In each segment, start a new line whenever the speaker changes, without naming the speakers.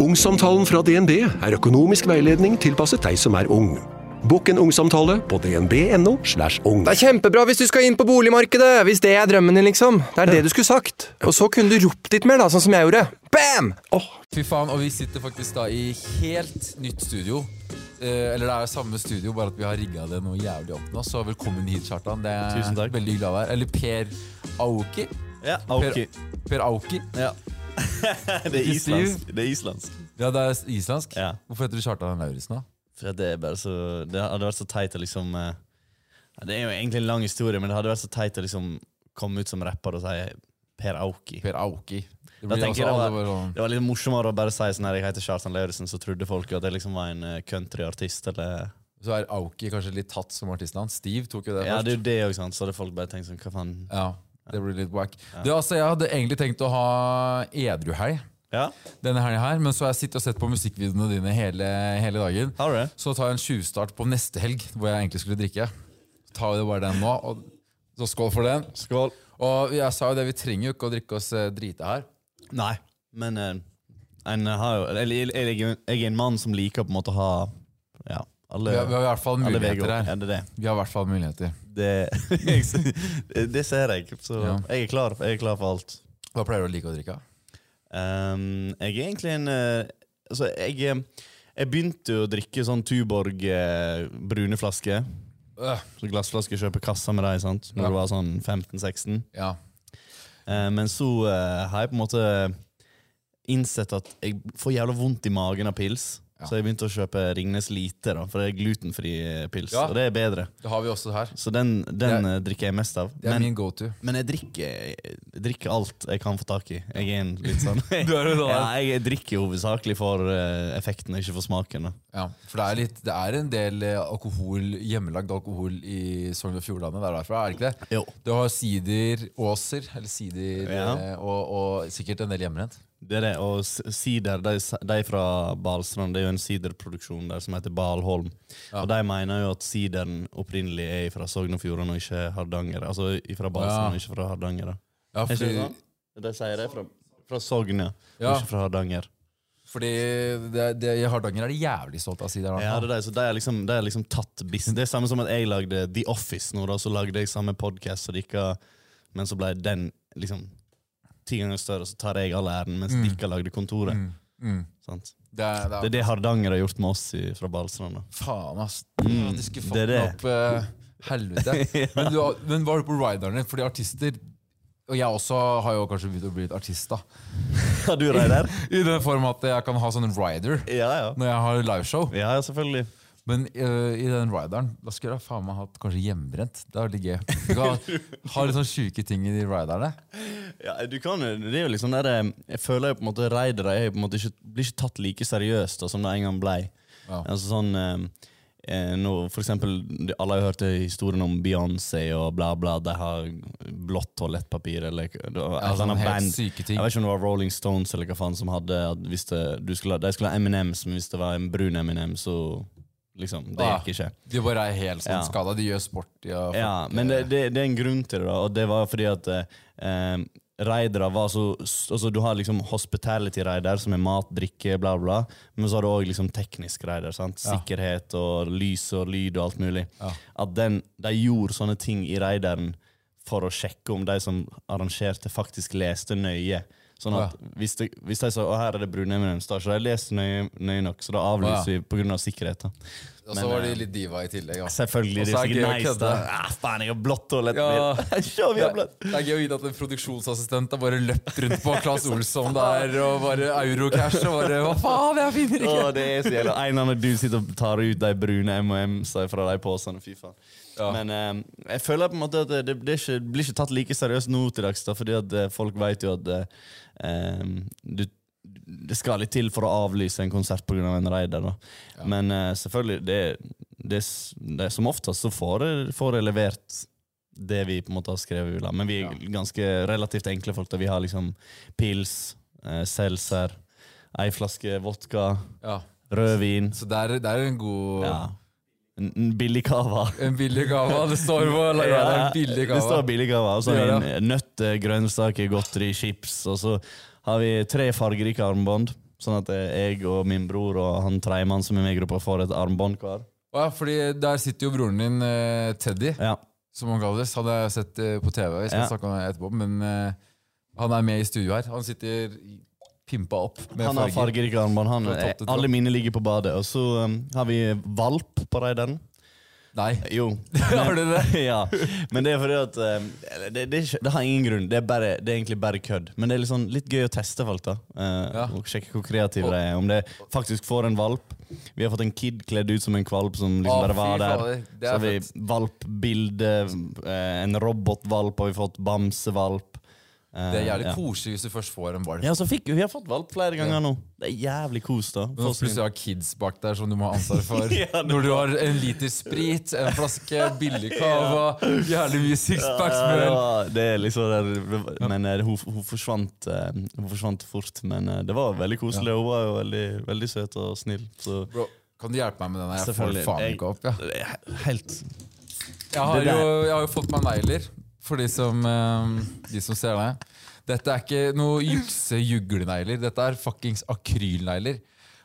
Ungsamtalen fra DNB er økonomisk veiledning tilpasset deg som er ung. Bokk en ungsamtale på dnb.no. slash ung.
Det er kjempebra hvis du skal inn på boligmarkedet! Hvis det er drømmen din, liksom. Det er det du skulle sagt. Og så kunne du ropt litt mer, da, sånn som jeg gjorde. Bam!
Fy faen, og vi sitter faktisk da i helt nytt studio. Eh, eller det er jo samme studio, bare at vi har rigga det noe jævlig opp nå. Så velkommen hit, Kjartan. Det er
Tusen takk.
veldig hyggelig å være her. Eller Per Aoki.
Ja,
Per,
ok.
per Aoki.
Ja. det er
Ikke stiv.
islandsk. Det er islandsk.
Ja, det er islandsk.
Ja.
Hvorfor heter du Kjartan Lauritzen, da?
For det, er bare så, det hadde vært så teit å liksom eh, ja, Det er jo egentlig en lang historie, men det hadde vært så teit å liksom komme ut som rapper og si Per Aoki.
Per Aoki. Det
Da
blir
tenker jeg
også alle
det var,
bare sånn-
det var litt morsommere å bare si sånn her, jeg heter Kjartan Lauritzen, så trodde folk jo at jeg liksom var en eh, countryartist eller
Så er Aoki kanskje litt tatt som artistnavn. Steve tok jo det
Ja,
først.
det er jo det òg, sant. Så hadde folk bare tenkt sånn, hva faen
Ja, det blir litt whack. Du, altså, jeg hadde egentlig tenkt å ha edruhelg
Ja,
denne helga her, men så har jeg sittet og sett på musikkvideoene dine hele, hele dagen.
har du det?
Så tar jeg en tjuvstart på neste helg, hvor jeg egentlig skulle drikke. Så tar vi det bare den nå, og så skål for den.
Skål.
Og jeg sa jo det, vi trenger jo ikke å drikke oss eh, drita her.
Nei, men eh, en har jo Eller jeg, jeg, jeg, er en mann som liker på en måte å ha Ja, alle
Vi har, vi har i hvert fall
alle
muligheter
veier.
her.
Ja, det er det.
Vi har i hvert fall muligheter.
Det, det ser jeg. Så
Ja.
jeg, er klar, jeg er klar for alt.
Hva pleier du å like å drikke?
Ehm, jeg er egentlig en eh, Altså, jeg, eh, jeg begynte jo å drikke sånn Tuborg eh, brune flasker.
Øh,
Så glassflasker kjøper kassa med dem sant? når
Ja.
du var sånn 15-16.
ja.
Eh, men så eh, har jeg på en måte innsett at jeg får jævla vondt i magen av pils.
Ja.
Så jeg begynte å kjøpe Ringnes Lite, da, for det er glutenfri eh, pils.
Ja.
Og det er bedre.
Det har vi også her.
Så den,
Det
den eh, drikker jeg mest av.
Det er
Men,
min go to.
men jeg, drikker, jeg drikker alt jeg kan få tak i. Jeg er en litt sånn
Du er jo sånn.
ja, Jeg drikker jo hovedsakelig for eh, effekten, ikke for smaken. Da.
Ja, for det er, litt, det er en del eh, alkohol, hjemmelagd alkohol i Sogn og Fjordane. Det er derfra, er det ikke det?
Jo.
Du har sider, åser, eller sider,
Ja.
eh, og, og sikkert en del hjemmerent.
Det er det, og s- sider, de, s- de fra Balstrand, det er jo en siderproduksjon der som heter Balholm.
Ja.
Og de mener jo at sideren opprinnelig er fra Sogn og Fjordane og ikke Hardanger. Altså fra Balstrand
Ja.
og ikke fra Hardanger. da.
Ja,
Er ikke
fordi,
det sånn? De sier det er fra, fra Sogn, ja.
Ja.
Og ikke fra Hardanger.
fordi det, det, i Hardanger er de jævlig stolte av sider. i hvert
Ja,
fall.
det er de, så de har liksom, de har liksom tatt business. Det er samme som at jeg lagde The Office nå, da, så lagde jeg samme podkast, men så ble den liksom ti ganger større, og så tar jeg all æren, mens
Mm.
dere lagde Kontoret.
Mm, mm.
Sant?
Det er, det er,
Det er det Hardanger har gjort med oss i, fra Balstrand. da.
faen, ass.
Mm,
At de skulle fått
det er
den
det.
opp eh, helvete. men, du, har- men var du på riderne? Fordi artister Og jeg også har jo kanskje begynt å bli et artist, da.
Har du Reidar?
I den form at jeg kan ha sånn rider
Ja, ja.
når jeg har liveshow.
Ja, ja, selvfølgelig.
Men øh, i den rideren Da skulle jeg faen meg hatt kanskje hjemmebrent. Det er litt gøy. Du kan ha- ha litt sånn sjuke ting i de riderne.
Ja, du kan jo, det er jo liksom der, eh, Jeg føler jo på en måte raidere er jo på en måte ikke, blir ikke tatt like seriøst da, som det en gang blei.
Ja.
Altså sånn eh, eh, nå, For eksempel, de- alle har jo hørt historien om Beyoncé og bla, bla. De har blått toalettpapir eller det var et
Ja,
eller
sånn
annet
helt
band.
syke ting.
Jeg vet ikke om det var Rolling Stones eller hva faen som hadde at hvis det, du skulle, ha- De skulle ha M&M's, men hvis det var en brun M&M, så liksom Det
Ah.
gikk ikke.
De bare er helt sånn
Ja.
skada. De gjør sport i å-
Ja, men
eh,
det, det, det er en grunn til det, da. Og det var fordi at eh, raidere var så Altså, du har liksom hospitality-raider, som er mat, drikke, bla, bla. Men så har du òg liksom teknisk raider. sant?
Ja.
Sikkerhet og lys og lyd og alt mulig.
Ja.
At den, de gjorde sånne ting i raideren for å sjekke om de som arrangerte, faktisk leste nøye. Sånn at hvis, de, hvis de sa å her er det brune M&M's, da har ikke de lest nøye, nøye nok, så da
Å,
avlyser vi på grunn av sikkerhet. da.
Og så
men,
var de
eh,
litt diva i tillegg. altså. Ja.
Selvfølgelig. Det
Og så
er
er det gøy
sikkert
å
nice, da.
kødde.
Ah, faen, jeg har blått toalett.
Ja.
Se, vi
Det,
har blått.
det er gøy å vite at en produksjonsassistent har bare løpt rundt på Claes Olsson der og bare Eurocash og bare Hva faen, jeg finner
Å,
ikke
det er så jævla En annen du sitter og tar ut de brune M&M-sa fra de posene. Fy faen.
Ja.
Men eh, jeg føler på en måte at det, det, er ikke, blir ikke tatt like seriøst nå til dags, da, fordi at eh, folk vet jo at eh, eh, du, det skal litt til for å avlyse en konsert pga. en raider. Da. Men eh, selvfølgelig, det, det, s- det, som oftest så får jeg, får jeg levert det vi på en måte har skrevet. i lag. Men vi er ganske relativt enkle folk. Da. Vi har liksom pils, eh, seltzer, ei flaske vodka,
Ja.
rødvin
Så det er, det er en god
ja. En- En billig cava.
En billig gave. Det står på rideren. en billig
Det står
gave.
billig cava. Og så
Det gjør
har vi nøtter, grønnsaker, godteri, chips. Og så har vi tre fargerike armbånd. Sånn at jeg og min bror og han tredjemann som er med i gruppa, får et armbånd hver.
Å ja, fordi der sitter jo broren din, eh, Teddy,
Ja.
som han kalles. Han har jeg sett eh, på TV, vi skal
Ja.
snakke om det etterpå, men eh, han er med i studio her. Han sitter i- pimpa opp med
Han har
farger.
fargerike armbånd. Han,
Fra topp til topp.
alle mine ligger på badet. Og så um, har vi valp på raideren.
Nei,
Jo.
har du det?
ja. Men det er fordi at eh, eller det, det, er ikke, det har ingen grunn. Det er, bare, det er egentlig bare kødd. Men det er litt sånn, litt gøy å teste folk. da Eh,
Ja.
Og sjekke hvor kreative de er. Om de faktisk får en valp. Vi har fått en kid kledd ut som en kvalp som
Å,
liksom bare
fy
var der.
fader, det
Så
er
har vi
fett.
valpbilde, eh, en robotvalp, og vi har fått bamsevalp. Eh,
Det er jævlig
ja.
koselig hvis du først får en valp.
Ja, så fikk vi, vi har fått valp flere ganger nå. Det er jævlig kos, da.
Men også plutselig har kids bak der som du må ha ansvar for.
Ja, det
Når du har en liter sprit, en flaske billig kava, jævlig mye sixpacks
Ja,
med
det
den.
var- det er liksom der, men eh, hun, hun, forsvant, eh, hun forsvant fort, men eh, det var veldig koselig. Hun var jo veldig, veldig søt og snill. Så
Bro, kan du hjelpe meg med den? her? Jeg får
Selvfølgelig.
faen
Jeg-
ikke opp. Ja.
det er helt
Jeg, har
Det der-
jo, jeg har jo fått meg negler, for de som, eh, de som ser det. Dette er ikke noe jukse-juglenegler. Dette er fuckings akrylnegler.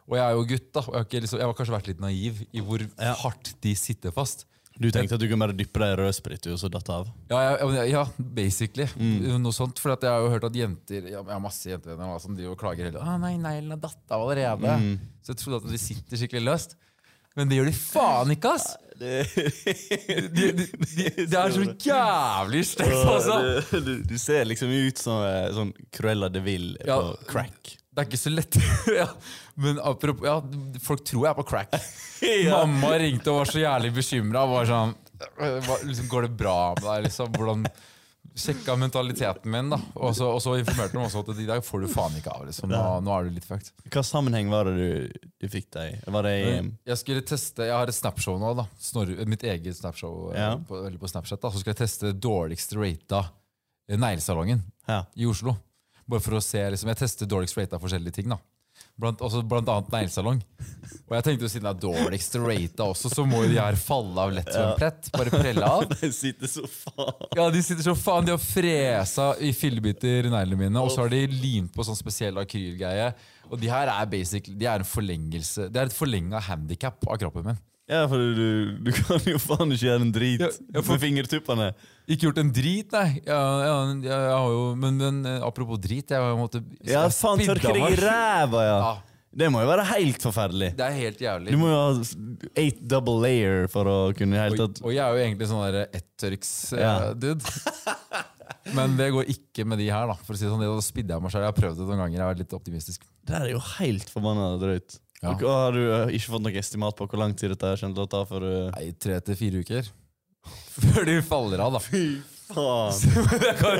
Og jeg er jo gutt, da. Og jeg har, ikke, liksom, jeg har kanskje vært litt naiv i hvor hardt de sitter fast.
Du tenkte at du kunne bare dyppe deg i rødsprit du, og så datt av?
Ja, ja, ja, men- ja basically.
Mm.
Noe sånt. For at jeg har jo hørt at jenter ja, Jeg har masse jentevenner nå som driver og klager hele ah, nei, neglen har datt av allerede.
Mm.
Så jeg trodde at de sitter skikkelig løst. Men det gjør de faen ikke, ass! De, de, de, det er så jævlig sterkt, altså!
du, du, du ser liksom ut som eh, sånn Cruella de Ville på
Ja.
crack.
Det er ikke så lett. ja. Men apropos ja, Folk tror jeg er på crack. Mamma ringte og var så jævlig bekymra. Sånn, øh, hva- liksom, går det bra med deg? Liksom, hvordan Sjekka mentaliteten min, da. Og så, og så informerte hun også at i dag får du faen ikke av. Liksom. Nå, nå er du litt fucked.
Hva sammenheng var det du, du fikk deg? Var det i
Jeg skulle teste, jeg har et snapshow nå, da. Snorre, mitt eget snapshow eh,
Ja.
på, eller på Snapchat. da. Så skal jeg teste dårligst rata eh, neglesalongen
Ja.
i Oslo. Bare for å se, liksom, Jeg tester dårligst rata forskjellige ting. da. Blant, også, blant annet neglesalong. Og jeg tenkte jo siden det er dårligst rata også, så må jo de her falle av lett som en plett. Bare prelle av.
Jeg sitter så faen
Ja, De sitter så faen, de har fresa i fillebiter i neglene mine, og så har de limt på sånn spesiell akrylgreie. Og de her er basically, de er en forlengelse, det er et forlenga handikap av kroppen min.
Ja, for du, du kan jo faen ikke gjøre en drit
Ja, ja, for-
med fingertuppene.
Ikke gjort en drit, nei. Ja, ja, jeg, jeg har jo, men, men eh, apropos drit, jeg har jo måttet
Ja, faen,
spidda
tørke deg i
meg.
ræva, ja.
Ja.
Det må jo være helt forferdelig.
Det er helt jævlig.
Du må jo ha s- eight double layer for å kunne i hele
Og,
tatt
og jeg er jo egentlig sånn der
Ja.
ettørks-dude. Men det går ikke med de her, da. For å si det sånn, Da spidder jeg meg selv. Jeg har prøvd det noen ganger. Jeg har vært litt optimistisk.
Det her er jo helt forbanna drøyt.
Ja.
Og, og har du eh, ikke fått noe estimat på hvor lang tid dette her kommer til å ta? For eh,
Nei, tre til fire uker. Før de faller av, da.
faen.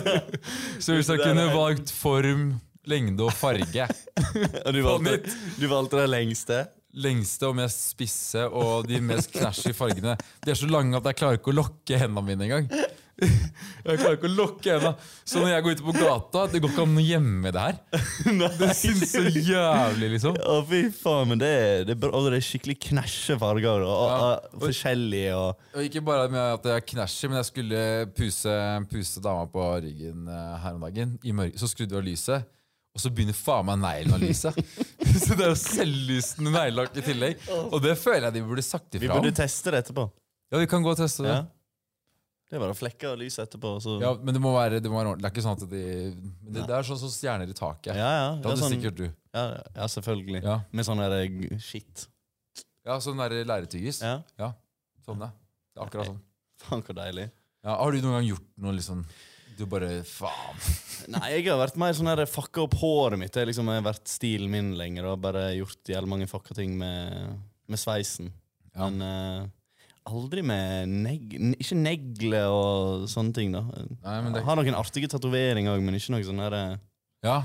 Så hvis jeg kunne valgt form, lengde og farge
Og du
mitt.
valgte, du valgte det lengste?
Lengste og mest spisse og de mest knæsj i fargene. De er så lange at jeg klarer ikke å lokke hendene mine engang. Jeg klarer ikke å lokke hendene Så når jeg går ute på gata, det går ikke an å gjemme det her.
Nei!
Jeg synes så jævlig, liksom.
Å, fy faen, men det er, det er, bra- og det er skikkelig knæsje farger. Og, og, og, forskjellige og
Og ikke bare med at jeg knæsjer, men jeg skulle puse, puse dama på ryggen eh, her om dagen. I mørke. Så skrudde jeg av lyset, og så begynner faen meg neglen å lyse. så det er jo selvlysende neglelakk i tillegg. Og det føler jeg de burde sagt
Vi
ifra om.
burde teste det etterpå.
Ja, vi kan gå og teste det.
Ja. Det er bare flekker og lys etterpå. Så.
Ja, men det må være, det må være ordentlig. Det er ikke sånn at de Det, det er sånn som stjerner i taket.
Ja, ja.
Det hadde
sånn-
sikkert du.
ja, ja selvfølgelig.
Ja,
Med sånn der eh, shit.
ja sånn der læretyggis.
Ja.
Sånn, ja. Det er akkurat sånn.
Faen, hvor deilig.
Ja, har du noen gang gjort noe liksom Du bare Faen.
Nei, jeg har vært mer sånn her fucka opp håret mitt. Det har liksom vært stilen min lenger. Og bare gjort jævlig mange fucka ting med, med sveisen.
Ja.
Men eh, aldri med neg n- Ikke negler og sånne ting, da.
Nei, men det-
Jeg Har noen artige tatoveringer òg, men ikke noe sånn her eh,
Ja.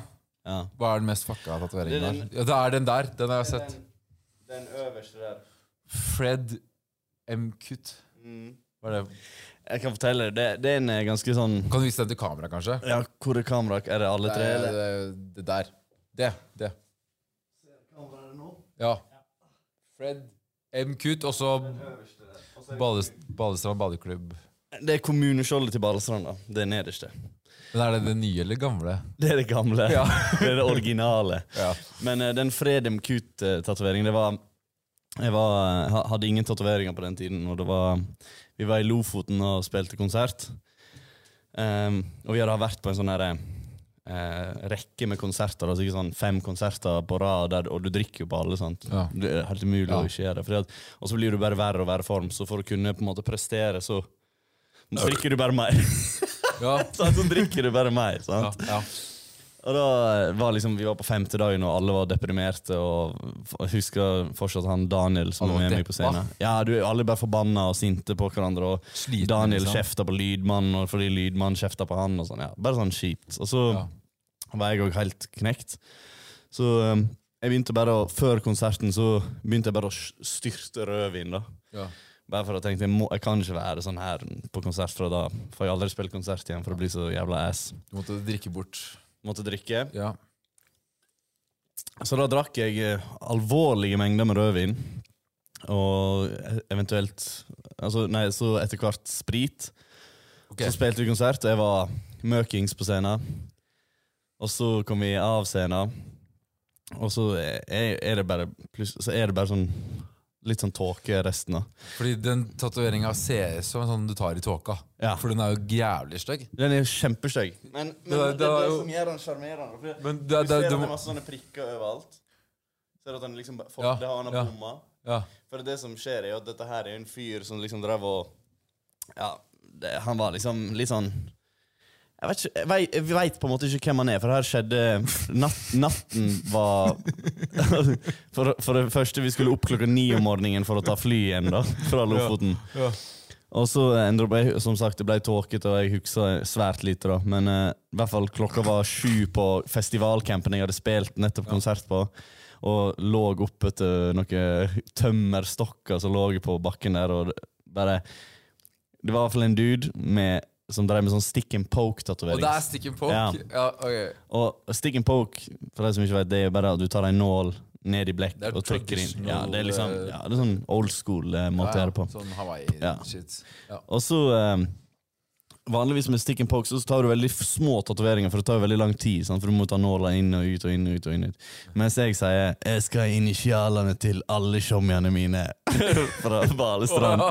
ja.
Hva er den mest fucka tatoveringen
Det
der?
er den-
Ja, det er den der. Den har jeg sett.
Den øverste der.
Fred M. Kutt.
Mm.
Hva er det?
Jeg kan fortelle deg, det, det er en eh, ganske sånn
Kan du vise den til kamera, kanskje?
Ja, hvor er kameraet? Er det alle tre?
det,
eller?
det- det der. Det. Det. Ja. Fred M. Kutt, og så Bales- Balestrand badeklubb.
Det er kommuneskjoldet til Balestrand. da. Det er nederste.
Men er det det nye eller gamle?
Det er det gamle. det er det originale.
Ja.
Men eh, den Fredem Kut-tatoveringen, det var Jeg var, eh, ha- hadde ingen tatoveringer på den tiden, og det var Vi var i Lofoten og spilte konsert. Ehm, og vi hadde vært på en sånn derre eh, rekke med konserter, altså ikke sånn fem konserter på rad, der, og du drikker jo på alle. sant?
Ja.
Det er helt umulig
Ja.
å ikke gjøre det. fordi At, og så blir du bare verre og verre form, så for å kunne på en måte prestere, så drikker du bare mer.
Ja.
sant? så drikker du bare mer, sant?
Ja, ja.
Og da var liksom, Vi var på femte dagen, og alle var deprimerte. Og f- jeg husker fortsatt han Daniel som
Alle
var
var
med meg på
deppa.
scenen. Ja, du, Alle bare forbanna og sinte på hverandre. Og
Slitne,
Daniel
liksom.
kjefta på lydmannen og fordi lydmannen kjefta på han. og sånn, ja. Bare sånn kjipt. Og så
Ja.
var jeg òg helt knekt. Så um, jeg begynte bare å, Før konserten så begynte jeg bare å s- styrte rødvin. da.
Ja.
Bare for å tenke, jeg, må, jeg kan ikke være sånn her på konsert, for da får jeg aldri spille konsert igjen. for å bli så jævla ass.
Du måtte drikke bort.
Måtte drikke.
Ja.
Så da drakk jeg eh, alvorlige mengder med rødvin. Og eventuelt altså, Nei, så etter hvert sprit.
Ok.
Så spilte vi konsert, og jeg var møkings på scenen. Og så kom vi av scenen, og så er, er det bare pluss- Så er det bare sånn litt sånn tåke resten av.
Fordi den tatoveringa ser ut som en sånn du tar i tåka.
Ja.
For den er jo jævlig stygg.
Den er jo kjempestygg. Men,
men Det er- det er det er det jo- som
gjør den sjarmerende.
Men det, det, du, må-
masse sånne prikker overalt. Ser at han liksom
Ja, det har han har ja. ja.
For det som skjer, er jo at dette her er en fyr som liksom drev og Ja, det, han var liksom litt sånn jeg vet, ikke, jeg, vet, jeg vet på en måte ikke hvem han er, for det her skjedde natt, Natten var for, for det første, vi skulle opp klokka ni om morgenen for å ta fly igjen da, fra Lofoten.
Ja.
Og så endra jeg, som sagt, det ble tåkete, og jeg husker eh, svært lite, da. Men eh, i hvert fall klokka var sju på festivalcampen jeg hadde spilt nettopp konsert på. Og lå oppe til noen tømmerstokker som lå på bakken der, og det- bare Det var i hvert fall en dude med, som drev med sånn stick and
Og
poke-tatovering.
der stikker en poke.
Ja.
Ja. ok.
Og stick and poke, for de som ikke vet, det er jo bare at du tar en nål ned i blekk
Det er
og trykker inn. Ja, det er liksom
traditional, eh,
ja, det er sånn old school eh, måte å
Ja,
gjøre det på.
Sånn Hawaii-shit.
Ja.
Ja. Ja.
Og så eh, Vanligvis med stick and poke så tar du veldig små tatoveringer, for det tar jo veldig lang tid. Sant? For du må ta nåla inn og ut og inn og ut. og inn og ut. Mens jeg sier 'Jeg skal ha initialene til alle tjommiene mine' fra Balestrand.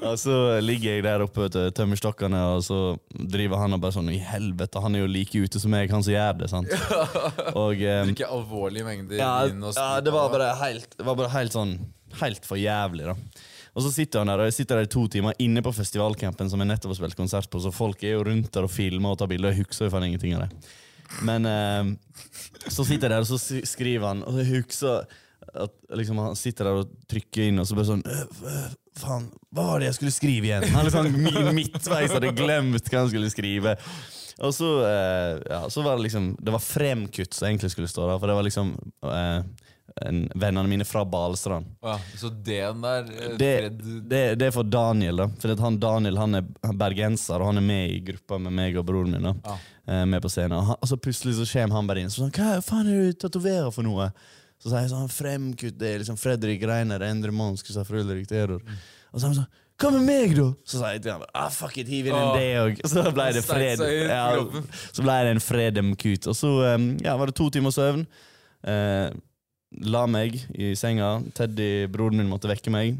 Og så ligger jeg der oppe til tømmerstokkene, og så driver han og bare sånn 'I helvete, han er jo like ute som meg, han som gjør det', sant? Og eh,
Drikke alvorlige mengder
ja,
vin og
ja, det var bare helt Det var bare helt sånn Helt for jævlig da Og så sitter han der Og jeg sitter der i to timer Inne på festivalcampen Som jeg nettopp har spilt konsert på Så folk er jo rundt der Og filmer og tar bilder Jeg husker jo faen ingenting av det Men eh, Så sitter jeg der Og så s- skriver han Og jeg husker at liksom han sitter der og trykker inn Og så bare sånn «Øh, øh, Faen, hva var det jeg skulle skrive igjen? Han liksom mi- midtveis hadde glemt hva han skulle skrive og så, eh, ja, så var det liksom Det var fremkutt som egentlig skulle stå der. For det var liksom eh, en, vennene mine fra Balestrand.
ja, Så D-en der eh,
Det,
Fred-
det, det er for Daniel, da. For at han, Daniel han er bergenser, og han er med i gruppa med meg og broren min. da
Ja.
eh, Med på scenen Og, han, og så plutselig så kommer han bare inn. Så sånn, Hva faen er det du tatoverer for noe? Så sier jeg sånn Fremkutt, det er liksom Fredrik Reiner, Endre Monsk, sa Fredrik Theodor.
Mm.
Og så er han sånn hva med meg, da? Så sa jeg til han ah, fuck it, hiv inn en
Åh.
det òg. Så ble det
Steik
fred.
seg ut i
Ja,
kroppen.
så ble det en fredemkut. Og så eh, ja, var det to timer søvn. Eh, la meg i senga. Teddy, broren min, måtte vekke meg.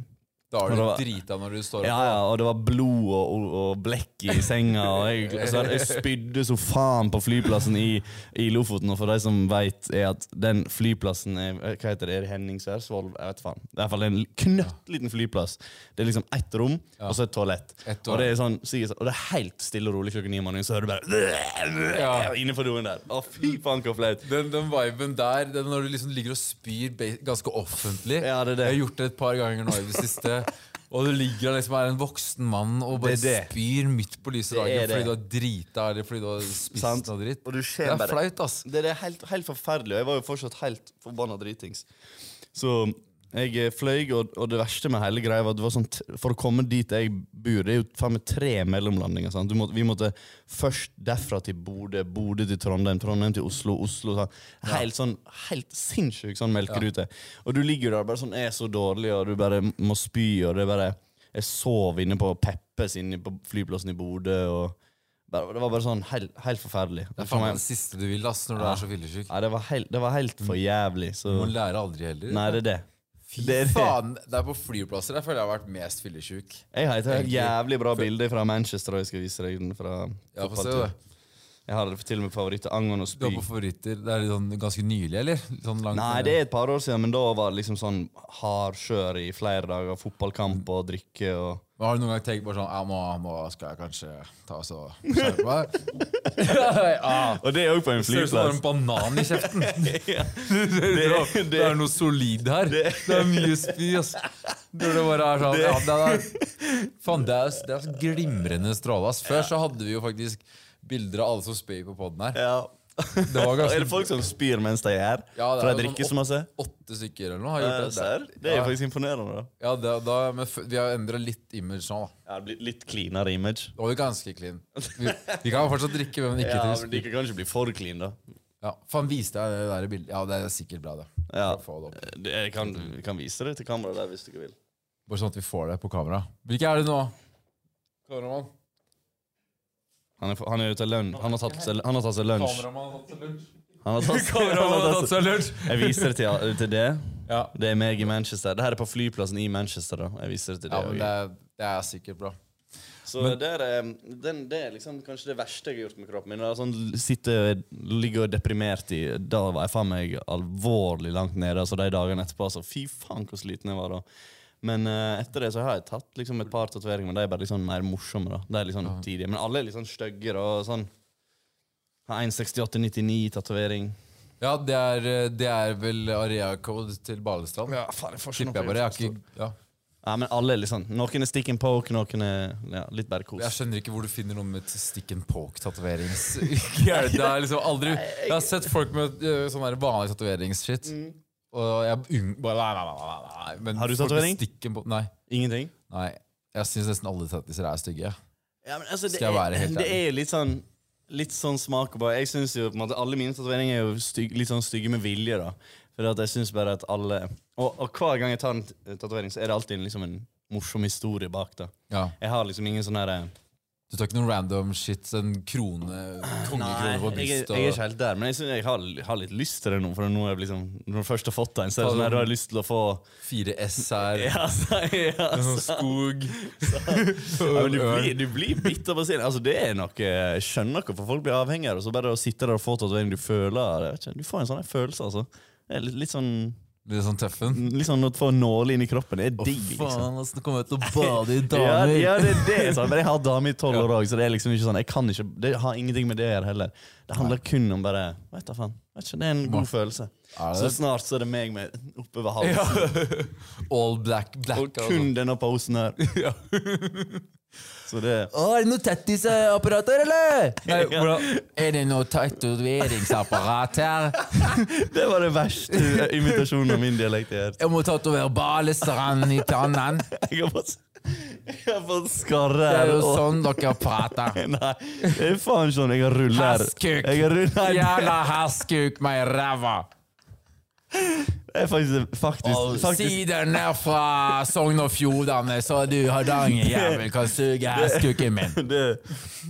Da er
det
du
var-
drita når du står
Ja, ja, og det var blod og, og, og blekk i senga. Og jeg, så jeg spydde så faen på flyplassen i, i Lofoten. Og for de som veit, er at den flyplassen er, eh, Hva heter det? Er det Henningsvær? Svolv? Jeg vet faen. Det er i hvert fall en knøttliten flyplass. Det er liksom ett rom, og så et toalett.
Et
og, det er sånn, sikkert, og det er helt stille og rolig klokka ni om morgenen, så hører du bare
Ja.
Inne på doen der. Å, fy faen, så flaut.
Den, den viben der, den når du liksom ligger og spyr ba- ganske offentlig
Ja, det er det.
Jeg har gjort det et par ganger nå i det siste. Og du ligger og liksom er en voksen mann og bare
Det er det.
spyr midt på lyse
Det
dagen
er
fordi
det.
du har drita eller fordi du har spist
Sant.
noe dritt.
Og du ser
det er
bare-
flaut, ass.
Det er helt, helt forferdelig, og jeg var jo fortsatt helt forbanna dritings. Så jeg eh, fløy, og, og det verste med hele greia var at det var sånn t- for å komme dit jeg bor Det er jo faen meg tre mellomlandinger. Sant? Du måtte, vi måtte først derfra til Bodø, Bodø til Trondheim, Trondheim til Oslo, Oslo sånn. Helt sånn, helt sinnssyk sånn melkerute. Og du ligger der bare sånn, er så dårlig, og du bare må spy, og det er bare Jeg sov inne på Peppes inne på flyplassen i Bodø. og bare- Det var bare sånn helt, helt forferdelig.
Det er faen meg det siste du vil ass, når du er så fyllesyk.
Nei, det var helt, det var helt for jævlig.
Du må
Så
lære aldri heller.
Nei, det er det.
Fy
det er det.
faen, det er på flyplasser jeg føler jeg har vært mest fyllesyk.
Jeg har et helt jævlig bra bilde fra Manchester. og Jeg skal vise deg den fra
Ja, få se
fotballtur.
det.
Jeg har det til og med favoritt angående å
Du var
spy.
på favoritter. Det er litt sånn ganske nylig, eller? Litt Sånn langt,
Nei, det er et par år siden, men da var det liksom sånn hardkjør i flere dager. Fotballkamp og drikke og
Men Har du noen gang tenkt bare sånn ja, nå, nå skal jeg kanskje ta oss og skjerpe meg? ja,
Og det er òg på en
Ser ut som du har en banan i kjeften. det, det,
det-
er noe solid her. Det, er mye spy, ass. Når det bare er sånn ja, det er, Faen, det er, det er så glimrende stråle, ass. Før så hadde vi jo faktisk bilder av alle som spøy på poden her.
Ja.
Det var ganske-
er det folk som spyr mens de er her?
Ja, det er
For de
jo
drikker
sånn
så masse?
Åtte stykker eller noe har
Eh,
gjort det.
Serr? Det er jo faktisk imponerende. da
Ja, det, da, men f- vi har endra litt image nå, da.
Ja, det blir Litt cleanere image.
Da var vi ganske clean. Vi, vi kan fortsatt drikke, men ikke
Ja,
til
men De kan kanskje bli for clean, da.
Ja, faen, viste jeg det der bildet? Ja, det er sikkert bra, det.
Ja.
For å Få det opp.
Det- Jeg kan, jeg kan vise det til kameraet der hvis dere vil.
Bare sånn at vi får det på kamera. Hvilke er det nå? Kameramann.
Han er, for- han er ute av lønn. Han har tatt seg, han har tatt seg lunsj.
Kameramann har tatt seg lunsj.
Han har tatt,
Kameramann har tatt seg lunsj.
Jeg viser det til, til det.
Ja.
Det er meg i Manchester. Det her er på flyplassen i Manchester. da Jeg viser det til det,
ja, men
også.
det er, det er sikkert bra.
Så det, er, eh, den, det er liksom kanskje det verste jeg har gjort med kroppen min. Det er Sånn, sitte, ligge og deprimert i Da var jeg faen meg alvorlig langt nede. Altså De dagene etterpå, altså, fy faen hvor sliten jeg var da. Men eh, etter det så har jeg tatt liksom et par tatoveringer, men de er bare liksom mer morsomme. da De er liksom tidlige, Men alle er litt sånn stygge. da, og Sånn. Har 168-99-tatovering.
Ja, det er, det er vel area-code til Balestrand.
Ja, faen, jeg får ikke
Tipper jeg bare. Jeg, har ikke, ja.
Ja, men alle er liksom Noen er stick and poke, noen er ja, litt bare kos.
jeg skjønner ikke hvor du finner noe med et stick and poke-tatoveringsgreier. Det er liksom aldri Jeg har sett folk med eh, sånn der vanlig tatoveringsshit. Og jeg unng... Bare, nei, nei, nei, nei, nei. Men
Mm. Har du
folk med
tatovering?
stick and poke- Nei.
Ingenting?
Nei, jeg syns nesten alle tattiser er stygge.
Ja, men altså, det,
Skal jeg være
er,
helt
det
ærlig?
er jo litt sånn Litt sånn smak og bare Jeg synes jo på en måte Alle mine tatoveringer er jo stygg, litt sånn stygge med vilje, da. For at jeg synes bare at alle og, og hver gang jeg tar en t- tatovering, så er det alltid en, liksom en morsom historie bak, da.
Ja.
Jeg har liksom ingen sånn herre
Du tar ikke noen random shit, en krone, kongekrone på
jeg, er- jeg
brystet
er
og
ikke helt der, men jeg, synes jeg har, har litt lyst til det nå. For nå er jeg liksom Når du først har fått en, så er det sånn her, du har lyst til å få
fire S her.
Ja, så, ja, altså.
En sånn
så.
skog.
Ja, men du, blir, du blir bitter på siden. Altså, det er noe, jeg skjønner ikke hvorfor folk blir avhengige. av det, Og så bare å sitte der og få tatovering du føler jeg vet ikke, Du får en sånn her følelse, altså. Det er litt, litt sånn
Litt sånn tøffen.
Litt sånn å få en nåle inn i kroppen. Det er
Å,
digg, liksom.
faen, åssen kommer jeg til å bade i
Ja,
damer?
ja, det er det. sant? Men jeg har dame i tolv år òg, så det er liksom ikke sånn Jeg kan ikke, det har ingenting med det å gjøre heller. Det handler kun om bare Vet da faen. Vet ikke, det er en god følelse.
Er det
Så
det?
snart så er det meg med oppover halsen,
All black, black
og kun denne posen her.
Ja.
Så det
Å, er det noe tattisapparater, eller? Nei, hvordan- er det noe tatoveringsapparat her?
Det var den verste imitasjonen av min dialekt jeg har hørt.
Jeg må tatovere Balestrand i tannen.
Jeg har fått, jeg har fått skarre
Det er
her.
jo
og-
sånn dere prater.
Nei, det er faen sånn. Jeg har rulle her.
Herskuk!
Jeg har rulle her.
Jævla herskuk meg i ræva!
Det er faktisk,
Og
faktisk, faktisk
sider ned fra Sogn og Fjordane, så du Hardanger-jævel kan suge herskuken min.
det,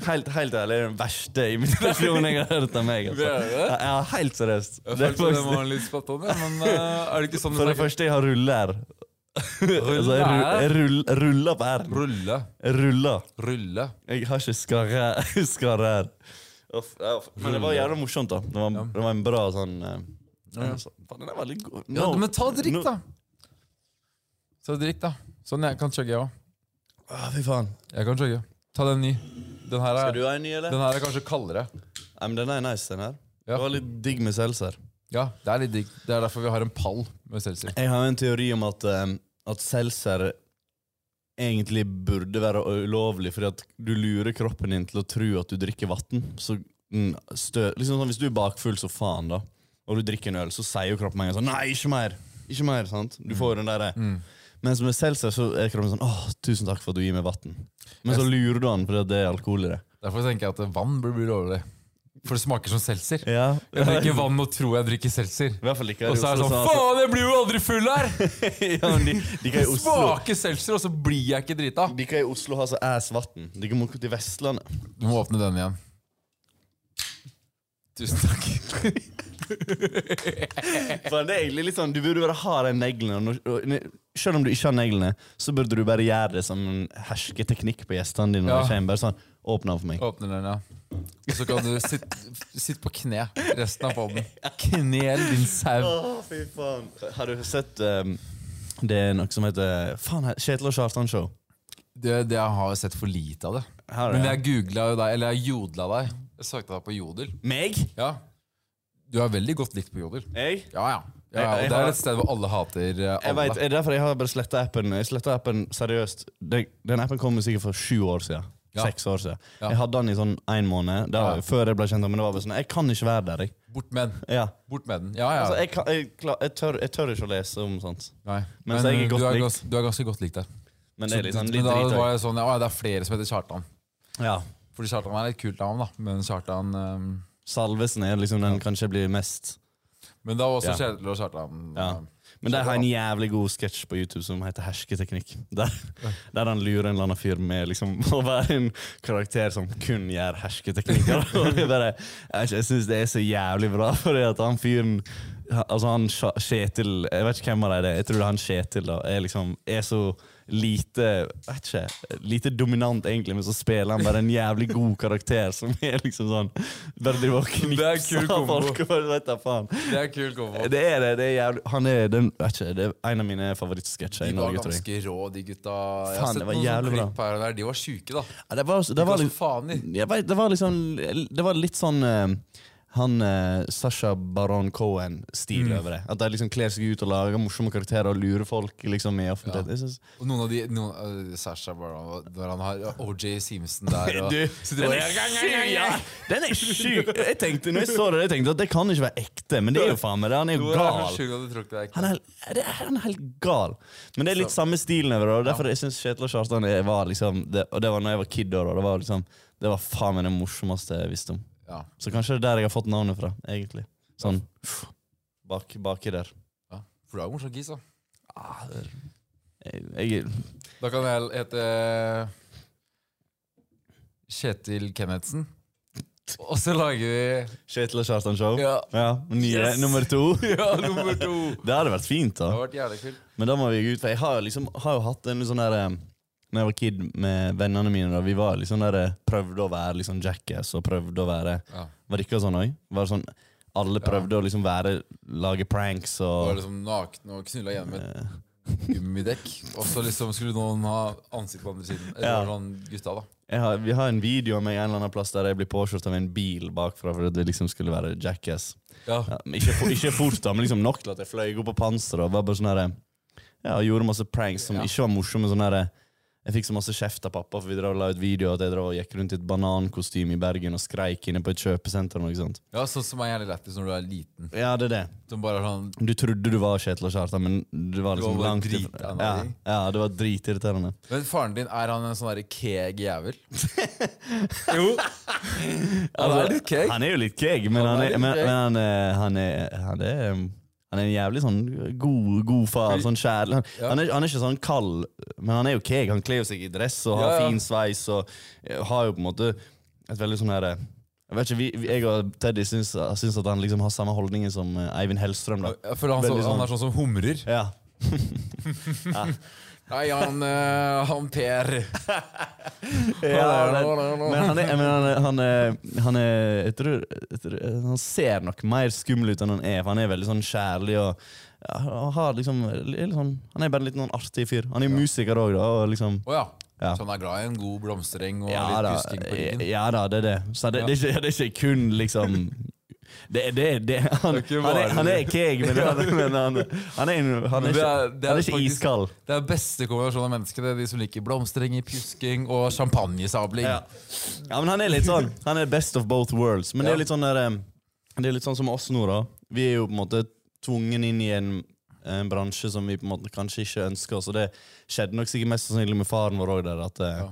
helt, helt ærlig, det er den verste imitasjonen jeg har hørt av meg. Altså.
Det er det?
Ja, Ja, helt seriøst. Det er faktisk,
litt spot on, men er det ikke sånn
for det første, jeg har rulle her. Altså, jeg,
Rulle
ru-
her?
jeg rull, ruller på her.
Rulle.
Jeg ruller.
Rulle.
Jeg har ikke skarre, skarre her. Mm. Uff, ja, uff. Men det var jævla morsomt, da. Det var, det var en bra sånn eh,
Ja.
så- Faen, den er veldig god.
Ja,
No,
men ta drikk,
no-
da. Ta drikk, da. Sånn, jeg kan chugge, jeg òg.
Ah, fy faen.
Jeg kan chugge. Ta den ny. Den her
Skal
er,
du ha en ny, eller?
den her er kanskje kaldere.
Nei, men den er nice, den her.
Ja.
Det var litt digg med seltzer.
Ja, det er litt digg. Det er derfor vi har en pall med seltzer.
Jeg har en teori om at, um, at seltzer egentlig burde være ulovlig, fordi at du lurer kroppen din til å tro at du drikker vann. Så mm, stø, liksom sånn, Hvis du er bakfull, så faen, da, og du drikker en øl, så sier jo kroppen med en gang sånn Nei, ikke mer! Ikke mer, sant? Du får jo den derre.
Mm.
Mens med seltzer så er kroppen sånn Åh, tusen takk for at du gir meg vann. Men så lurer du han fordi at det er alkohol i det.
Derfor tenker jeg at vann burde bli lovlig. For det smaker som seltzer.
Ja.
Jeg drikker vann og tror jeg drikker seltzer.
I hvert fall ikke her
Og
i
så er det
Oslo,
sånn
så- altså.
Faen, jeg blir jo aldri full her!
ja, men de, de, kan i
Det
Oslo,
smaker seltzer, og så blir jeg ikke drita.
de kan i Oslo ha så ass vann. De kan må gå til Vestlandet.
Du må åpne den igjen. Tusen takk.
For det er egentlig litt sånn, Du burde bare ha de neglene. og- Og, og- selv om du ikke har neglene, så burde du bare gjøre det som en hersketeknikk på gjestene dine.
Ja.
når de kommer, Bare sånn, åpne opp for meg.
Åpner den, ja. Og så kan du sitte sitt på kne resten av poden. Knel din sau.
Å, fy faen. Har du sett ehm, Det er noe som heter Faen, he- Kjetil og Kjartan Show.
Det, det jeg har sett for lite av det.
Har du
Men
det?
jeg googla jo deg, eller jeg jodla deg. Jeg søkte deg på Jodel.
Meg?
Ja. Du er veldig godt likt på Jodel.
Jeg?
Ja, ja. ja, ja.
Jeg- jeg
Og det
har-
er et sted hvor alle hater eh,
Jeg
alle.
vet, er det derfor jeg har bare sletta appen. Jeg slettet appen seriøst Den, den appen kom sikkert for sju år siden.
Ja.
Seks år siden.
Ja.
Jeg hadde den i sånn én måned da,
Ja.
før jeg ble kjent. med- Men det var bare sånn, jeg kan ikke være der. Jeg,
Bort med den.
ja.
Bort med den. Ja, ja.
altså, jeg, kan, jeg, kla- jeg, tør, jeg tør ikke å lese om sånt.
Nei.
Men
Men,
så er jeg
eh,
godt
du, er
likt.
gans- du er ganske godt likt der.
Men det er litt sånn
Men
litt
da
drit.
var jeg sånn, ja, det er flere som heter Kjartan.
også. Ja.
Fordi Kjartan er et kult navn, da. Men Kjartan eh,
Salvesen er liksom den kanskje blir mest
Men da var også
Ja.
Kjetil og Kjartan.
ja.
eh,
Men de har en jævlig god sketsj på YouTube som heter Hersketeknikk. Der, der han lurer en eller annen fyr med liksom, å være en karakter som kun gjør hersketeknikker. Og det er bare, jeg jeg syns det er så jævlig bra, fordi at han fyren Altså han Sja- Kjetil Jeg vet ikke hvem av dem det er. Jeg tror det er han Kjetil da, er, liksom, er så lite vet ikke, Lite dominant, egentlig, men så spiller han bare en jævlig god karakter som er liksom sånn Bare driver og
Det er en kul
knipser
kombo.
folk og bare vet da faen.
Det er kult kombo.
Det er det. det er jævlig Han er, den, vet ikke, det er en av mine favorittsketsjer
De
i
var
Norge, tror jeg.
ganske rå, de gutta. Jeg
Faen,
har sett
det var
noen sånne
jævlig bra.
klipp her og der. De var sjuke, da.
Ja, det, var, det,
Det
var
var som
litt,
faen i.
jeg vet, det var liksom Det var litt sånn eh, han eh, Sasha Baron Cohen-stil
Mm.
over det. At de liksom kler seg ut og lager morsomme karakterer og lurer folk liksom i offentligheten. Jeg synes-
Og noen av de noen, øh, Sasha Baron Når han har OJ Simpson der og
Du,
sitter og-
den er syk! Ja, den er syk! Jeg tenkte, når jeg så det, jeg tenkte at det kan ikke være ekte, men det er jo faen meg det. Han er jo
Hvor er så
gal.
sjuk at du tror ikke det er ekte?
Han er, det er, han er helt gal. Men det er litt samme stilen over det. og Derfor jeg synes Kjetil og Kjartan det var liksom det, Og det var når jeg var kid. da, da, Det var liksom Det var faen meg det morsomste jeg visste om.
Ja.
Så kanskje det er der jeg har fått navnet fra, egentlig. Sånn bak, baki der.
ja. For du er jo morsom kis, da.
Jeg, jeg,
Da kan jeg hete Kjetil Kennetsen. Og så lager
Kjetil og Kjartan Show.
vi Ja,
nye
Yes!
nummer to.
ja nummer to!
Det hadde vært fint,
Det har
da.
vært jævlig kult.
Men da må vi gå ut, for jeg har, jo liksom, har jo hatt en sånn der eh, Når jeg var kid med vennene mine, da, vi var liksom der, eh, prøvde å være liksom jackass og prøvde å være
Ja.
Var det ikke sånn òg? Var det sånn alle prøvde å liksom være lage pranks
Du var
og
liksom naken og knulla gjennom et gummidekk. Og så liksom skulle noen ha ansikt på andre siden. Eller
Ja.
sånn gutta, da.
jeg har, Vi har en video av meg en eller annen plass der jeg blir påkjørt av en bil bakfra fordi det liksom skulle være jackass.
Ja.
Ja, men ikke, for, ikke fort, da, men liksom nok til at jeg fløy opp på panseret og var bare sånn herre Ja, og gjorde masse pranks som ikke var morsomme. Sånn herre jeg fikk så masse kjeft av pappa, for vi drev og la ut video at jeg drev og gikk rundt i et banankostyme i Bergen og skreik inne på et kjøpesenter. og noe sånt.
ja, Sånn som er jævlig lættis når du er liten.
Ja, det er det.
Som bare er sånn
Du trodde du var Kjetil og Kjartan, men du var liksom
bare
langt
drit-
ifra. Ja, ja, det var dritirriterende.
Men faren din, er han en sånn derre keeg jævel?
Jo.
Han er litt keeg.
Han er jo litt keeg, men,
Han
han
er
er,
litt
men,
keeg.
men han, er, han, er, han, er, han er en jævlig sånn god, god far. Sånn kjærlig. Han, han, er, han er ikke sånn kald, men han er jo keeg. Han kler jo seg i dress og har
Ja, ja.
fin sveis og eh, har jo på en måte et veldig sånn herre jeg vet ikke, vi, vi- jeg og Teddy syns, syns at han liksom har samme holdninger som eh, Eivind Hellstrøm. da.
Jeg føler han, så,
Veldig sånn.
han er sånn som humrer.
Ja.
Nei, han, eh, han Per.
Ja, men, men han er, men han er, han er, han er jeg, tror, jeg tror Han ser nok mer skummel ut enn han er, for han er veldig sånn kjærlig og ja, han har liksom, er litt sånn, Han er bare en litt sånn artig fyr. Han er jo musiker òg, da. Og liksom,
Å ja.
Ja.
Så han er glad i en god blomstereng og
ja,
litt
da, eh,
pusking på ryggen?
ja da, det er det. Så det, det, er ikke, det er ikke kun liksom det, det, det, han,
Det er ikke
han, er,
bare-
han er ikke jeg, men han, men han, han, er, en- han, er,
Men det
ikke,
er- det er
han er ikke
faktisk-
iskald.
Det er beste kombinasjon av mennesker. Det er De som liker blomsterenger, pjusking og champagnesabling.
Ja. ja, men han er litt sånn Han er best of both worlds. Men det er litt sånn der, eh, Det er litt sånn som oss nå, da. Vi er jo på en måte tvungen inn i en, en bransje som vi på en måte kanskje ikke ønsker oss. Og det skjedde nok sikkert mest sannsynlig med faren vår òg.
Ja.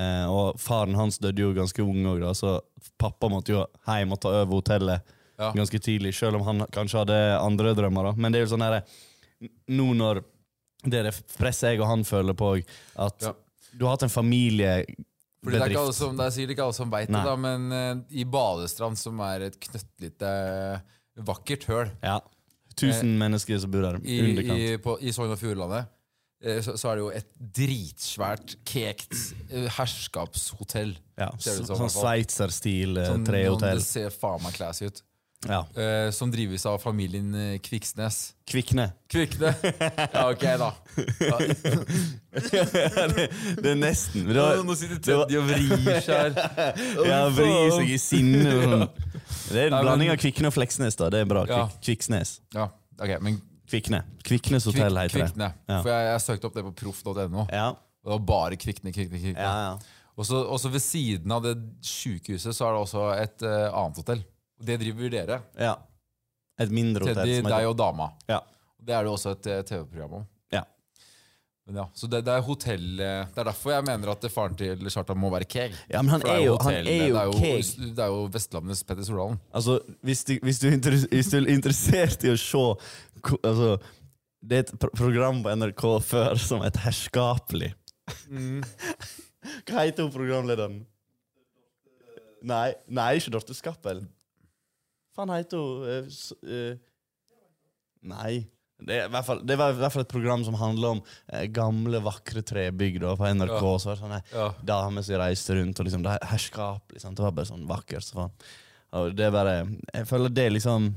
Eh, og faren hans døde jo ganske ung òg, så pappa måtte jo hjem og ta over hotellet
Ja.
ganske tidlig, selv om han kanskje hadde andre drømmer. da. Men det er jo sånn her, nå når det er det presset jeg og han føler på òg, at
Ja.
du har hatt en
Fordi det er, ikke alle
familiebedrift.
som, det er sikkert ikke alle som veit det,
Nei.
da, men eh, i Balestrand, som er et knøttlite, vakkert høl
Ja. Tusen mennesker som bor der.
Eh, i,
underkant.
i, på, i Sogn og Fjordlandet, eh, så, så er det jo et dritsvært, kekt eh, herskapshotell.
ja.
ser det ut som, i
Sånn
hvert fall.
sveitserstil eh,
Sånn-
trehotell.
Det ser faen meg classy ut.
Ja.
Eh, som drives av familien eh, Kviksnes.
Kvikne.
Kvikne! Ja, ok, da.
Det er nesten. men Det
Ja,
var,
nå sitter Teddy og vrir seg her.
ja, vri seg i sinne. og Sånn. Det er
Nei,
en
men-
blanding av Kvikne og Fleksnes. da Det er bra.
Ja.
Kvik Kviksnes.
Ja, ok, men
Kvikne. Kviknes hotell
kvik,
heter det.
Kvikne.
Ja.
For jeg, jeg søkte opp det på proff.no.
Ja.
Det var bare Kvikne, Kvikne, Kvikne.
Ja, ja.
Og så og så ved siden av det sykehuset så er det også et eh, annet hotell. Og Det driver dere.
ja. Et mindre hotell.
Teddy,
som
deg
heter-
og dama.
Ja.
Og Det er det også et eh, TV-program om.
Ja.
Men ja, Så det, det er hotell eh, Det er derfor jeg mener at faren til Kjartan må være keg.
Ja, men han
For det
er jo- han
hotell,
er jo
Det er jo, det er jo Vestlandets Petter Stordalen.
Altså, hvis du, hvis, du er interes- hvis du er interessert i å se ko- altså, Det er et pro program på NRK før som het Herskapelig. Hva heter hun programlederen? Nei, nei ikke Dorte Skappel. Faen heter hun eh, s- eh, Nei. Det, er i hvert fall, det var i hvert fall et program som handla om eh, gamle, vakre trebygg da, på NRK.
Ja.
Så var det sånn, sånne
Ja.
damer som reiste rundt, og liksom, det er herskapelig. Sant? Det var bare sånn vakkert. Så faen. Og det er bare, jeg føler det er liksom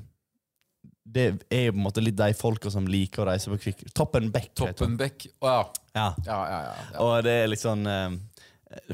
Det er jo på en måte litt de folka som liker å reise på Kvikk... Toppen Beck. heter hun.
Toppenbekk. Å ja.
Ja.
Ja, ja, ja, ja.
Og det er liksom eh,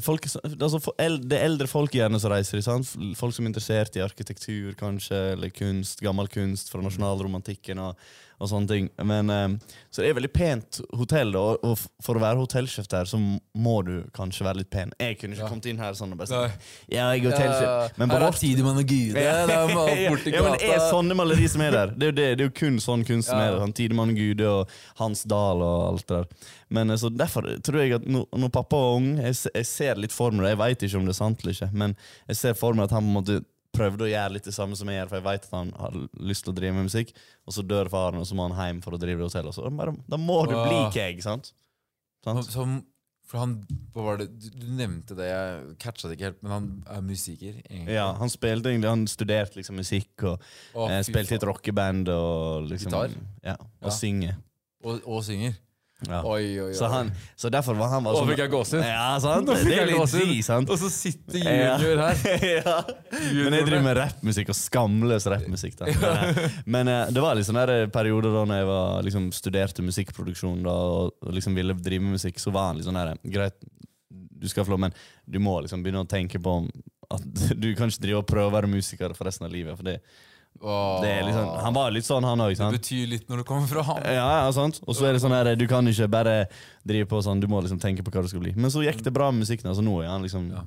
folk, som- altså, for- el- Det er eldre folk gjerne som reiser. ikke Sant? Folk som er interessert i arkitektur, kanskje, eller kunst, gammel kunst fra nasjonalromantikken og, og sånne ting. Men, eh, så det er veldig pent hotell, og, og f- for å være hotellsjef der, så må du kanskje være litt pen. Jeg kunne ikke kommet inn her sånn og bare
Nei.
sagt Ja, jeg er hotellsjef. Men på
Eh, Her er
vårt
Tidemann og Gyde. Ja, det er alt
ja,
borti
ja, men det er sånn-
gata.
sånne malerier som er der. Det er jo, det, det er jo kun sånn kunst som
Ja.
er der. Sånn Tidemann Gude og Hans Dahl og alt det der. Men eh, så Derfor tror jeg at når, når pappa var ung jeg, se- jeg ser litt for meg det, jeg veit ikke om det er sant eller ikke, men jeg ser for meg at han på en måte prøvde å gjøre litt det samme som jeg gjør, for jeg veit at han har lyst til å drive med musikk, og så dør faren, og så må han hjem for å drive det hotellet. og så bare, Da må du bli
Ah.
keg, sant?
Han-
sant?
Som, for han, hva var det, du, du nevnte det, jeg catcha det ikke helt, men han er musiker. egentlig.
Ja, han spilte egentlig, han studerte liksom musikk og
Å,
eh,
fy
spilte i et
faen.
rockeband og liksom
Gitar?
Ja, og
Ja.
synge.
Og, og synger.
Ja.
Oi, oi, oi.
Så, han, så derfor var han bare
Å,
sånn
fikk jeg gåsehud?
Ja, sant?
Nå fikk
Det er
jeg
litt
gåsehud.
di, sant?
Og så sitter
Ja.
junior her.
ja. Men jeg driver med rappmusikk, og skamløs rappmusikk. da. Men, eh, Men eh, det var litt sånne der perioder da når jeg var, liksom, studerte musikkproduksjon da, og og liksom ville drive med musikk, så var han litt sånn her Greit, du skal få lov, men du må liksom begynne å tenke på om at du kan ikke drive og prøve å være musiker for resten av livet. For det,
Åh,
det er liksom, han var litt sånn, han òg.
det betyr litt når du kommer fra ham.
Ja, ja, sant Og så er det sånn her Du kan ikke bare drive på sånn Du må liksom tenke på hva du skal bli Men så gikk det bra med musikken Altså nå er han liksom
Ja.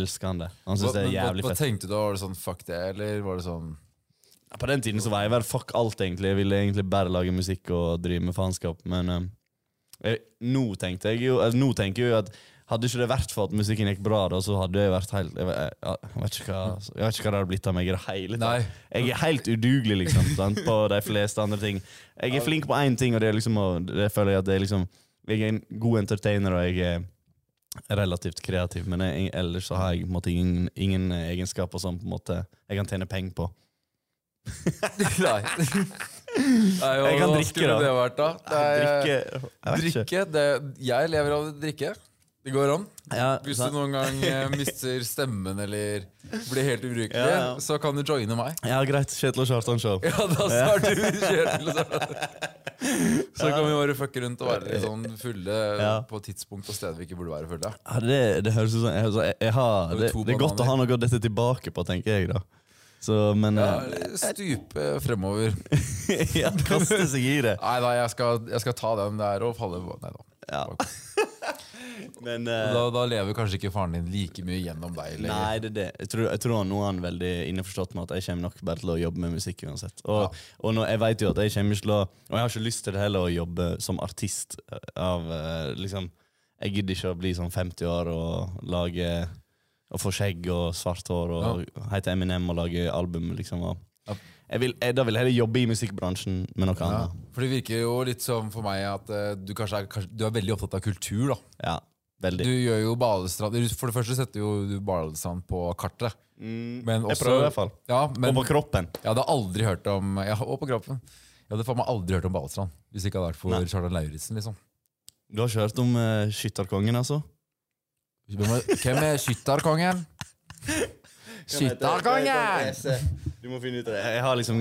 Elsker han det
Hva,
Han synes det er
men hva,
jævlig
hva
fett
tenkte du da? Var det sånn fuck det, eller var det sånn
Ja, På den tiden så var jeg vel Fuck alt egentlig Jeg ville egentlig bare lage musikk Og drive med faenskap Men eh, jeg, nå tenkte jeg jo altså, Nå tenker jeg jo at Hadde ikke det vært for at musikken gikk bra da Så hadde jeg vært helt Jeg, jeg, jeg, vet, ikke hva, jeg vet ikke hva det hadde blitt av meg i det hele tatt.
Nei.
Jeg er helt udugelig liksom, sant, på de fleste andre ting. Jeg er flink på én ting, og det, er liksom, å- det føler jeg at det er liksom Jeg er en god entertainer, og jeg er relativt kreativ, men jeg, ellers så har jeg på en måte ingen, ingen egenskaper som på en måte jeg kan tjene penger på.
Nei. Nei og
Jeg kan
hva
drikke,
skulle
da.
Det vært, da? Det er,
Drikke Jeg vet ikke.
drikke det, Jeg lever av å drikke. Det går an.
Ja,
Hvis
sant.
du noen gang eh, mister stemmen eller blir helt ubrukelig,
Ja, ja.
så kan du joine meg.
ja, greit. Kjetil og Kjartan Show.
Ja, da starter vi kjørt til å starte. Så kan vi bare fucke rundt og være litt sånn fulle
Ja.
på tidspunkt og steder vi ikke burde være fulle.
Ja, det, det høres ut som jeg, altså, jeg, jeg har,
Det er
det,
to
det er godt å
bananer.
ha noe å dette tilbake på, tenker jeg, da. Så, men
Ja,
eh,
Stupe fremover.
ja, Kaste seg i det.
Nei da, jeg skal, jeg skal ta den der og falle Nei da.
Ja. Men
Og
eh,
Da, da lever kanskje ikke faren din like mye gjennom deg lenger.
Nei, det er det. Jeg tror, jeg tror han- nå er han veldig innforstått med at jeg kommer nok bare til å jobbe med musikk uansett. Og, og nå, jeg vet jo at jeg kommer ikke til å Og jeg har ikke lyst til det heller å jobbe som artist eh, av eh, liksom Jeg gidder ikke å bli sånn 50 år og lage Og få skjegg og svart hår og hete Eminem og lage album, liksom.
Ja.
Og jeg vil, jeg, da vil jeg heller jobbe i musikkbransjen med noe
Ja.
annet.
For det virker jo litt som for meg at eh, du kanskje er, kanskje, du er veldig opptatt av kultur. da.
Ja,
Du
veldig.
gjør jo Balestrand du- For det første setter jo du Balestrand på kartet. Men
Mm. jeg prøver i hvert fall.
Ja, men
og på kroppen.
jeg hadde aldri hørt om Ja, og på kroppen. Jeg hadde faen meg aldri hørt om Balestrand hvis det ikke hadde vært for
Nei.
Charlotte Lauritzen. liksom.
Du har ikke hørt om eh, skytterkongen, altså?
Hvem er- Hvem er skytterkongen? Skytterkongen!
E? Du må finne ut av det. Jeg har liksom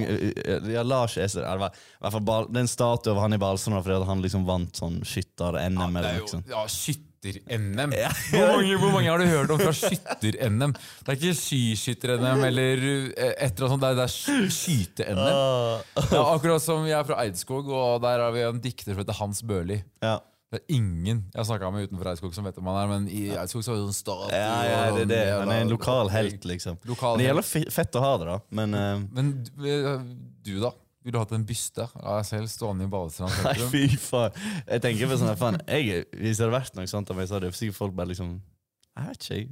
ja, Lars Eser er, var, hvert fall Bal- Det er en statue av han i Balsand fordi at han liksom vant sånn skytter-NM.
Det liksom?
eller
er
noe
jo
sånt.
ja, skytter-NM. Hvor, mange- hvor mange har du hørt om fra skytter-NM? Det er ikke skiskytter-NM eller eh, et eller annet sånt. Det er, det er sky- skyte-NM. Ja, akkurat som jeg er fra Eidskog, og der har vi en dikter som heter Hans Børli.
Ja.
Det er ingen jeg har snakka med utenfor Eidskog som vet om han er, men i Eidskog så er det sånn stat.
Ja, ja, det er det. Han er en lokal helt, liksom.
Lokal
Men det
helt.
gjelder fe- fett å ha det, da. Men eh,
Men du, eh, du da? Ville du hatt en byste av deg selv stående i Balestrand
Nei,
sentrum?
fy faen. Jeg tenker på sånn her, faen, jeg, Hvis det hadde vært noe sånt av meg, så hadde jo sikkert folk bare liksom Jeg vet ikke, jeg.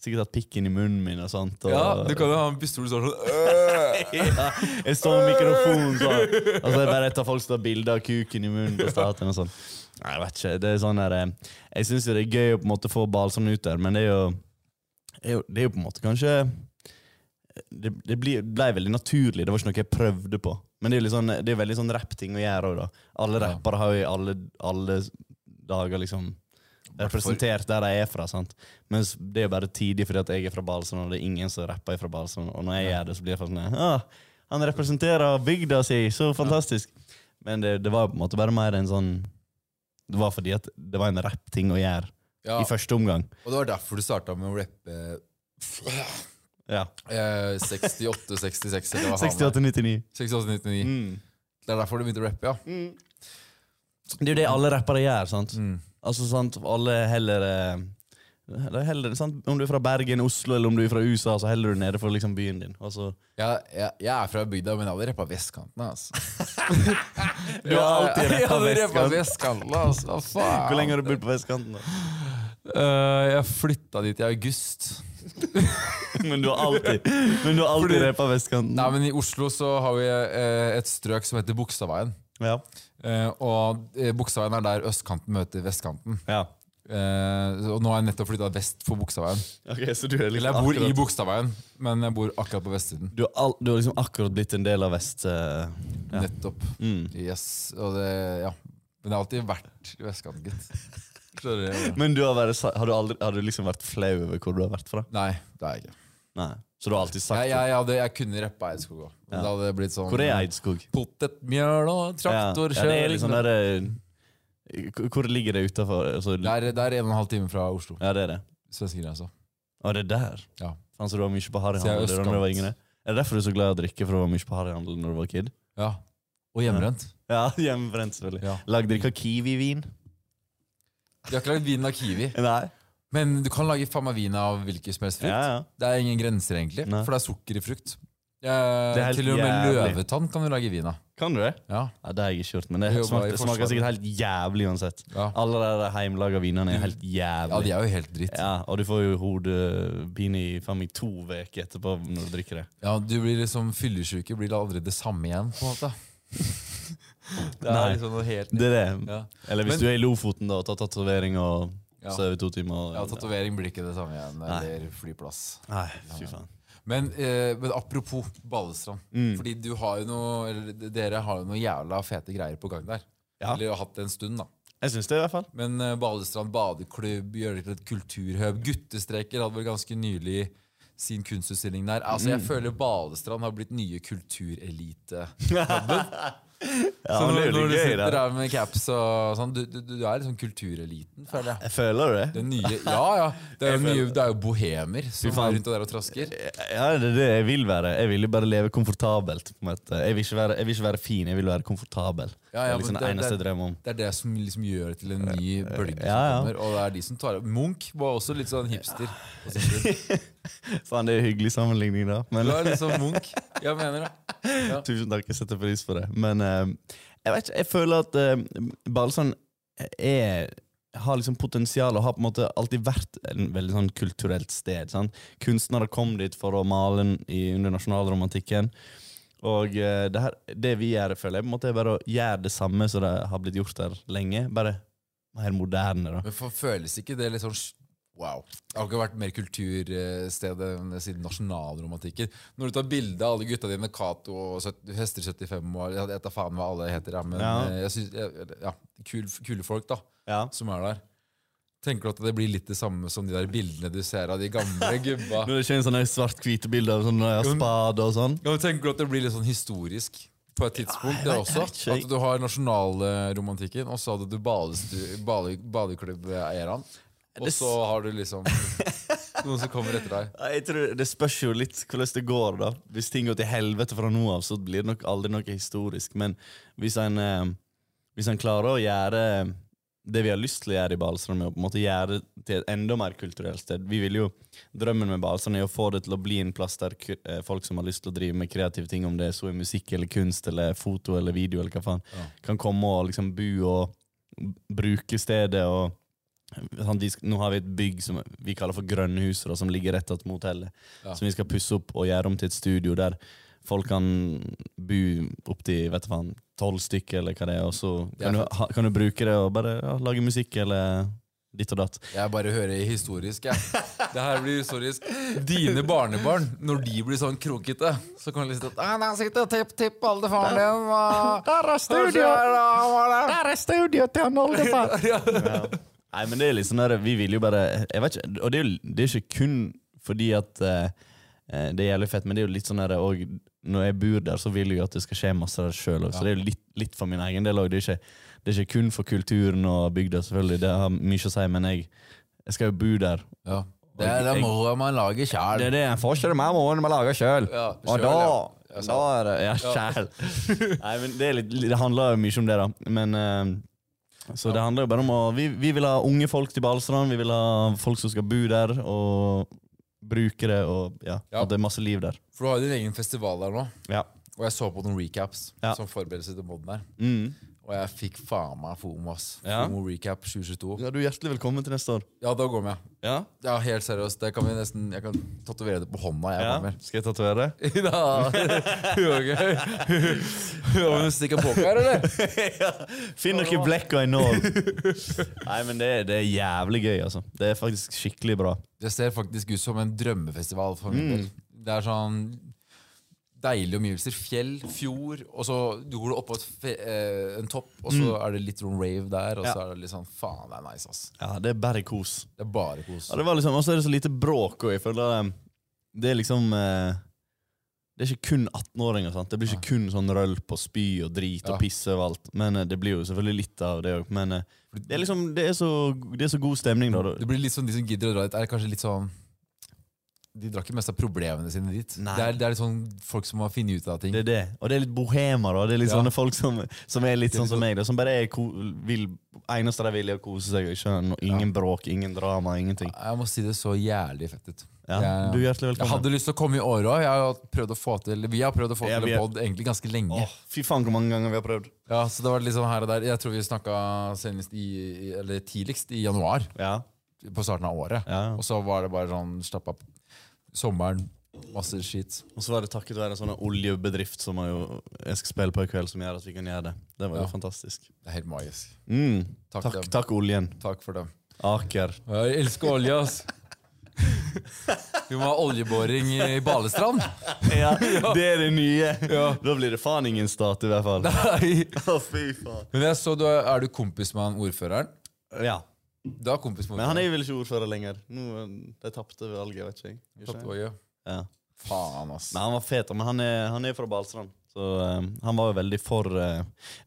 Sikkert hatt pikken i munnen min og sånt. Og,
Ja, du kan jo ha en pistol som står sånn øh.
Ja, jeg står med mikrofonen sånn. Og så er det bare etter folk som tar bilde av kuken i munnen på statuen og sånn. Nei, jeg vet ikke. Det er sånn der, eh, jeg syns jo det er gøy å på en måte få Balsam ut der, men det er jo det er jo, det er jo på en måte kanskje Det, det blir, ble veldig naturlig. Det var ikke noe jeg prøvde på. Men det er jo litt sånn, det er veldig sånn rappting å gjøre òg, da. Alle
Ja.
rappere har jo i alle, alle dager liksom representert der de er fra. sant? Mens det er jo bare tidlig fordi at jeg er fra Balsand, og det er ingen som rapper fra Balsand. Og når jeg gjør det, så blir jeg sånn ah, Han representerer bygda si! Så fantastisk! Men det, det var på en måte bare mer en sånn Det var fordi at det var en rappting å gjøre
Ja,
i første omgang.
og det var derfor du starta med å rappe
Ja.
eh, 68, 66 eller hva faen det er. Mm.
68-99.
68, 99
Mm.
Det er derfor du begynte å rappe, ja.
Det er jo det alle rappere gjør. sant? Altså, sant, Alle heller eh, det er heller, sant? Om du er fra Bergen, Oslo eller om du er fra USA, så heller du nede for liksom, byen din. Altså,
Jeg, jeg, jeg er fra bygda, men jeg hadde rappa vestkanten. Altså.
du har alltid
Jeg
rappa
hadde rappa
vestkant.
vestkanten, altså. Hva faen?
Hvor lenge har du bodd på vestkanten? da?
Eh, jeg flytta dit i august.
Men du har alltid, men du har alltid rappa vestkanten.
Nei, men I Oslo så har vi eh, et strøk som heter Bogstadveien.
Ja.
Eh, og eh, Bogstadveien er der østkanten møter vestkanten.
ja.
Eh, og nå har jeg nettopp flytta vest for Bogstadveien.
Ok, så du er
Eller
liksom
jeg bor i
akkurat,
Bogstadveien, men jeg bor akkurat på vestsiden.
du har, all, du har liksom akkurat blitt en del av vest... eh, ja.
Nettopp.
Mm.
Yes, og det, ja. Men det har alltid vært i vestkanten, gitt. Skjønner du?
Men du har, vært, sa- har, du aldri, har du liksom vært flau over hvor du har vært fra?
Nei, det er jeg ikke.
Nei. Så du har alltid sagt
Jeg,
det?
jeg, hadde, jeg kunne rappa Eidskog òg.
Ja.
Det hadde blitt sånn
Hvor er Eidskog?
Potetmjøl og
ja, det er
traktorkjøring.
liksom der, eh, k- hvor ligger det utafor? Altså,
det, er- det er en og en halv time fra Oslo. altså.
ja, det er det.
Svenskegrensa.
Å, det er der?
Ja.
Faen, så du var mye på
Så jeg er
harryhandel da du var
østkant.
yngre? Er det derfor du er så glad i å drikke? For du var mye på harryhandel når du var kid?
ja. Og hjemmebrent.
Ja, hjemmebrent, selvfølgelig.
Ja.
Lagde dere ikke kiwi-vin?
De har ikke lagd vin av kiwi,
Nei.
men du kan lage faen meg vin av hvilken som helst frukt.
Ja, ja.
Det er ingen grenser, egentlig,
Nei.
for det er sukker i frukt.
Det er
Eh,
helt
til og med
jævlig.
løvetann kan du lage vin av.
Kan du det?
Ja.
Ja, Det har jeg ikke gjort, men det
Jeg jobber
smaker,
i
smaker
Forsvaret.
sikkert helt jævlig uansett.
Ja.
Alle de der heimelaga vinene er helt
ja, de
jævlig.
er jo helt dritt.
Ja, og du får jo hodepine i faen meg to uker etterpå når du drikker det.
Ja, du blir liksom fyllesyke, blir aldri det samme igjen, på en måte. Det er
Nei.
liksom noe helt
Det er det.
Ja.
Eller hvis
Men-
du er i Lofoten da, og tar tatovering og
Ja.
sover i to timer.
Ja,
og-
Tatovering blir ikke det samme igjen. Eller flyplass.
Nei, fy faen.
Men, eh, men apropos Balestrand.
Mm.
Fordi du har jo noe, eller d- dere har jo noe jævla fete greier på gang der.
Ja.
Eller har hatt det en stund, da.
Jeg syns det, i hvert fall.
Men eh, Balestrand badeklubb, gjør det til et kulturhub. Guttestreker hadde vel ganske nylig sin kunstutstilling der. Altså, Jeg
Mm.
føler Balestrand har blitt nye kulturelite.
Ja,
Så
men
når,
det er jo
når du
litt gøy,
sitter
da.
der med caps og sånn, du, du, du er liksom kultureliten, føler jeg.
Jeg føler det.
Den nye, ja, ja. Det er jo, nye, det er jo bohemer som
faen.
er rundt og der og trasker.
Ja, det er det jeg vil være. Jeg vil jo bare leve komfortabelt. på en måte. Jeg vil ikke være, jeg vil ikke være fin, jeg vil være komfortabel.
Ja, ja,
det er
men
liksom det
det-
eneste
det-
jeg drømmer om.
Det er det som liksom gjør det til en ny bølge
ja.
som kommer. Og det er de som tar opp Munch var også litt sånn hipster. på sin tid.
Faen, det er en hyggelig sammenligning, da. Men,
Du er liksom Munch. Jeg mener det.
Tusen takk, jeg setter pris på det. Men eh, jeg vet ikke, jeg føler at uh, Balsand eh, er har liksom potensial og har på en måte alltid vært en veldig sånn kulturelt sted. Sant? Kunstnere kom dit for å male den i, under nasjonalromantikken. Og eh, det, her, det vi gjør, føler jeg, på en måte er bare å gjøre det samme som det har blitt gjort der lenge. Bare mer moderne, da.
Men for, føles ikke det litt sånn sj- Wow. Det har ikke vært mer kultursted enn siden nasjonalromantikken. Når du tar bilde av alle gutta dine, Cato og søt- Hester 75 og jeg, jeg tar faen hva alle heter, ja, men
Ja.
eh, jeg synes, jeg, ja, kul, kule folk da,
Ja.
som er der. Tenker du at det blir litt det samme som de der bildene du ser av de gamle gubba?
Når det kommer sånne svart-hvite bilder av sånne ja, spade og sånn.
Ja, men tenker du at det blir litt sånn historisk på et tidspunkt? det
vet-
også,
jeg vet ikke.
At du har nasjonalromantikken, og så hadde du badestu- bade, badeklubb-eierne. Og
Det s-
så har du liksom noen som kommer etter deg.
Ja, Jeg tror Det spørs jo litt hvordan det går. da Hvis ting går til helvete fra nå av, så blir det nok aldri noe historisk. Men hvis en, eh, hvis en klarer å gjøre det vi har lyst til å gjøre i Balestrand, med å på en måte gjøre det til et enda mer kulturelt sted Vi vil jo, Drømmen med Balestrand er å få det til å bli en plass der ku- eh, folk som har lyst til å drive med kreative ting, om det er så er musikk eller kunst eller foto eller video, eller hva faen, kan komme og liksom bo og bruke stedet. og Sånn, de, sk- nå har vi et bygg som vi kaller for Grønnhuset, da, som ligger rett attmed hotellet. Som vi skal pusse opp og gjøre om til et studio der folk kan bo opptil tolv stykker, eller hva det er. Og så
Det er
kan du,
fett.
ha, kan du bruke det og bare ja, lage musikk eller ditt og datt.
Jeg bare hører historisk, jeg. Det her blir historisk. Dine barnebarn, når de blir sånn krokete, så kan de liksom si at «Nei, Der sitter tipp-tipp oldefaren din, og Der er
Der er studio til han oldefar! Nei, men det er litt sånn der, vi vil jo bare jeg vet ikke, Og det er jo det er ikke kun fordi at eh, eh, det er jævlig fett, men det er jo litt sånn der og Når jeg bor der, så vil jeg jo at det skal skje masse der sjøl òg. Så det er jo litt, litt for min egen del òg. Det, er ikke- det er ikke kun for kulturen og bygda, selvfølgelig. Det har mye å si, men jeg, jeg skal jo bo der.
Ja. Det er det moroa man lager sjæl.
Det er det en forskjell med morgenen man lager sjøl.
Ja,
og
selv,
da,
ja. Ja,
da er det Ja, sjæl. Nei, men det, er litt, det handler jo mye om det, da. Men eh, Så det handler jo bare om å vi, vi vil ha unge folk til Balestrand. Vi vil ha folk som skal bo der og bruke det, og ja,
Ja.
at det er masse liv der.
For du har jo din egen festival der nå.
Ja.
Og jeg så på noen recaps
Ja.
som forberedelse til moden der.
Mm.
Og jeg fikk faen meg FOMO, ass.
Ja.
FOMO recap 2022.
ja, du er hjertelig velkommen til neste år.
Ja, da går vi. ja.
Ja,
Ja, helt seriøst. Det kan vi nesten, jeg kan tatovere det på hånda. jeg
ja.
kommer.
Skal jeg tatovere?
Da- Det var gøy. Ja, men Stikker poker, eller?
Finn noe blekk og en nål. Nei, men det, er- det er jævlig gøy, altså. Det er faktisk skikkelig bra.
Det ser faktisk ut som en drømmefestival for min del.
Mm.
Det er sånn deilige omgivelser. Fjell, fjord, og så går du oppå et fe eh, en topp, og så er det litt sånn rave der, og så
Mm. Ja.
er det litt sånn Faen, det er nice, ass.
Ja, det er bare kos.
Det er bare kos.
Ja, det var liksom, Og så er det så lite bråk, og jeg føler eh, det er liksom eh, Det er ikke kun 18-åringer. sant? Det blir ikke kun sånn rølp og spy og drit og
Ja.
piss overalt. Men eh, det blir jo selvfølgelig litt av det òg. Men eh, det er liksom, det er, så, det er så god stemning, da.
Det blir litt sånn De som gidder å dra dit, er kanskje litt sånn De drar ikke mest av problemene sine dit.
Nei.
Det er, det er litt sånn folk som har funnet ut av ting.
Det er det. Og det er litt bohemer. da. Det er litt
Ja.
sånne folk som, som er litt
Det er
sånn
litt
som meg. Da, som bare er ko vil, eneste de vil, er å kose seg. og Ikke, ha noe- ingen bråk, ingen drama, ingenting.
Jeg må si det så jævlig fett ut.
Ja,
Jeg-
Du er hjertelig
jeg
velkommen.
hadde lyst til å komme i år òg. Jeg har prøvd å få til Vi har prøvd å få
Jeg
til en
vet.
pod egentlig ganske lenge.
Åh, fy faen, hvor mange ganger vi har prøvd.
Ja, så det var litt sånn her og der Jeg tror vi snakka senest i, i- eller tidligst i januar,
Ja,
på starten av året.
ja.
Og så var det bare sånn slapp av. Sommeren, masse skitt.
Og så var det takket være en sånn oljebedrift som jeg, jo, jeg skal spille på i kveld, som gjør at vi kan gjøre det. Det var jo
Ja.
fantastisk.
Det er helt magisk.
Mm.
Takk,
Takk, takk,
dem.
oljen.
Takk for dem.
Aker.
Jeg elsker olje, ass. Vi må ha oljeboring i Balestrand.
Ja, det er det nye. Da blir det faen ingen stat, i hvert fall.
Nei.
Å, fy faen.
Men jeg så du er, er du kompis med han ordføreren?
Ja.
Du er kompis med
Men han
ordføreren?
er vel ikke ordfører lenger. Nå, eh, De tapte valget, vet ikke jeg. Gjør
Tatt
ikke jeg.
olje.
Ja.
Faen, ass.
Men han var fet, men han er, han er fra Balestrand. Så eh, han var jo veldig for eh,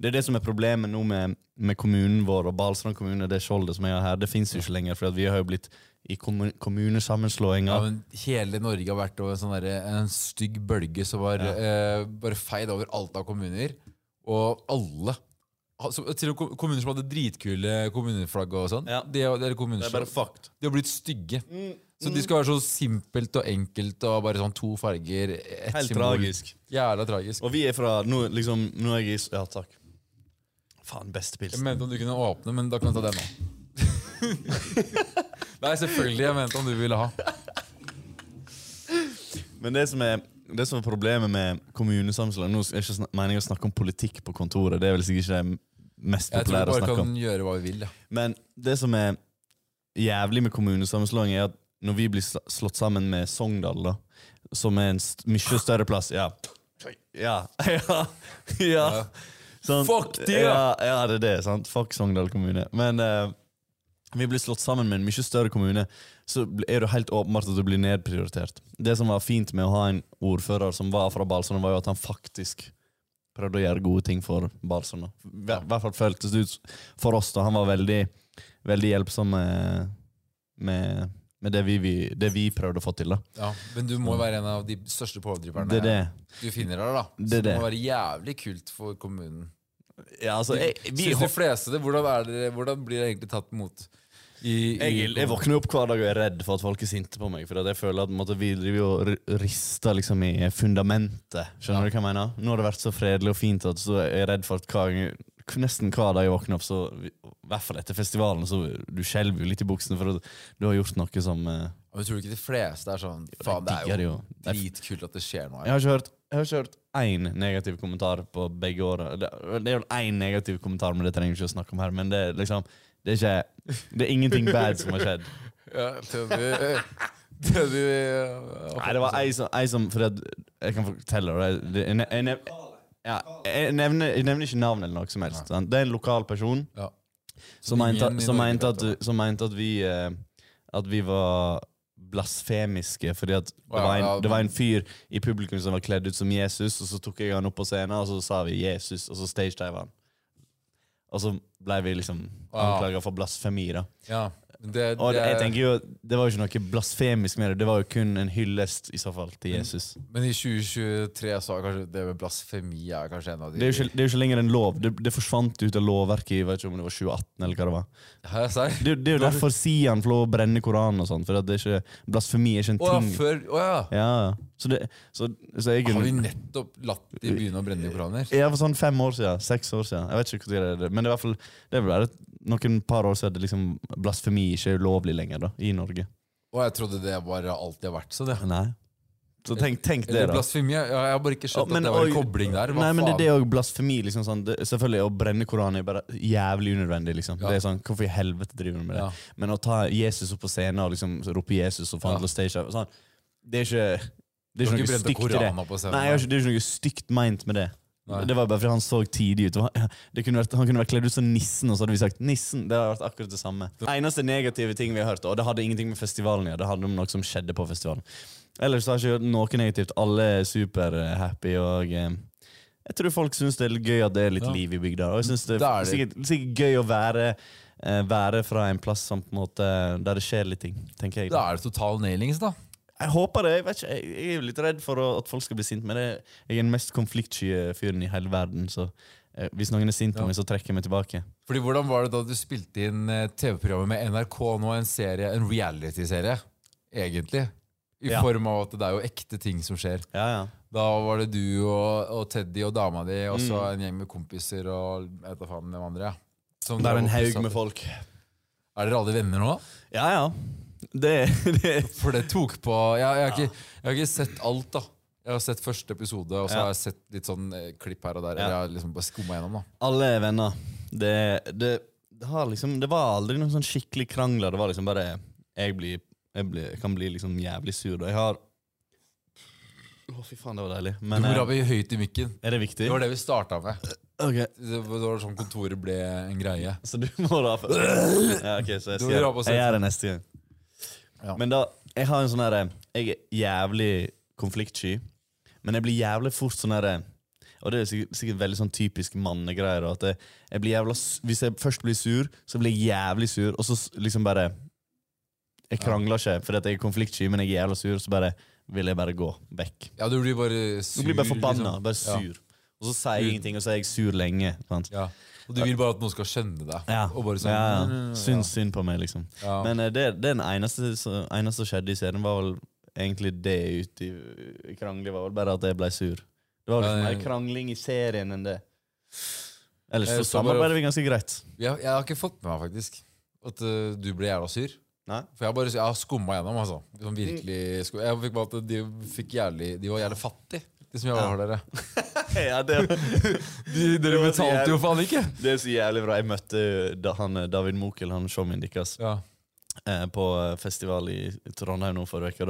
Det er det som er problemet nå med, med kommunen vår og Balestrand kommune. Det skjoldet som jeg har her, det fins jo ikke lenger, for at vi har jo blitt i kommun
Ja,
kommunesammenslåinger.
men Hele Norge har vært over en, sånn derre- en stygg bølge som var eh, bare feid over alt av kommuner. Og alle. Altså, til og med kommuner som hadde dritkule kommuneflagg og sånn.
Ja.
De, har- eller kommuner
Det er
som-
bare fucked.
de har blitt stygge.
Mm,
Så de skal være så simpelt og enkelt og bare sånn to farger, ett
Helt
symbol.
tragisk.
Jævla tragisk.
Og vi er fra nå, liksom, nå er jeg i Ja, takk. Faen, beste
Jeg
pilsen.
mente om du kunne åpne, men da kan jeg ta den nå. Nei, selvfølgelig. Jeg mente om du ville ha.
Men det som er det som er problemet med kommunesammenslåing Nå er ikke snak- meningen å snakke om politikk på kontoret. Det er vel sikkert ikke det mest
Jeg tror
populære
vi
å
bare
snakke om.
kan gjøre hva vi vil. Ja.
Men det som er jævlig med kommunesammenslåing, er at når vi blir sl- slått sammen med Sogndal, da, som er en st mye større plass Ja. Ja. ja. ja. Sant?
Fuck de,
ja! Ja, det er det. sant? Fuck Sogndal kommune. Men eh, vi blir slått sammen med en mye større kommune, så bl- er det helt åpenbart at du blir nedprioritert. Det som var fint med å ha en ordfører som var fra Balsund, var jo at han faktisk prøvde å gjøre gode ting for Balsund. da. I hver- hvert fall føltes det ut for oss. da. Han var veldig, veldig hjelpsom med, med, med det, vi, vi, det vi prøvde å få til. da.
Ja, men du må være en av de største pådriverne
Det er det.
du finner her. da
Det
Så
er
det
det.
må være jævlig kult for kommunen.
Ja, altså, jeg, vi,
Synes de fleste det? Hvordan, er dere, hvordan blir det egentlig tatt imot? I, i,
jeg, jeg våkner opp hver dag og er redd for at folk er sinte på meg. For at jeg føler at på en måte, vi driver jo og ri- rister liksom, i fundamentet. Skjønner du hva jeg mener? Nå har det vært så fredelig og fint at så er jeg redd for at hver gang, k- nesten hver dag jeg våkner opp, så i hvert fall etter festivalen, så du skjelver jo litt i buksene for at du har gjort noe som eh,
Men tror du ikke de fleste er sånn Faen, det
digger
er
det
jo
jo. Det er-
dritkult at det skjer noe
Jeg
her.
har ikke hørt jeg har ikke hørt én negativ kommentar på begge åra. Det det er vel én negativ kommentar, men det trenger vi ikke å snakke om her. Men det er liksom Det er, ikke, det er ingenting bad som har skjedd.
Ja, det du, det du, ja,
Nei, det var ei som, ei som Fordi at jeg kan fortelle deg det- det- jeg, nev- jeg, nev- ja, jeg, nevner, jeg nevner ikke navn eller noe som helst. sant? Det er en lokal person
ja.
som mente,
Ingen i
som
Norge
mente,
vet det.
at, som mente at vi eh, At vi var blasfemiske fordi at det
Ja, ja,
var, en, det var en fyr i publikum som var kledd ut som Jesus, og så tok jeg han opp på scenen, og så sa vi 'Jesus', og så stagediva han. Og så ble vi liksom
Ja.
anklaga for blasfemi, da.
ja. men Det,
Og
det,
jeg tenker jo, det var jo ikke noe blasfemisk med det, det var jo kun en hyllest i så fall til Jesus.
men i 2023 så er kanskje det med blasfemi er kanskje en av de
Det er jo ikke, det er jo ikke lenger en lov. Det, det forsvant ut av lovverket i vet ikke om det var 2018 eller hva det var.
Hæ, serr?
Det, er jo- det er jo derfor Sian får lov å brenne Koranen og sånn, for at det er ikke, blasfemi er ikke en
Å ja,
ting.
før Å ja!
ja, ja. så, det, så, så jeg
Har vi
kunne
nettopp latt de begynne å brenne koraner?
ja, For sånn fem år siden, seks år siden, jeg vet ikke hvor tid det er, men det er i hvert fall det er vel bare noen par år siden det liksom, blasfemi ikke er ulovlig lenger da, i Norge.
Og jeg trodde det bare alltid har vært sånn. ja.
Nei. Så tenk, tenk det,
Eller
da.
blasfemi? Ja, jeg har bare ikke skjønt
Ja, men
at det var en
og-
kobling der. Hva
Nei, men det,
faen?
det er jo blasfemi. liksom sånn det, Selvfølgelig, Å brenne Koranen er bare jævlig unødvendig. liksom
Ja.
Det er sånn, Hvorfor i helvete driver du med det?
Ja.
Men å ta Jesus opp på scenen og liksom rope Jesus og
Ja.
forhandle stage sånn, Det er ikke det
Du har ikke
er sånn ikke noe
brent
stygt i det.
Koranen opp på scenen,
Nei, jeg har ikke, Det er ikke noe stygt meint med det.
Nei.
Det var bare fordi han så tidig ut. Det var- Det kunne vært, han kunne vært kledd ut som nissen, og så hadde vi sagt 'nissen'. Det hadde vært akkurat det samme. Det eneste negative ting vi har hørt, og det hadde ingenting med festivalen å gjøre, det handler om noe som skjedde på festivalen. Ellers har jeg ikke hørt noe negativt. Alle er superhappy, og eh, jeg tror folk syns det er litt gøy at det er litt
Ja.
liv i bygda. Og jeg synes det er,
Det er det.
Sikkert, sikkert gøy å være, eh, være fra en plass som på en måte eh, der det skjer litt ting, tenker jeg.
Da er det total nailings, da.
Jeg håper det. Jeg, vet ikke, jeg, jeg er jo litt redd for å, at folk skal bli sint, men jeg, jeg er den mest konfliktsky eh, fyren i hele verden. Så eh, hvis noen er sint på meg, så trekker jeg meg tilbake.
Fordi Hvordan var det da du spilte inn eh, TV-programmet med NRK nå, en serie, en reality-serie, egentlig? I
Ja.
form av at det er jo ekte ting som skjer.
Ja, ja.
Da var det du og, og Teddy og dama di, og så
Mm.
en gjeng med kompiser og jeg vet da faen hvem andre. ja. Som
Det
dere
er en
var
haug
oppsatt i.
med folk.
Er dere alle venner nå?
Ja, ja. Det, det
For det tok på Jeg, jeg, har, ikke, jeg har ikke sett alt, da. Jeg har sett første episode, og så
Ja.
har jeg sett litt sånn eh, klipp her og der. Eller
Ja.
jeg har liksom bare skummet gjennom, da.
Alle er venner. Det, det, det, har liksom, det var aldri noen sånn skikkelig krangler. Det var liksom bare Jeg, blir, jeg, blir, jeg kan bli liksom jævlig sur. Og jeg har Å, fy faen, det var deilig. Men
Du
eh,
må rappe høyt i mikken.
er det viktig?
Det var det vi starta med.
Ok,
Det var det var sånn kontoret ble en greie.
Så du må rape? Ja, ok, så jeg,
Du
skal,
må rape og
jeg
sette.
gjør det neste gang.
Ja.
Men da Jeg har en sånn herre Jeg er jævlig konfliktsky, men jeg blir jævlig fort sånn herre og det er sikkert, sikkert veldig sånn typisk mannegreier. og At jeg, jeg blir jævla, s- hvis jeg først blir sur, så blir jeg jævlig sur, og så s- liksom bare Jeg krangler ikke fordi at jeg er konfliktsky, men jeg er jævla sur, så bare vil jeg bare gå vekk.
Ja, du blir bare sur.
Du blir bare forbanna.
liksom.
Bare sur. Og så sier jeg ingenting, og så er jeg sur lenge. Sant?
Ja. ja. Og du vil bare at noen skal skjønne deg.
Ja.
Og bare sånn,
ja,
mm,
ja. Syns synd på meg, liksom.
Ja.
Men eh, det, det er den eneste, som- eneste som skjedde i serien, var vel egentlig det ute i, i krangling, var vel bare at jeg ble sur. Det var liksom
Ja, ja.
mer krangling i serien enn det. Ellers
Eh,
så
så bare-
samarbeider vi ganske greit.
Jeg, jeg har ikke fått med meg, faktisk. At eh, du ble jævla sur?
Nei?
For jeg har bare jeg har skumma gjennom, altså. Sånn virkelig skum- Jeg fikk bare at de, fikk jævlig, de var jævlig fattige, de som jobba for dere.
Ja, det,
De, dere
var så
betalte jo
jævlig-
faen ikke!
det er så jævlig bra. Jeg møtte da han, eh, David Mokel, han showmien deres,
Ja.
eh, på eh, festival i Trondheim nå forrige uke. og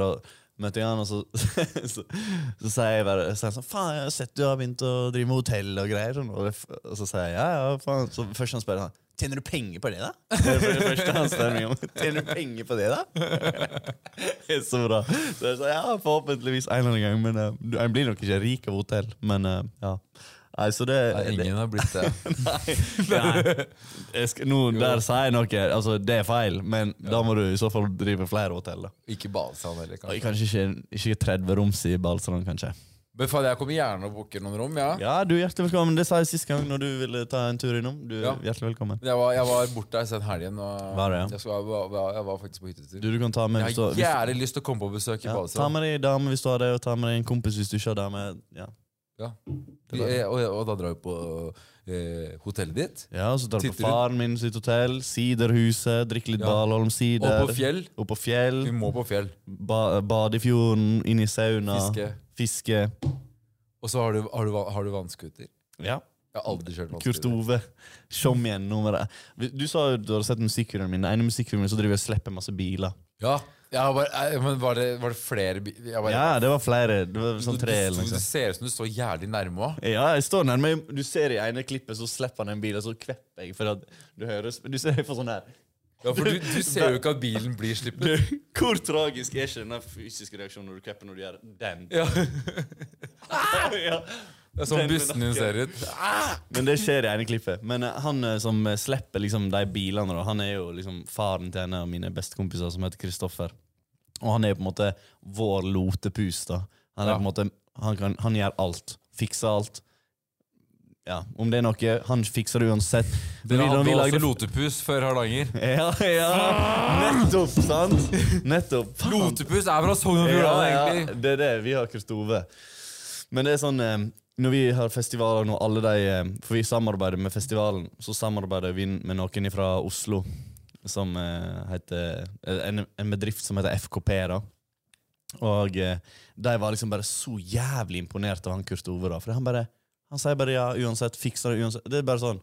Da møtte jeg han, og så, så, så sier jeg bare så er han sånn Faen, jeg har sett du har begynt å drive med hotell og greier. Sånn. Og, det, f- og så sier jeg ja, ja, faen. Så først han spør han Tjener du penger på det, da? Det er det første han spør meg om. Tjener du penger på det, da? Det er så bra. Så jeg sa ja, forhåpentligvis en eller annen gang. Men eh, du- en blir nok ikke rik av hotell. Men eh, ja. Nei, så det,
Nei,
det,
ingen har blitt det.
Nei. Nei. Jeg skal, nå, der sier jeg noe. Altså, det er feil, men da må du i så fall drive flere hotell. da.
Ikke Balsand heller,
Og
kanskje.
Kanskje ikke, ikke 30 roms i Balsland, kanskje.
Men faen, jeg kommer gjerne og booker noen rom, ja.
Ja, du Hjertelig velkommen. Det sa jeg sist gang når du ville ta en tur innom. Du,
Ja.
hjertelig velkommen.
Jeg var, jeg var borte der sen helgen. Og
Var det, ja?
jeg, skulle, jeg, var, jeg var- jeg var faktisk på hyttetur.
Du, du kan ta med
Jeg
hvis du,
har
hvis,
jævlig lyst til å komme på besøk i
ja, Ta
Balsand.
med deg dame hvis du har det, og ta med deg en kompis hvis du ikke har dame. Ja,
Ja.
er bra.
Eh, Og, og da drar vi på eh, hotellet ditt.
ja og Så tar du på
Titter du-
faren min sitt hotell, Siderhuset, drikke litt
Ja.
Dalholm sider.
Og på fjell. Hm.
Opp på fjell
Vi må på fjell.
ba, Bade i fjorden, inn i sauna.
Fiske.
Fiske.
Og så har du, har du, har du vannskuter.
Ja.
Jeg har aldri kjørt
Kurt
vannskuter.
Ove. Kom igjen, nå med det. Du sa jo du hadde sett musikkvideoen min. Den ene musikkvideoen min så driver jeg og slipper masse biler.
Ja, jeg har bare, eh, men var det, var det flere bi- jeg bare,
Ja, det var flere. Det var sånn tre
du,
eller
du,
noe
du
sånt.
ser ut som du står jævlig nærme òg.
Ja, jeg står nærme. Du ser i ene klippet, så slipper han en bil, og så kvepper jeg. For at du høres Du ser jeg får sånn her.
Ja, for du, du ser jo ikke at bilen blir sluppet.
Du, hvor tragisk er ikke den fysiske reaksjonen når du kvepper når du gjør den?
Ja,
Ja.
det er sånn bussen din ser ut.
Men det skjer i ene klippet. Men eh, han eh, som eh, slipper liksom de bilene, da, han er jo liksom faren til en av mine bestekompiser som heter Kristoffer. Og han er på en måte vår lotepus. da. Han, er
Ja.
på en måte, han, kan, han gjør alt. Fikser alt. Ja, Om det er noe, han fikser det uansett. Men
Dere
vi- når vi
hadde
lagde-
også lotepus før Hardanger.
Ja, ja. Nettopp, sant? Nettopp. Faen.
Lotepus er fra Sogn og
Ja,
Fjordane,
ja,
egentlig.
det er det. Vi har Kristove. Men det er sånn eh, Når vi har festivaler nå, alle de eh, For vi samarbeider med festivalen. Så samarbeider vi med noen fra Oslo som eh, heter eh, en, en bedrift som heter FKP, da. Og eh, de var liksom bare så jævlig imponert av han Kurt Ove, da. For han bare Han sier bare ja, uansett. Fikser det uansett. Det er bare sånn.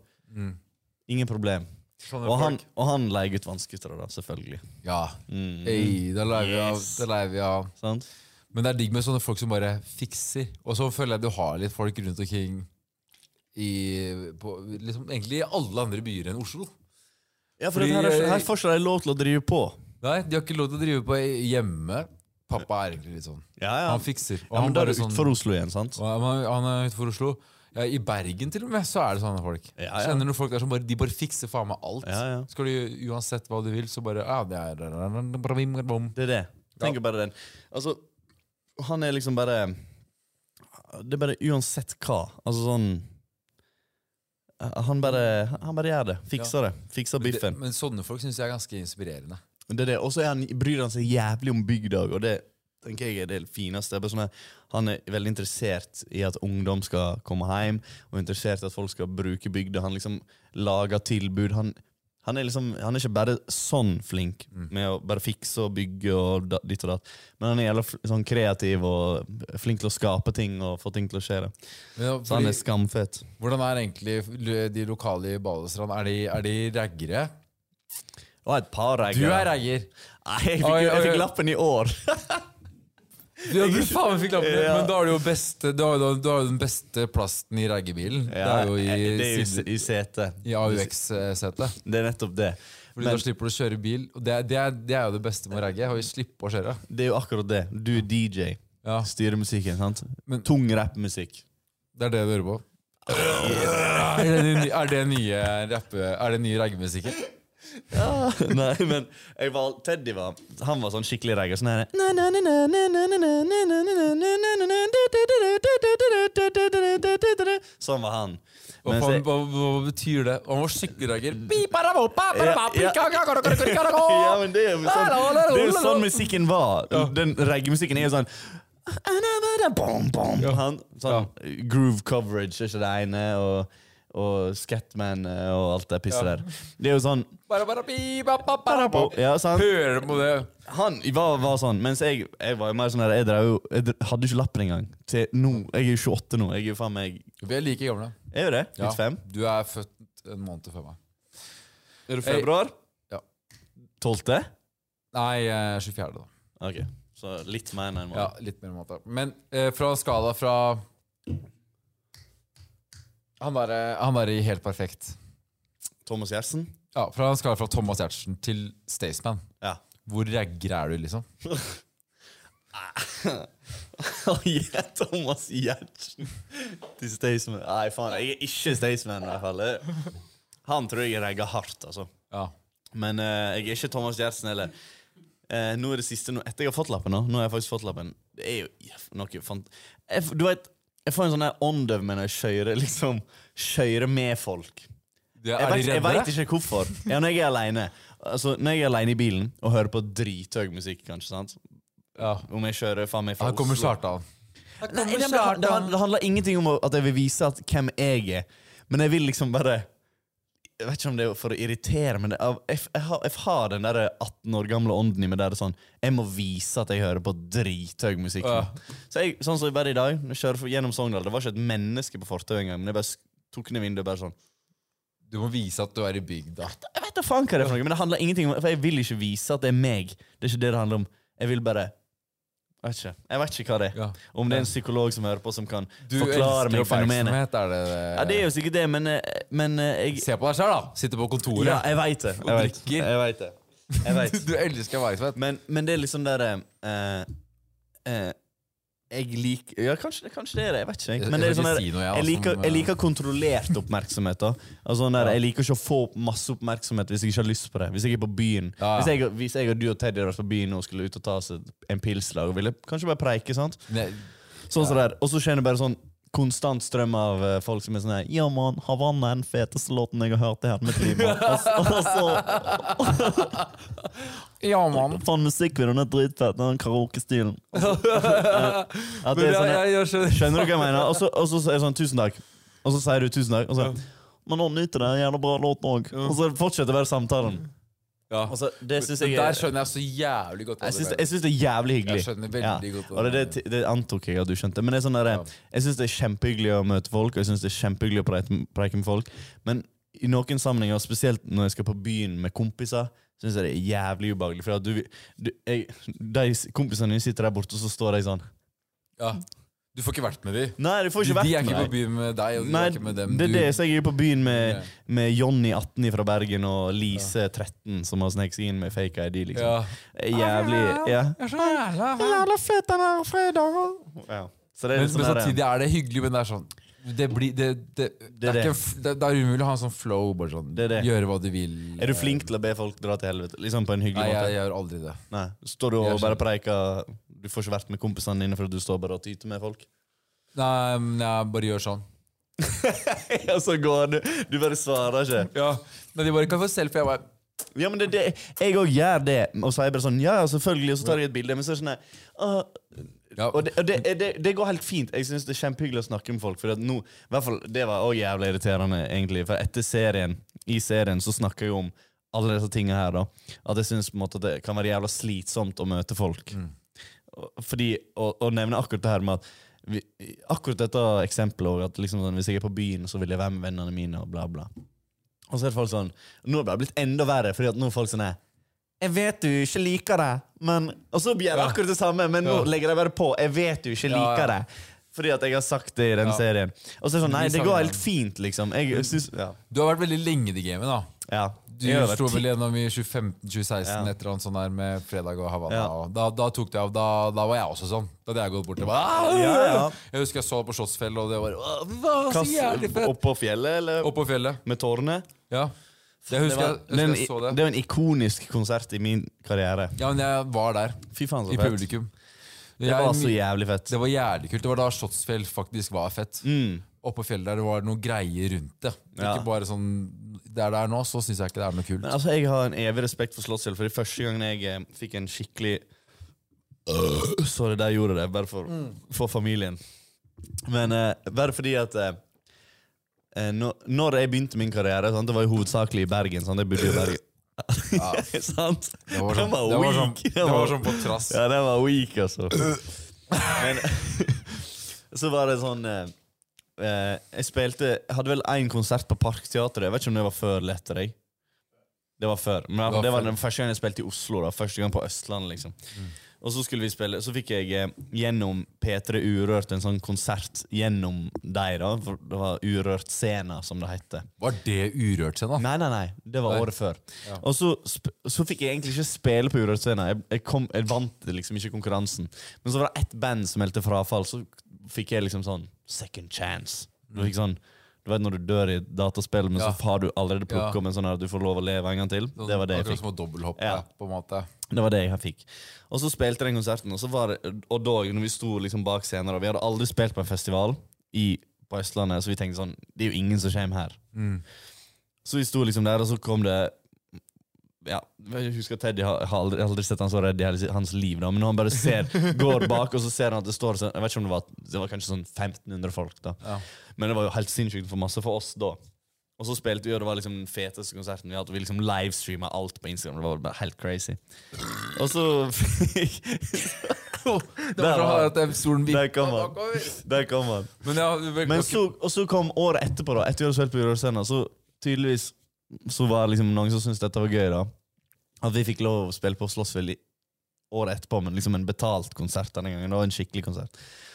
Ingen problem.
Sånne
Og han,
folk.
og han leier ut vannskutere, da, selvfølgelig.
Ja. Ei, det leier vi av.
Mm. Yes.
Det leier vi av.
Sant?
Men det er digg med sånne folk som bare fikser. Og så føler jeg du har litt folk rundt omkring i på, liksom, Egentlig i alle andre byer enn Oslo.
Ja, for
Fordi-
her, er, her får ikke de lov til å drive på.
Nei, De har ikke lov til å drive på hjemme. Pappa er egentlig litt sånn.
Ja, ja.
Han fikser. Og
Ja, men
han
da er
bare
det
sånn,
utenfor Oslo igjen, sant?
Ja, men han er utenfor Oslo. Ja, I Bergen til og med så er det sånne folk.
Ja, ja.
Kjenner du folk der som bare, de bare fikser faen meg alt?
Ja, ja.
Skal du gjøre uansett hva du vil, så bare ja, det er
Det er det. Tenk bare den. Altså, han er liksom bare Det er bare uansett hva. Altså sånn Han bare, han bare gjør det. Fikser det. Fikser
det,
biffen.
Men sånne folk syns jeg er ganske inspirerende.
Det er det. Og så er han- bryr han seg jævlig om bygda, og det tenker jeg er det fineste. Det er bare sånn at han er veldig interessert i at ungdom skal komme hjem, og interessert i at folk skal bruke bygda. Han liksom lager tilbud. Han, han, er liksom, han er ikke bare sånn flink
Mm.
med å bare fikse og bygge og da, ditt og datt, men han er jævla fl- sånn kreativ og flink til å skape ting og få ting til å skje. da.
Men, ja,
Så han er
fordi-
skamfet.
Hvordan er egentlig lo- de lokale i Balestrand? Er de, er de raggere?
Og et par regler.
Du er ragger!
Nei, jeg fikk,
Oi,
jeg
oi,
fikk
oi.
lappen i år.
Ja, du faen meg fikk lappen!
Ja.
Men da er du jo beste, da er du, da er du den beste plasten i raggebilen. det er jo
det er
i,
jo
siden-
i setet.
i AUX-setet.
Det er nettopp det.
Fordi Da slipper du å kjøre bil. Og det, er- det, er, det er jo det beste med å ragge. Å slippe å kjøre.
Det er jo akkurat det. Du er DJ.
Ja.
Styrer musikken, sant?
Men-
Tung rappmusikk.
Det er det du hører på. Er det, ny- er det nye rappe... Er det nye raggemusikken? Ah.
Nei, men jeg var, Teddy var Han var sånn skikkelig reggae. Sånn her Sånn var han.
Hva,
Mens
faen-
jeg-
hva, hva, betyr det? Han var skikkelig ragger.
Ja, ja, men det er jo sånn, det er jo sånn musikken var. Den reggae-musikken er jo sånn han, sånn Groove coverage er ikke det ene, og, og Scatman eh, og alt det pisset der. Det er jo sånn
Bare, bare, bi, ba, ba, ba, ba.
ja, sant?
Hører du på det?
Han var, var sånn, mens jeg, jeg var jo mer sånn der, jeg, drev, jo- jeg dre- hadde jo ikke lappen engang. Til nå, Jeg er jo 28 nå. Jeg er jo faen meg
Vi er like gamle.
Er jo det? 95?
Du er født en måned før meg.
Er du
februar? Ja.
12.?
Nei, eh, 24. da.
Ok, så litt mer enn en
Ja,
måned.
litt mer måte. Men eh, fra skala fra Han derre han der i Helt perfekt.
Thomas Gjertsen?
Ja, fra en skala fra Thomas Giertsen til Staysman.
Ja.
Hvor ragger er du, liksom?
ja, Thomas Gjertsen til Staysman. Nei, faen, jeg er ikke Staysman, i hvert fall. Han tror jeg regger hardt, altså.
Ja.
Men eh, jeg er ikke Thomas Gjertsen heller. Eh, nå er det siste nå, Etter jeg har fått lappen, nå, nå har jeg faktisk fått lappen. Det er jo jef- noe fant... Jeg, f- du vet, jeg får en sånn her åndøv med når jeg skøyrer liksom, skøyrer med folk.
Det,
Jeg
er
vet,
de
jeg vet
reddere?
ikke hvorfor. Ja, når jeg er alene altså, Når jeg er alene i bilen og hører på drithøy musikk, kanskje, sant?
Ja.
om jeg kjører faen meg fra
Her kommer
Oslo
Kjartan.
Nei, det, det, det, det handler ingenting om å- at jeg vil vise at hvem jeg er, men jeg vil liksom bare Jeg vet ikke om det er for å irritere, men det, av- jeg, jeg, har, jeg har den der 18 år gamle ånden i meg der det er sånn Jeg må vise at jeg hører på drithøy musikk. nå.
Ja.
Så jeg, sånn som bare i dag, når jeg kjører for- gjennom Sogndal Det var ikke et menneske på fortauet engang, men jeg bare sk- tok ned vinduet og bare sånn
Du må vise at du er i bygda.
Jeg vet da faen hva det er for noe, men det handler ingenting om For jeg vil ikke vise at det er meg. Det er ikke det det handler om. Jeg vil bare Jeg vet ikke, jeg vet ikke hva det er.
Ja.
Om det er en psykolog som hører på, som kan
Du
forklare
elsker
meg fenomenet.
oppmerksomhet, er det det?
Ja, det er jo sikkert det, men, eh, men eh, jeg
Se på deg sjøl, da. Sitte på kontoret.
Ja, jeg veit det. Jeg vet,
drikker.
jeg vet det. Jeg vet.
Du elsker oppmerksomhet.
Men, men det er liksom der eh, eh, Jeg liker Ja, kanskje, kanskje det er det. Jeg vet ikke.
Jeg-
Jeg, men det er
jeg skal
liksom
ikke
der,
si noe, jeg,
jeg,
da,
liker,
som,
jeg
eh,
liker kontrollert oppmerksomhet. da altså, sånn der, Jeg liker ikke å få masse oppmerksomhet hvis jeg ikke har lyst på det. Hvis jeg er på byen
Ja, ja.
Hvis, jeg, hvis jeg og du og Teddy hadde vært på byen og skulle ut og ta oss en pilslag, og ville kanskje bare preike, sant?
Nei,
Sånn som der. Og så kjenner jeg bare sånn konstant strøm av eh, folk som er sånn her Ja, mann, Havanna er den feteste låten jeg har hørt i hele mitt liv. mann.» Og, så- og så
Ja, mann.
Faen, musikkvideoen er dritfett. Den karaokestilen. At det
Men
er
jeg,
sånn,
jeg, jeg skjønner.
skjønner du hva jeg mener? Og så, og så er det sånn 'tusen takk', og så sier du 'tusen takk', og så Men nå nyter det, en jævla bra låt òg. Og så fortsetter bare samtalen.
Ja.
Altså, det synes jeg,
Men Der
er-
skjønner jeg så jævlig godt hva
jeg
du
syns det,
mener.
jeg synes det er jævlig hyggelig.
Jeg skjønner veldig godt hva
Og det,
du
det, det antok jeg at du skjønte. Men det er sånn der, jeg syns det er kjempehyggelig å møte folk, og jeg synes det er kjempehyggelig å preike preike med folk. Men i noen sammenhenger, og spesielt når jeg skal på byen med kompiser, syns jeg det er jævlig ubehagelig. For at du, vil- du, jeg, de s- kompisene dine sitter der borte, og så står de sånn
Ja. Du får ikke vært med dem.
Nei, du får
De
ikke vært
er ikke
med
på byen med deg, og du
Nei,
er ikke med dem.
det er
Du-
det. Så jeg er jo på byen med,
Ja.
med Jonny 18 fra Bergen og Lise 13 som har sneket seg inn med fake ID, liksom.
Ja.
Det er Jævlig Ah, ja. Jævla fet den her fredag. Ja. Så det er
Men, men
litt sånn her,
samtidig er det hyggelig, men det er sånn Det, blir, det, det, det, er,
det.
ikke, f- det, det er umulig å ha en sånn flow. Bare sånn,
Det er det.
Gjøre hva du vil.
Er du flink til å be folk dra til helvete? Liksom på en hyggelig
Nei,
måte?
jeg, jeg gjør aldri det.
Nei. Står du og
Jeg
bare
skjønner.
preiker Du får ikke vært med kompisene dine fordi du står bare og tyter med folk?
Nei, men jeg bare gjør sånn.
ja, så går du. Du bare svarer ikke.
Ja, Men de bare kan få selfie. Jeg bare
Ja, men det, er det, Jeg òg gjør det. Og så er jeg bare sånn Ja, ja, selvfølgelig. Og så tar jeg et bilde. Men så er det sånn her, «Åh,
ja,
Og, det, og det, det, det går helt fint. Jeg synes det er kjempehyggelig å snakke med folk. For at nå, i hvert fall, Det var også jævlig irriterende, egentlig. For etter serien, i serien så snakker jeg jo om alle disse tingene her. da At jeg synes på en måte at det kan være jævla slitsomt å møte folk. Og- Fordi, og, og nevne akkurat det her med at vi, Akkurat dette eksempelet også, at liksom sånn, hvis jeg er på byen, så vil jeg være med vennene mine, og bla, bla. Og så er det folk sånn Nå har det blitt enda verre, fordi at nå er folk sånn her jeg vet du ikke liker det, men Og så gjør jeg akkurat det samme, men nå
Ja.
legger de bare på. Jeg vet du
Ja,
ikke liker
ja.
det. Fordi at jeg har sagt det i den
Ja.
serien. Og så er det sånn, nei,
Vi
det
sa
går
det.
helt fint, liksom. Jeg synes, ja.
Du har vært veldig lenge i det gamet, da.
ja.
Du
Jeg har vært
slo
ti-
vel gjennom i 2015-2016
Ja.
et eller annet sånn der med Fredag og Havanna.
Ja.
Og da, da tok det av. Da, da var jeg også sånn. Da hadde jeg gått bort og bare «Ah!»
Ja, ja.
Jeg husker jeg så på Slottsfjell, og det var «Åh, hva, så jævlig
Kass,
fett!
opp på fjellet, eller?
Opp på fjellet.
Med tårnet?
Ja. Jeg
Det
husker, jeg,
var,
husker
den-
jeg så det.
det var en ikonisk konsert i min karriere.
Ja, men jeg var der.
Fy faen, så
I
fett.
publikum.
Det
Jeg-
var så jævlig fett.
det var jævlig kult. Det var da Slottsfjell faktisk var fett.
Mm.
Oppå fjellet der det var noe greier rundt det.
Ja.
Ikke bare sånn Der det er nå, så syns jeg ikke det er noe kult.
Men altså, Jeg har en evig respekt for Slottsfjell, for det første gangen jeg eh, fikk en skikkelig øh, Sorry, der gjorde jeg det, bare for, for familien. Men eh, bare fordi at eh, eh, når, når jeg begynte min karriere, sant? det var jo hovedsakelig i Bergen. Sant? Jeg bodde i Bergen. sant?
Det var sånn,
Den var
det var sånn,
weak.
det var sånn på trass.
Ja, den var weak, altså.
Øh.
Men så var det sånn eh, eh, Jeg spilte Jeg hadde vel én konsert på Parkteatret. Jeg vet ikke om det var før eller etter deg. Det var før. Men
var
det var,
før. Mm.
den første gang jeg spilte i Oslo. da Første gang på Østlandet, liksom. Og så skulle vi spille Så fikk jeg eh, gjennom P3 Urørt en sånn konsert gjennom deg, da. For det var Urørt Scena, som det heter.
Var det urørt seg, da?
Nei, nei, nei. Det var
Nei.
året før. Og så, sp- så fikk jeg egentlig ikke spille på Urørt Scene. Jeg, jeg, kom- jeg vant liksom ikke konkurransen. Men så var det ett band som meldte frafall, så fikk jeg liksom sånn second chance. Du fikk sånn du vet når du dør i et dataspill, men
Ja.
så har du allerede plukket
Ja. Sånn,
opp en sånn her du får lov å leve en gang til. Det var det jeg
Akkurat
fikk.
som å dobbelthoppe,
Ja.
på en måte.
Det var det jeg fikk. Og så spilte jeg den konserten, og, så var det, og da når vi sto liksom bak scenen og Vi hadde aldri spilt på en festival i, på Østlandet, så vi tenkte sånn Det er jo ingen som kommer her. Så vi sto liksom der, og så kom det ja, jeg husker Teddy har, har aldri, jeg har aldri sett han så redd i hele sitt- hans liv, da, men når han bare ser, går bak, og så ser han at det står sånn- Jeg vet ikke om det var, det var kanskje sånn 1500 folk, da.
Ja.
Men det var jo helt sinnssykt for masse for oss da. Og så spilte vi, og det var liksom den feteste konserten vi hadde. Vi liksom livestreama alt på Instagram. Det var bare helt crazy. Og så fikk
Det var
Der
sånn
var
at den stolen
Der
vippa
kom han. Der kom han.
Men, ja, vel,
Men
ok.
så, og så kom året etterpå, da. Etter vi hadde spilt på Urørscena, så tydeligvis så var det liksom noen som syntes dette var gøy, da. At vi fikk lov å spille på Slottsfjell i- året etterpå, men liksom en betalt konsert denne gangen. Det var en skikkelig konsert.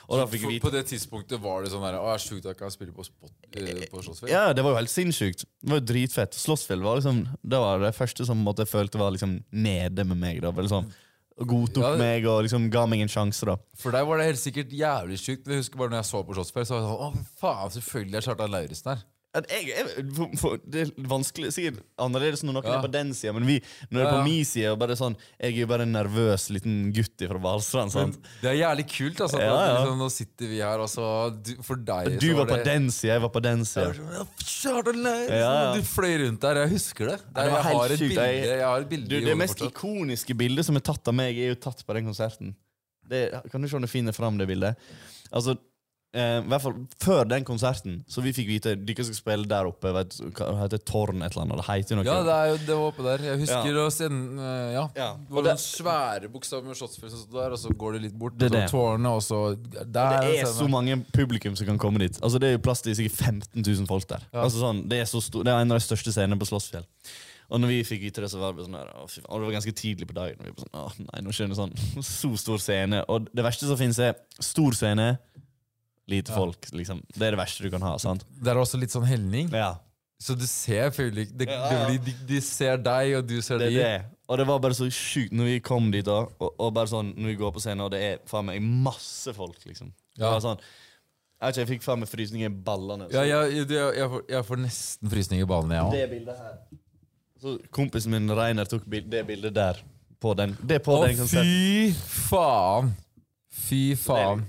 Og da fikk vi
For-
vite
På det tidspunktet var det sånn der Å, jeg er sjukt at jeg kan spille på, spot, eh, på Slottsfjell.
Ja, det var jo helt sinnssykt. Det var jo dritfett. Slåssfjell var liksom Det var det første som på en måte, jeg følte var liksom nede med meg. da Vel, liksom, Godtok
Ja, det-
meg og liksom ga meg en sjanse, da.
For deg var det helt sikkert jævlig sjukt. men Jeg husker bare når jeg så på Slottsfjell, så var jeg sånn Å, fy faen, selvfølgelig er Kjartan Lauritzen her.
At jeg, jeg, for, for, det er vanskelig sikkert annerledes når noen
Ja.
er på den sida, men vi, når det er
Ja, ja.
på min side og bare sånn, Jeg er jo bare en nervøs liten gutt fra Valstrand. sant?
Det er jævlig kult, altså. at
Ja, ja.
Liksom, nå sitter vi her, og så du, For deg
Du
så
var på
det-
den sida, jeg var på den sida.
Jeg var sånn, «Ja, Kjartan Lauritzen!
Ja, ja.
Du fløy rundt der, jeg husker det.
det var
jeg,
helt
har et
sjukt.
bilde,
Jeg-
jeg har et bilde
Du,
i
det
hodet
mest
fortsatt.
ikoniske bildet som er tatt av meg, er jo tatt på den konserten. Det, kan du se om du finner fram det bildet? Altså, eh, i hvert fall Før den konserten, så vi fikk vite dere skal spille der oppe. Vet, du, hva det heter Tårn et eller annet? Det heter jo noe.
Ja, det, er, jo- det var oppe der. Jeg husker å sende eh, Ja.
Ja,
Det
og
var
det-
noen svære bokstaver med shotsfilm som stod der, og så går det litt bort.
Det
og
er
så
det.
tårene, og så der.
Det er
og
så mange publikum som kan komme dit. Altså Det er jo plass til sikkert 15 000 folk der. Altså sånn, det, er så stor, det er en av de største scenene på Slåssfjell. Og når vi fikk vite det, så var det sånn her, å, fy faen. Og det var ganske tidlig på dagen. Og vi var sånn, å nei, nå skjønner jeg sånn Så stor scene. Og det verste som finnes, er stor scene, lite folk. liksom Det er det verste du kan ha. sant?
Det er også litt sånn helning.
Ja,
Så du ser Fyllik. De,
Ja, ja.
de, de ser deg, og du ser
det
de.
er det. Og det var bare så sjukt når vi kom dit, da, og, og bare sånn, når vi går på scenen, og det er faen meg masse folk, liksom. Det
Ja.
var sånn, jeg vet ikke, jeg fikk faen meg frysninger i ballene.
Ja, jeg, jeg, jeg, får, jeg får nesten frysning i ballene, jeg òg.
det bildet her. Så kompisen min Reiner tok bil det bildet der. På den, det er på den
Å,
konserten.
fy faen! Fy faen.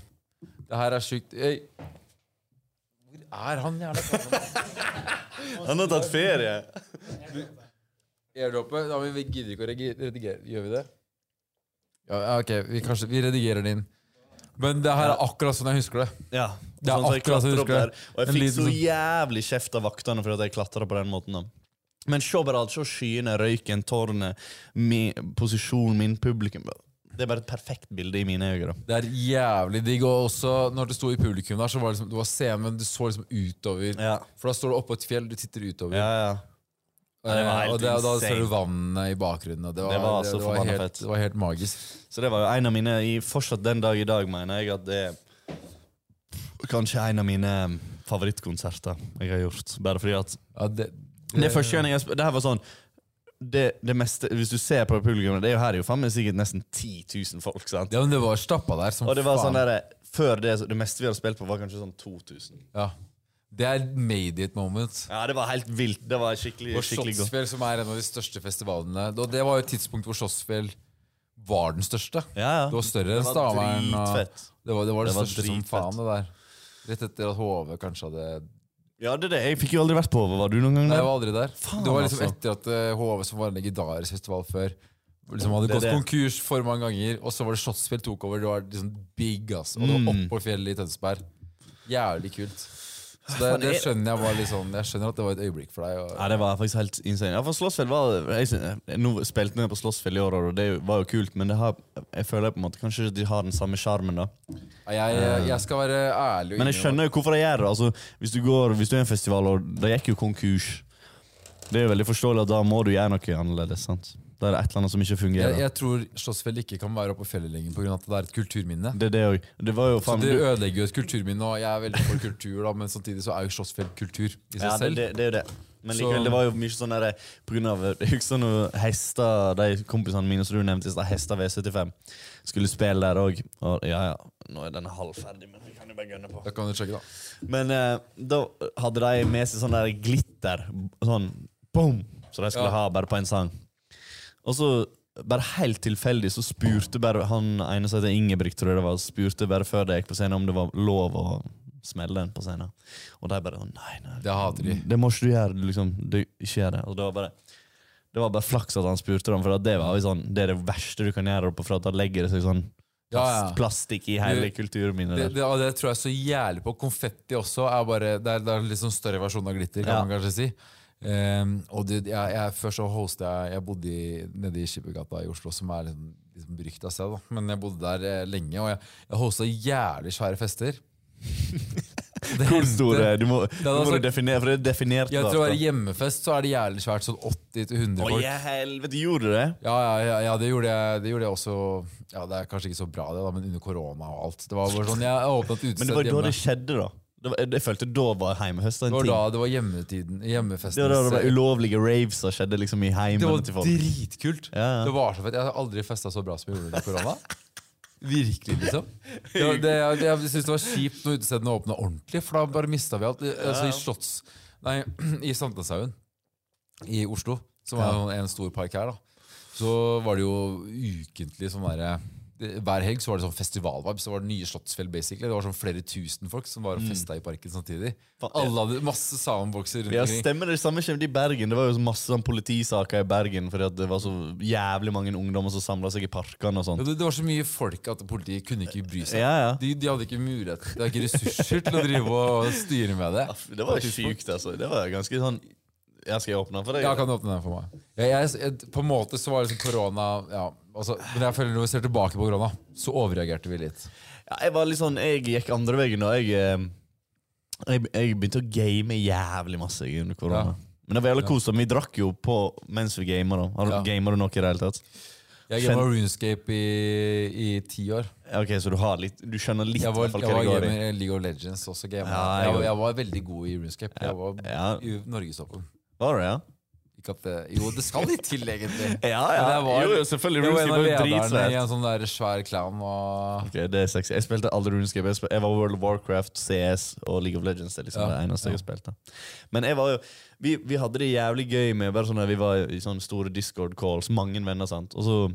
Det her er sjukt. Øy. Hvor er han jævla faen?
Han har tatt ferie!
Airdroppet? Ja, men vi gidder ikke å regi- redigere. Gjør vi det? Ja, ja, ok. Vi, kanskje, vi redigerer det inn. Men det her er akkurat sånn jeg husker det.
Ja,
Det er
sånn, så jeg
akkurat som jeg
klatret opp
husker
der,
det.
og jeg
En
fikk
liten
så
sånn-
jævlig kjeft av vaktene for at jeg klatra på den måten. da Men se bare alt. Se skyene, røyken, tårnet, mi, posisjonen min, publikum. Det er bare et perfekt bilde i mine øyne. da.
Det er jævlig digg. Og også når det sto i publikum der, så var det liksom, det var scenen, men du så liksom utover.
Ja.
For da står du oppå et fjell, du titter utover.
Ja, ja. Ja, det var helt
Eh, og det, og da ser
insane.
du vannet i bakgrunnen. Og det, var,
Det var så forbanna
helt,
fett.
Det var helt magisk.
Så det var jo en av mine i, Fortsatt den dag i dag mener jeg at det er kanskje en av mine favorittkonserter jeg har gjort. Bare fordi at
Ja, det,
Det er første gang jeg har sp- Det her var sånn det, det meste, Hvis du ser på publikum Det er jo her er jo faen meg sikkert nesten 10 000 folk. sant?
Ja, men det var stappa der som
Og det var
faen.
sånn der, Før det så- Det meste vi hadde spilt på, var kanskje sånn 2000.
ja. Det er made it moment.
Ja, det var helt vilt. Det var skikkelig,
Og
skikkelig godt.
Slottsfjell, som er en av de største festivalene Og det var jo et tidspunkt hvor Slottsfjell var den største.
Ja, ja.
Det var større
Det
enn
var
Stavern. og-
dritfett.
Det var det, var det,
Det var
største som
dritfett.
faen, det der. Rett etter at HV kanskje hadde
Ja, det er det. Jeg fikk jo aldri vært på Var du noen gang
Nei, jeg
der?
var aldri der.
Faen,
det var liksom
altså.
etter at eh, HV, som var en legendarisk festival før, liksom hadde
Det er
gått
det.
konkurs for mange ganger, og så var det Slottsfjell
Mm.
tok over. Det var liksom big, ass. Og det var oppå fjellet i Tønsberg. Jævlig kult. Så det, det skjønner jeg var litt sånn Jeg skjønner at det var et øyeblikk for deg. Og,
Ja, det var faktisk helt insane. Ja, for Slåssfjell var jeg, synes- Nå spilte jeg på Slåssfjell i år, og det var jo kult, men det har, jeg føler på en måte kanskje ikke de har den samme sjarmen, da.
jeg, jeg skal være ærlig. og
Men jeg
innrømme-
skjønner jo hvorfor de gjør det. Altså, hvis du går hvis du er i en festival, og det gikk jo konkurs Det er jo veldig forståelig, at da må du gjøre noe annerledes. sant? Da er det et eller annet som ikke fungerer.
Jeg, jeg tror Slåssfjell ikke kan være oppe på fjellet lenger pga. at det er et kulturminne.
Det er det òg. Det var jo
Så
faen
det
du-
ødelegger jo et kulturminne, og jeg er veldig for kultur, da, men samtidig så er jo Slåssfjell kultur i seg
Ja, det,
selv.
det, det er jo det. Men
Så-
likevel, det var jo mye sånn der, på grunn av, Jeg husker når hester, de kompisene mine som du nevnte i stad, Hester V75, skulle spille der òg. Og ja, ja, nå er den halvferdig, men vi kan jo bare gønne på.
Da kan du sjekke, da.
Men eh, da hadde de med seg sånn der glitter, sånn boom, som de skulle
Ja.
ha bare på en sang. Og så, bare helt tilfeldig, så spurte bare han ene som heter Ingebrigt, tror jeg det var, spurte bare før det gikk på scenen om det var lov å smelle den på scenen. Og de bare, nei, nei.
Det hater de.
Det må ikke du gjøre, liksom. Du ikke gjør det. Og det var bare... Det var bare flaks at han spurte dem, for at det var jo sånn, det er det verste du kan gjøre oppe for at da legger det seg sånn
Ja, ja.
plastikk i hele
Det-
kulturminnet
Det,
der.
det, og det tror jeg så jævlig på. Konfetti også er bare Det er, det er en litt sånn større versjon av glitter, kan
Ja.
man kanskje si. Ehm, og det, jeg, jeg, før så hostet jeg Jeg bodde i, nede i Skippergata i Oslo, som er litt liksom berykta sted, da. Men jeg bodde der eh, lenge, og jeg, jeg hosta jævlig svære fester. Det
Hvor
hendte-
stor er Du må,
er
nå må
altså-
du definere, for det er definert.
Jeg
da,
tror det er
altså.
hjemmefest, så er det jævlig svært. Sånn 80-100
Å,
folk.
ja, helvete, gjorde du det?
Ja, ja, ja, ja det, gjorde jeg, det gjorde jeg også Ja, Det er kanskje ikke så bra, det da men under korona og alt. Det var bare sånn, Jeg åpnet et
Men det
utested
var da
hjemme.
det skjedde, da. Det var, jeg følte da var heimefest
Det
en
var
ting.
da det var hjemmetiden.
Det var da det
Hjemmefestens
var ulovlige raves som skjedde liksom i
Det var
heimene til folk.
dritkult.
Ja, ja.
Det var så fett. Jeg har aldri festa så bra som jeg gjorde under korona. Virkelig, liksom. Det, var- det, jeg jeg synes det var kjipt når utestedene åpna ordentlig, for da bare mista vi alt. Altså, I Slotts Nei, i Sankthanshaugen i Oslo, som er jo en stor park her, da, så var det jo ukentlig sånn derre det- hver helg så var det sånn festivalvibes. Det var det nye Slottsfjell. basically Det var sånn flere tusen folk som var
Mm.
og festa i parken samtidig.
Faen, ja.
Alle hadde masse soundboxer rundt
Ja,
omkring.
stemmer Det samme skjedde i Bergen. Det var jo så masse sånn politisaker i Bergen fordi at det var så jævlig mange ungdommer som samla seg i parkene
Ja,
og sånt.
Det, det var så mye folk at politiet kunne ikke bry seg.
Ja, ja.
De, de hadde ikke mulighet De hadde ikke ressurser til å drive og styre med det.
Det var jo sjukt, altså. Det var ganske sånn Ja, skal jeg åpne den for deg?
Ja, kan du åpne den for meg? Jeg, jeg, jeg, på en måte så var det sånn korona ja, altså, Men jeg føler når vi ser tilbake på korona, så overreagerte vi litt.
Ja, jeg var litt sånn Jeg gikk andre veien da. Jeg, eh, jeg, jeg begynte å game jævlig masse under korona.
Ja.
Men det var jævlig koselig. Vi drakk jo på mens vi gamer. da Har du
Ja.
Gamer du noe i det hele tatt?
Jeg
Skjønn-
gama Runescape i, i ti år.
Ja, Ok, Så du har litt Du skjønner litt
Jeg var,
i hvert fall,
jeg
hva
var
det går i?
gamer i League of Legends også. Gamer.
Ja, jeg
jeg,
var-
var- jeg var veldig god i Runescape. Jeg var
Ja.
i norgestoppen.
Var det, ja?
Ikke at det, jo, det skal litt til, egentlig.
Ja,
Men jeg var-
jo, jo, selvfølgelig.
Jeg var en av
Runescape var jo
lederne i
dritsvært.
en sånn der svær clan. Og
Ok, det er sexy. Jeg spilte aldri RuneScape. Jeg, spil jeg var World of Warcraft, CS og League of Legends. Det er liksom
Ja,
det eneste
ja.
jeg spilte. Men jeg var jo, vi, vi hadde det jævlig gøy med bare sånn at vi var i sånne store Discord-calls, mange venner, sant. Og så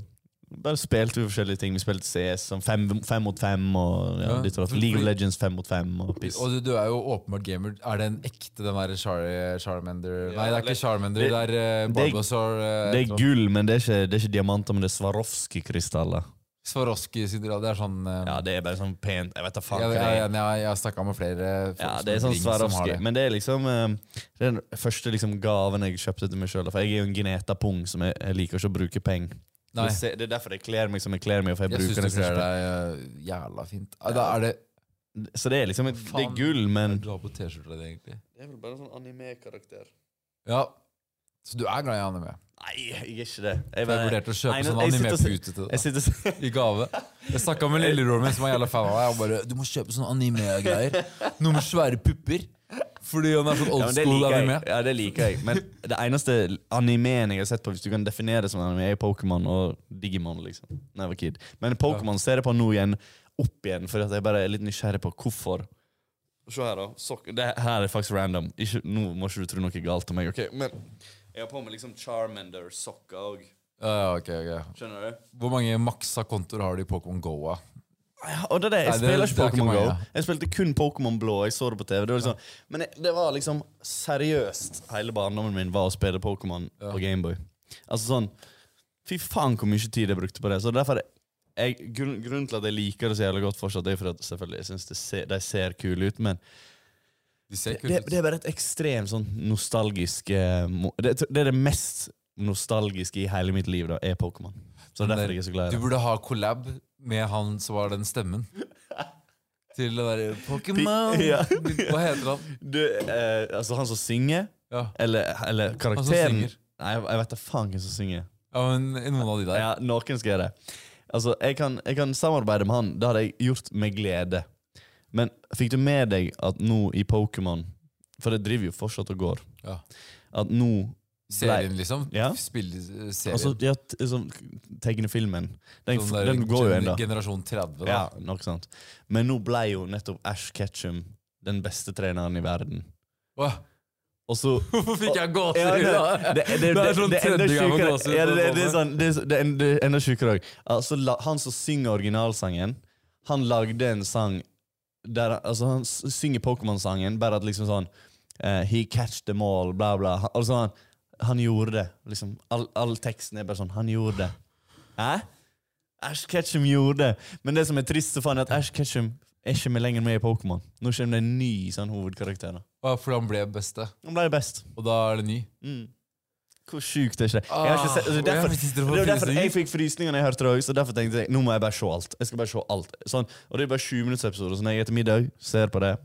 bare spilte vi forskjellige ting. Vi spilte CS sånn fem, fem mot fem og ja,
Ja,
litt sånn.
for-
League of
fordi-
Legends fem mot fem og piss.
Og du, du er jo åpenbart gamer. Er det en ekte den der Char Charmander Nei, det er ikke
det-
Charmander.
det-
Det, er uh,
det-
Barbasaur. eh, et
Det er
eller annet.
gull, men det er ikke, det er ikke diamanter, men det er Swarovski-krystaller.
Swarovski sin dra- Det er sånn eh,
Ja, det er bare sånn pent. Jeg vet da faen.
jeg,
hva
jeg,
det er.
jeg, jeg, jeg har snakka med flere folk
Ja,
som
det er sånn
ring som har
Swarovski.
det.
Men det er liksom eh, det er den første liksom gaven jeg kjøpte til meg sjøl. For jeg er jo en gneta pung som jeg, jeg liker ikke å bruke penger.
Nei,
Det ser- det er derfor jeg kler meg som jeg kler meg. For jeg
jeg syns
bruker
du
det
kler
som-
deg eh, jævla fint. Ja, Da er det
Så det er liksom et, det er
Faen.
gull, men
Du har på T-skjorta di, egentlig.
Det er vel bare sånn anime-karakter.
Ja. Så du er glad i anime?
Nei, jeg er ikke det. Jeg,
Jeg vurderte å kjøpe
Nei,
sånn
jeg sitter og se-
anime-pute til
jeg
deg
sitter og
i gave. Jeg snakka med lillebroren min, som var jævla fan av deg. Jeg bare 'Du må kjøpe sånne anime-greier. Noe med svære pupper.' Fordi han er sånn
ja,
old
men det
school
liker
anime.
jeg. Ja, det liker jeg. Men det eneste animeen jeg har sett på, hvis du kan definere det som anime, er Pokémon og Digimon. liksom. Når jeg var kid. Men Pokémon ser jeg på nå igjen, opp igjen, for at jeg bare er litt nysgjerrig på hvorfor. Se her, da. Sok det her er faktisk random. Ikke, nå må ikke du tro noe galt om meg. ok? Men jeg har på meg liksom Charmander-sokker òg.
Ja, ja, ok, ok.
Skjønner du?
Hvor mange maksa kontoer har du i Pokémon Go? da?
Ja, og det er det. Jeg
Nei, det-
spiller ikke
det er ikke
Pokémon
meg,
Go.
ja.
Jeg spilte kun Pokémon Blå. Jeg så det på TV. Det var liksom, men jeg- det var liksom seriøst. Hele barndommen min var å spille Pokémon på Gameboy. Altså sånn Fy faen hvor mye tid jeg brukte på det. Så derfor jeg, grunn, Grunnen til at jeg liker det så jævlig godt fortsatt, det er fordi at selvfølgelig jeg syns de ser kule ut, men
De ser
Det,
kult ut.
det er bare et ekstremt sånn nostalgisk eh, mo- det, det er det mest nostalgiske i hele mitt liv, da, er Pokémon. Så det er derfor jeg er så glad
Du
i det.
burde ha collab med han som var den stemmen. Til det derre Pokémon
Ja.
Hva heter han?
Du, eh, altså, han som synger,
Ja.
eller, eller
som
karakteren
synger.
Nei, jeg, jeg vet da faen hvem som synger.
ja, men noen av de der.
Ja, noen skal gjøre det. Altså, jeg kan, jeg kan samarbeide med han. Det hadde jeg gjort med glede. Men fikk du med deg at nå i Pokémon For det driver jo fortsatt og går.
Ja.
At nå
Serien, liksom.
Ja.
Spille- serien.
Altså, de har t- sånn, tegnefilmen den,
Sånn der
den går jo
gen-
ennå.
Generasjon 30, da.
Ja, nok sant. Men nå ble jo nettopp Ash Ketchum den beste treneren i verden.
Åh,
Og så
Hvorfor fikk jeg gåsehud?
Ja, det,
da?
det, det, det,
Det er sånn
det er enda
tredje gang man
sjukere.
blåser ut
Ja, det, det,
på
det er
sånne.
sånn, det, er så- det er en- det er enda sjukere òg. Altså, la- han som synger originalsangen, han lagde en sang der han- altså, Han s- synger Pokémon-sangen, bare at liksom sånn eh, He catched them all, bla, bla. Han- Altså, han, han gjorde det. Liksom, all, all teksten er bare sånn Han gjorde det. Hæ? Ash Ketchum gjorde det. Men det som er trist, så faen, er at Ash Ketchum er ikke med lenger med i Pokémon. Nå kommer det en ny sånn, hovedkarakter. da.
Åh, Fordi han ble beste,
Han ble best.
og da er det ny.
Hvor sjukt er ikke det? Jeg har ikke sett, altså,
Mm. Ah,
derfor,
jeg sitter og får
det var derfor
frysninger.
jeg fikk frysninger når jeg hørte det også, så derfor tenkte jeg nå må jeg bare se alt. Jeg skal bare se alt. Sånn, og det er bare 20 minutters episoder, så når jeg etter middag ser på det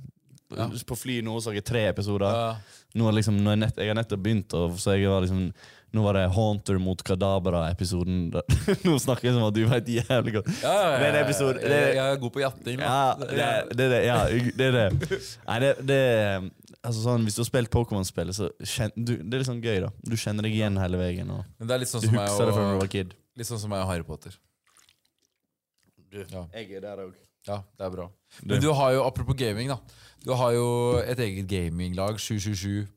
På fly nå så har jeg tre episoder.
Ja.
Nå er det liksom, når jeg, nett, jeg har nettopp begynt, og, så jeg var liksom nå var det Haunter mot Kadabra-episoden. Nå snakker jeg som at du veit jævlig godt.
Ja, ja, ja,
Men episode-
jeg-
det-
Jeg er god på jatting. da.
Ja, det er det. er det, Ja, det, er det. Nei, det, det er- altså sånn, Hvis du har spilt Pokémon-spillet, så kjen, du, det er litt sånn gøy, da. Du kjenner deg igjen hele veien. Og
Men det er litt sånn
du
som meg
husker det fra da du
og,
var kid.
litt sånn som meg og Harry Potter. Ja.
Jeg er der òg.
Ja, det er bra. Men du har jo, apropos gaming, da. Du har jo et eget gaminglag, 777.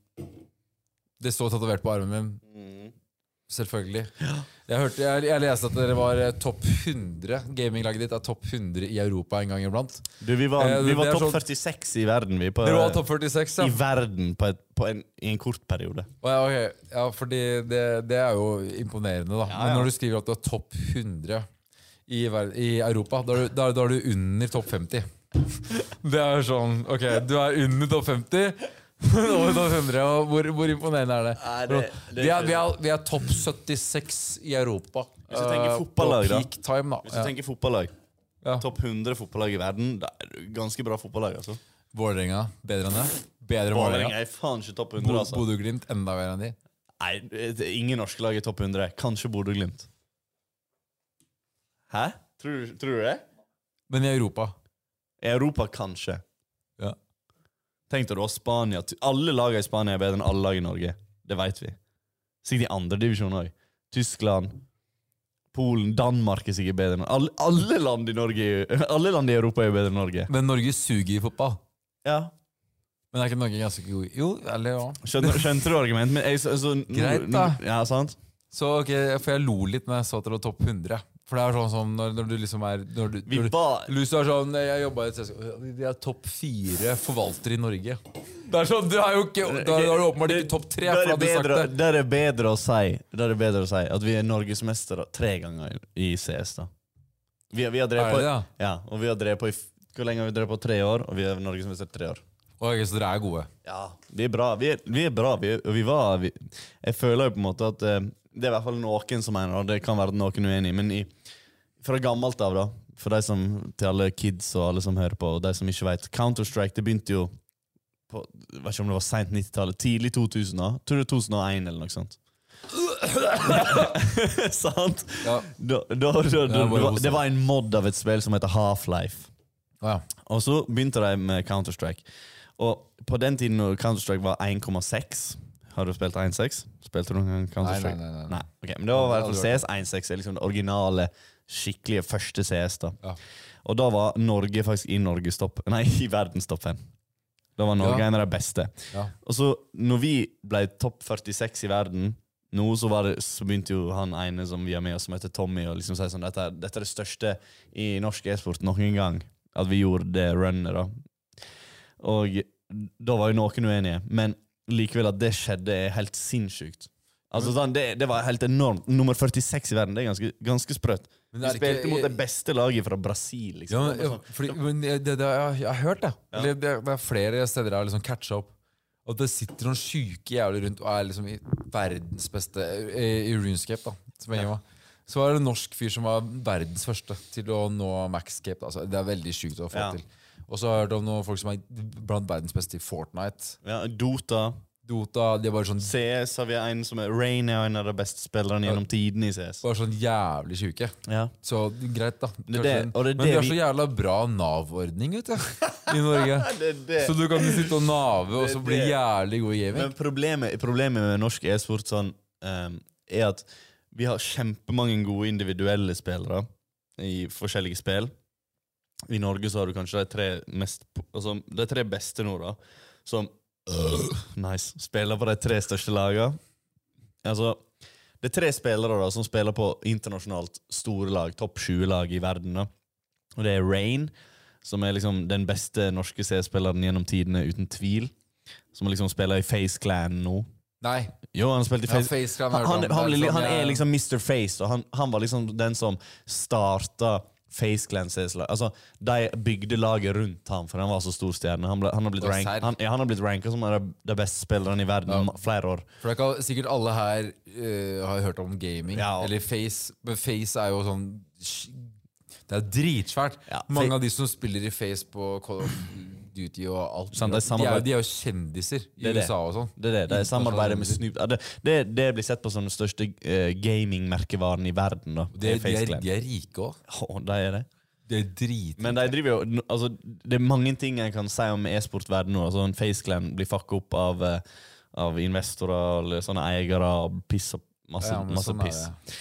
Det står tatovert på armen min.
Mm.
Selvfølgelig. Jeg, hørte, jeg, jeg leste at dere var eh, topp 100. Gaminglaget ditt er topp 100 i Europa en gang iblant.
Du, vi var,
Eh,
vi
det-
var
det er
topp
sånn-
46 i verden, vi. På,
Dere var topp 46, ja.
I verden på, et, på en, i en kort periode.
Å, Ja, ok. ja fordi det, det er jo imponerende, da.
ja.
Men når du skriver at du er topp 100 i, ver- i Europa, da er, du, da, er- da er du under topp 50. Det er sånn Ok, du er under topp 50, men over topp 100. Og hvor, hvor imponerende er det?
Nei, det- det er
vi er, vi
ikke-
er, vi er topp 76 i Europa.
Hvis du tenker
eh,
fotballag, da.
På peak time,
Hvis du
da. Ja.
tenker fotballag,
Ja.
topp 100 fotballag i verden, det er jo ganske bra fotballag. altså
Vålerenga, bedre enn det. Bedre enn
Vålerenga
Vålerenga.
er faen ikke topp 100,
Bo-
altså.
Bodø-Glimt, enda bedre enn de.
Nei, det er ingen norske lag er topp 100. Kanskje Bodø-Glimt. Hæ? Tror, du- tror du det?
Men i Europa
I Europa, kanskje.
ja.
Tenk deg da Spania. Ty- Alle lagene i Spania er bedre enn alle lag i Norge. Det vet vi. Sikkert i andre divisjon òg. Tyskland, Polen, Danmark er sikkert bedre enn alle, alle land i Norge er- Alle land i Europa er bedre enn Norge.
Men Norge suger i fotball.
Ja.
Men er ikke Norge ganske god i- Jo, eller ja.
Skjønner, skjønte du argumentet? Men jeg, så, så, nå-
Greit, da.
nå- Ja, sant?
Så ok, For jeg lo litt når jeg så at det var topp 100. For det er sånn som når, når du liksom er når du,
Vi
når du,
var-
Hvis du er sånn Jeg jobba i et selskap De er topp fire forvaltere i Norge. Det er sånn, Du er jo ikke Da da er du åpenbart ikke topp tre.
Da er
For
det
hadde du sagt
bedre,
det
da er det bedre å si Da er det bedre å si at vi er norgesmestere tre ganger i CS, da. Vi, vi har drevet
Er det
på,
det, ja?
ja, og vi har drevet på i f- Hvor lenge har vi drevet på? Tre år? Og vi er norgesmester tre år.
Ok, Så dere er gode.
Ja, vi er bra. Vi er, vi er bra. Vi, er- og vi var vi, Jeg føler jo på en måte at eh, Det er i hvert fall noen som mener det, det kan være noen uenig i, men i, fra gammelt av, da For de som, til alle kids og alle som hører på, og de som ikke vet Counter-Strike det begynte jo på, jeg vet ikke om det var seint 90-tallet, tidlig 2000. da Tror du 2001 eller noe sånt? Sant?
Ja.
Da, da, da,
Ja,
da, det,
bare
var,
hoste.
det var en mod av et spill som heter Half-Life.
Å, ja.
Og så begynte de med Counter-Strike. Og på den tiden når Counter-Strike var 1,6 Har du spilt 1,6? Spilte du noen gang Counter-Strike?
Nei, nei, nei, nei.
ok, Men det var i hvert
Aldri
fall
hørt
CS 1,6 er liksom det originale, skikkelige første CS. da
Ja.
Og da var Norge faktisk i Norges topp Nei, i verdens topp fem. Da var Norge
Ja.
en av de beste.
Ja.
Og så når vi ble topp 46 i verden nå så, var det, så begynte jo han ene som vi har med oss, som heter Tommy, å liksom si sånn dette, er- dette er det største i norsk e-sport noen gang. At vi gjorde det runnet, da. Og da var jo noen uenige, men likevel at det skjedde, er helt sinnssykt. Altså, sånn, det, det var helt enormt. Nummer 46 i verden, det er ganske, ganske sprøtt.
Men
Vi
det er
spilte
ikke-
mot det beste laget fra Brasil,
Ja,
liksom.
men, ja, fordi, men det, det, jeg, jeg har hørt det. Eller det. Det er flere steder jeg har liksom catcha opp. At det sitter noen sjuke jævler rundt og er liksom i verdens beste i, i runescape. da som jeg var. Så var det en norsk fyr som var verdens første til å nå maxscape. da. Altså, det er veldig sjukt å få
Ja.
til. Og så har jeg hørt om noen folk som er blant verdens beste i Fortnite.
Ja, Dota.
Dota, de er bare sånn,
CS har vi en som er Rain er en av de beste spillerne gjennom tidene i CS.
bare sånn jævlig sjuke.
Ja.
Så greit, da.
er
Kanskje
det-
en-
og det er
men vi
det
har så
vi-
jævla bra Nav-ordning, vet du. I Norge.
Det er det.
Så du kan sitte og nave og så bli
det-
jævlig god i gaming?
Men problemet, problemet med norsk e-sport sånn, ehm, er at vi har kjempemange gode individuelle spillere i forskjellige spill. I Norge så har du kanskje de tre, mest, po- altså, de tre beste nå, da, som øh, nice, spiller på de tre største lagene. Altså, det er tre spillere da, som spiller på internasjonalt store lag, topp 20-lag i verden. da. Og det er Rain, som er liksom den beste norske CS-spilleren gjennom tidene, uten tvil. Som liksom spiller i Face Clan nå.
Nei.
Jo, han spilte i
Ja,
Face,
Face Clan
han,
har
han,
jeg hørt om.
han,
Det er
ble-
sånn
han
jeg-
er liksom Mr. Face, og han, han var liksom den som starta Face Clan CS-lag. Altså, de bygde laget rundt ham, for han var så stor stjerne. Han, ble, han har blitt
Og
rank-
serr.
han, ja, han har blitt ranka som en av de beste spillerne i verden i ma- flere år.
For det er ikke sikkert alle her eh, har hørt om gaming
Ja.
eller Face. Men Face er jo sånn sj- Det er dritsvært.
Ja,
Mange
Fa-
av de som spiller i Face på Call of Duty og alt,
Sant,
de,
det er
er,
samarbeid.
jo- de er jo kjendiser i
Det er det.
USA og sånn.
Det er det, de samarbeider med Snoop ja, det, det, det blir sett på som den største eh, gamingmerkevaren i verden. da
De,
er
de,
Face
er,
Clan.
de er rike òg.
Å, de er det.
Det er drit...
Men de driver jo n- altså, Det er mange ting en kan si om e-sportverdenen nå. Altså, en FaceClan blir fucka opp av, eh, av investorer eller sånne eiere og piss og masse,
Ja, men
masse
sånn er
piss.
det.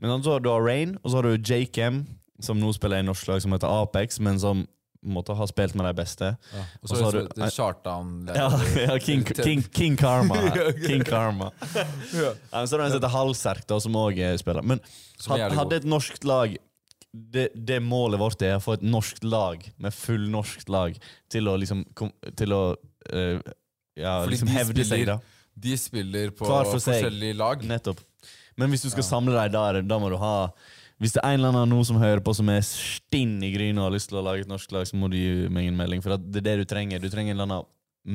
Men altså, du har Rain, og så har du Jakem, som nå spiller i norsk lag som heter Apex, men som måtte ha spilt med de beste.
Ja. Og
Og
så har
så har
du
du-
Chartan
Ja, ja King, King, King Karma. King Karma. Ja, men så er det en som heter Halserk, da, som òg spiller. Men
Som er
had-
jævlig god.
hadde et norsk lag det, det målet vårt er å få et norsk lag, med full norsk lag, til å liksom kom, Til å eh, ja,
Fordi
liksom
de
hevde seg,
spiller-
da.
De spiller på
Hver for seg.
forskjellige lag.
Nettopp. Men hvis du skal samle deg, da, er det- da må du ha Hvis det er en eller annen nå som hører på som er stinn i gryna og har lyst til å lage et norsk lag, så må du gi meg en melding. For at det er det du trenger. Du trenger en eller annen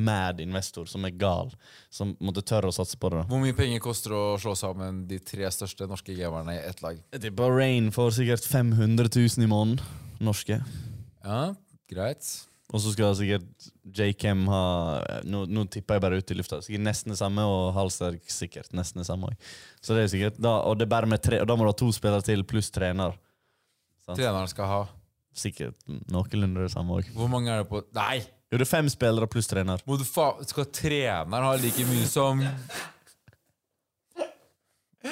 mad investor som er gal, som måtte tørre å satse på det. da
Hvor mye penger koster det å slå sammen de tre største norske gamerne i ett lag?
Jeg tipper Rain får sikkert 500 000 i måneden. Norske.
Ja, greit.
Og så skal sikkert J.Cam ha nå, nå tipper jeg bare ut i lufta. Sikkert nesten det samme, og Halsberg sikkert nesten det samme òg. Så det er sikkert da, Og det er bare med tre Og da må du ha to spillere til pluss trener.
Treneren skal ha
Sikkert noenlunde det samme òg.
Hvor mange er det på Nei!
Jo, det er fem spillere pluss trener.
Må du fa skal treneren ha like mye som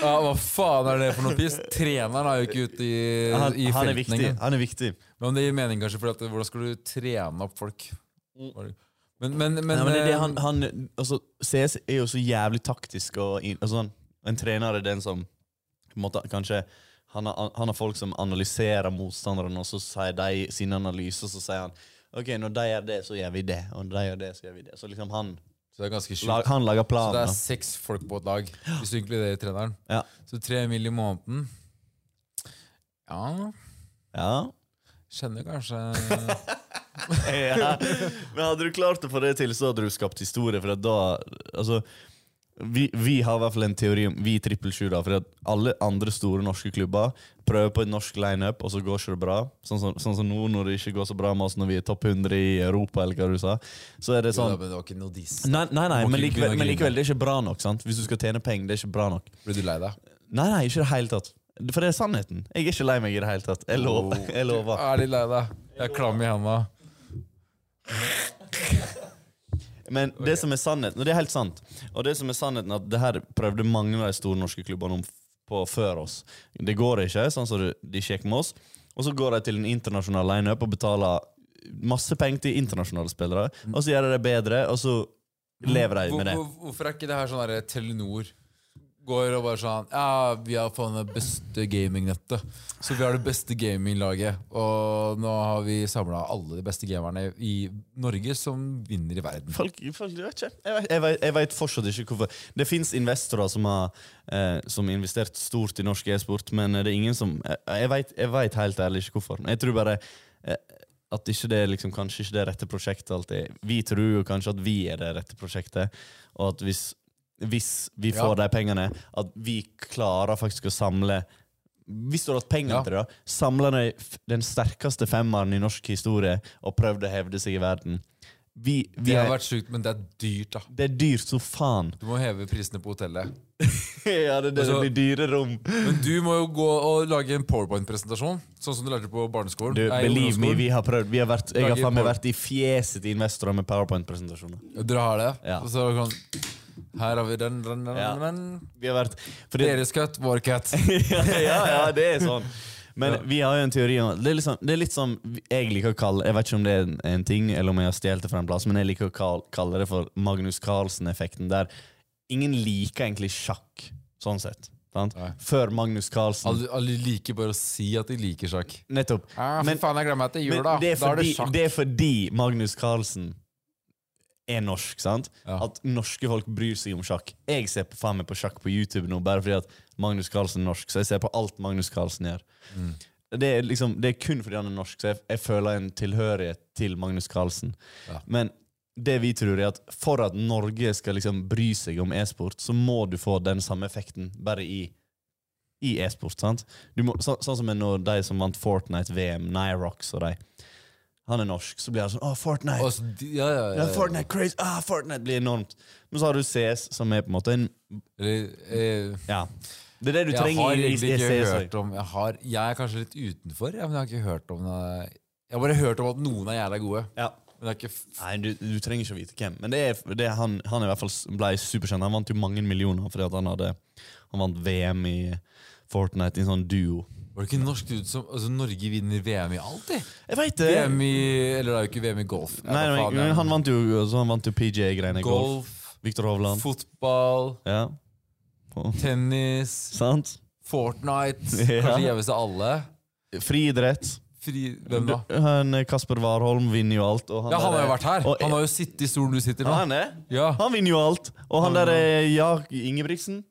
ja, Hva faen er det for noe piss? Treneren er jo ikke ute i,
Han,
i
han, er,
felten
viktig.
engang.
han er viktig.
Men det gir mening, kanskje, for at, hvordan skal du trene opp folk? Men, men, men,
Mm. Nei, men det er det
eh,
han, han altså, CS er jo så jævlig taktisk. Og, in- altså, han- en trener er den som på en måte, kanskje han har, han har folk som analyserer motstanderen, og så sier de sine analyser, og så sier han OK, når de gjør det, så gjør vi det. Og når de gjør det, så gjør vi det. Så liksom han,
Så det er ganske
la-
sjukt.
han lager
Så det
planer.
er seks folk på et lag, hvis du inkluderer treneren.
Ja.
Så tre mil i måneden Ja,
ja.
kjenner kanskje
ja. Men hadde du klart å få det til, så hadde du skapt historie. For at da Altså, vi, vi har i hvert fall en teori om Vi i Trippel Sju, da. For at alle andre store norske klubber prøver på en norsk lineup, og så går ikke det bra. Sånn som, sånn som nå, når det ikke går så bra med oss når vi er topp 100 i Europa, eller hva du sa. Så er det
Jo da,
sånn
Men det var ikke noe diss.
Nei, nei, nei
Må ikke begynne
men,
å
likevel, men
grine.
likevel, det er ikke bra nok. sant? Hvis du skal tjene penger, det er ikke bra nok.
Ble du lei deg?
Nei, nei, ikke i det hele tatt. For det er sannheten. Jeg er ikke lei meg i det hele tatt. Jeg lover.
Oh.
Jeg lover.
Er litt lei deg. Jeg er klam i henda.
Men det som er sannheten, og det er helt sant, og det som er sannheten at det her prøvde mange av de store norske klubbene om f- på før oss. Det går ikke, sånn som det- de gikk med oss. Og så går de til en internasjonal lineup og betaler masse penger til internasjonale spillere. Og så gjør de det bedre, og så lever de med det.
Hvor- hvor- Hvorfor er ikke det her sånn derre Telenor Går og bare sånn Ja, vi har faen det beste gamingnettet. Så vi har det beste gaminglaget. Og nå har vi samla alle de beste gamerne i Norge som vinner i verden.
Folk, folk jeg vet ikke. Jeg vet, jeg, vet, jeg vet fortsatt ikke hvorfor. Det fins investorer som har eh, som har investert stort i norsk e-sport, men det er ingen som Jeg, jeg, vet, jeg vet helt ærlig ikke hvorfor. Men Jeg tror bare eh, at ikke det er liksom, kanskje ikke det rette prosjektet alltid. Vi tror jo kanskje at vi er det rette prosjektet, og at hvis, hvis vi
Ja.
får de pengene, at vi klarer faktisk å samle hvis du hadde hatt penger
Ja.
til det, da, samla de f- den sterkeste femmeren i norsk historie og prøvd å hevde seg i verden vi, vi
Det har
er-
vært sjukt, men det er dyrt, da.
det er dyrt som faen.
Du må heve prisene på hotellet.
ja, det, er det,
Altså-
det blir dyre rom.
Men du må jo gå og lage en powerpoint-presentasjon, sånn som du lærte på barneskolen.
Du,
Nei,
believe me,
ungdomsskolen.
vi har prøvd. Vi har vært, jeg har
Lager
faen meg
power-
vært i fjeset til investorer med powerpoint-presentasjoner.
Dere har det?
Ja.
Og så er det sånn Her har vi den, den, den,
Ja.
den.
Vi har vært fordi,
Deres cut, vår cut.
ja, ja, ja, det er sånn. Men vi har jo en teori om Det er, liksom, det er litt som jeg liker å kalle Jeg vet ikke om det er en, en ting, eller om jeg har stjålet det fra en plass, men jeg liker å kalle, kalle det for Magnus Carlsen-effekten, der ingen liker egentlig sjakk, sånn sett. Sant?
Nei.
Før Magnus Carlsen.
Alle, alle liker bare å si at de liker sjakk.
Nettopp.
Ah,
Men-
for faen, jeg glemmer at det er
Men
jul, da.
det er,
Da er det
fordi,
sjakk.
det er fordi Magnus Carlsen er norsk, sant?
Ja.
At norske folk bryr seg om sjakk. Jeg ser på, faen meg på sjakk på YouTube nå bare fordi at Magnus Carlsen er norsk, så jeg ser på alt Magnus Carlsen gjør.
Mm.
Det, er liksom, det er kun fordi han er norsk, så jeg, jeg føler en tilhørighet til Magnus Carlsen.
Ja.
Men det vi tror er at for at Norge skal liksom bry seg om e-sport, så må du få den samme effekten, bare i i e-sport. sant? Du må, så, sånn som når de som vant Fortnite-VM, Nyrox og de Han er norsk, så blir han sånn Å, Fortnite!
Og så de- ja, ja, ja,
ja,
ja.
Fortnite crazy! Ah, Fortnite blir enormt! Men så har du CS, som er på en måte en
Eller, eh,
Ja. Det er det du
jeg har
trenger i, i,
egentlig
i
ikke
CS.
hørt om jeg, har, jeg er kanskje litt utenfor, ja, men jeg har ikke hørt om det. Jeg har bare hørt om at noen er jævla gode.
Ja.
Men det er ikke f
Nei, du, du trenger ikke å vite hvem. Men det er, det er han, han er i hvert fall s- ble superkjent. Han vant jo mange millioner fordi at han hadde Han vant VM i Fortnite i en sånn duo.
Var det ikke norsk dude som altså, Norge vinner VM i alt, de?
Jeg veit det!
VM i Eller det er jo ikke VM i golf. Ja,
Nei,
hva
nei,
faen,
men
ja.
han vant jo, så han vant jo PJ-greiene i golf.
golf,
Viktor Hovland.
fotball,
Ja.
tennis,
Sant?
Fortnite
Ja.
Kanskje gjeveste alle.
Friidrett.
Fri, hvem da?
Du- Han, eh, Kasper Warholm vinner jo alt. Og han
Ja, han har
der,
jo vært her.
Og,
Han har jo sittet i stolen du sitter
Ja,
nå.
han, er.
Ja.
han vinner jo alt. Og han
Han-
der eh, ja, Ingebrigtsen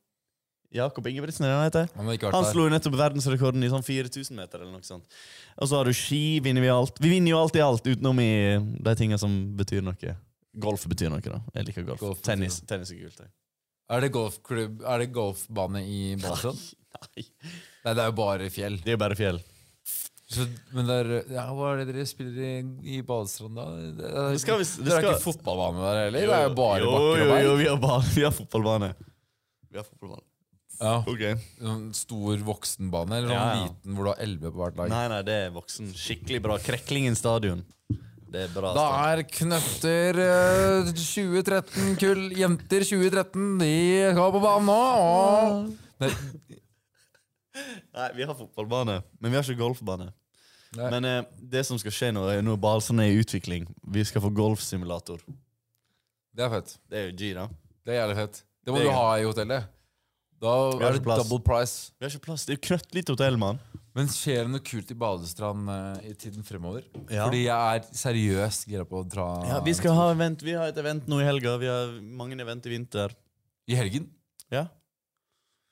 Jakob Ingebrigtsen, er det han heter?
Han har ikke
Han
vært her.
slo jo nettopp verdensrekorden i sånn 4000 meter. eller noe sånt. Og så har du ski, vinner vi alt. Vi vinner jo alt i alt, utenom i de tinga som betyr noe. Golf betyr noe, da. Jeg liker golf.
Golf betyr
tennis, tennis er gult. jeg.
Er det golfklubb Er det golfbane i Boston?
Nei,
Nei, det er jo bare fjell.
det er jo bare fjell.
Så, men der, ja, hva er det dere spiller i, i Balestrand, da? Det, er-
Det skal vi- det
Dere har
skal-
ikke fotballbane der heller? Det er jo bare
jo,
bakker og
jo,
berg.
jo, vi har, bare, vi har fotballbane. Vi har fotballbane.
Ja,
Ok.
en Sånn stor voksenbane, eller
Ja,
en
ja.
liten hvor du har elleve på hvert lag?
Nei, nei, det er voksen. Skikkelig bra. Kreklingen stadion. Det er bra
Da
stadion.
er knøtter eh, 2013-kull Jenter 2013, de skal på banen nå! Og... Nei,
Nei, vi har fotballbane, men vi har ikke golfbane.
Nei.
Men eh, det som skal skje nå, er nå Balsand er i utvikling. Vi skal få golfsimulator.
det er fett.
Det er jo G, da.
Det er jævlig fett. Det må
Det
du
er gøy.
ha i hotellet. Da
har
er det
ikke plass.
double price.
Vi har ikke plass. Det er jo knøttlite hotell, mann.
Men skjer det noe kult i Balestrand eh, i tiden fremover?
Ja.
Fordi jeg er seriøst gira på å dra
Ja, vi skal ha event. Vi har et event nå i helga. Vi har mange event i vinter.
i helgen.
Ja.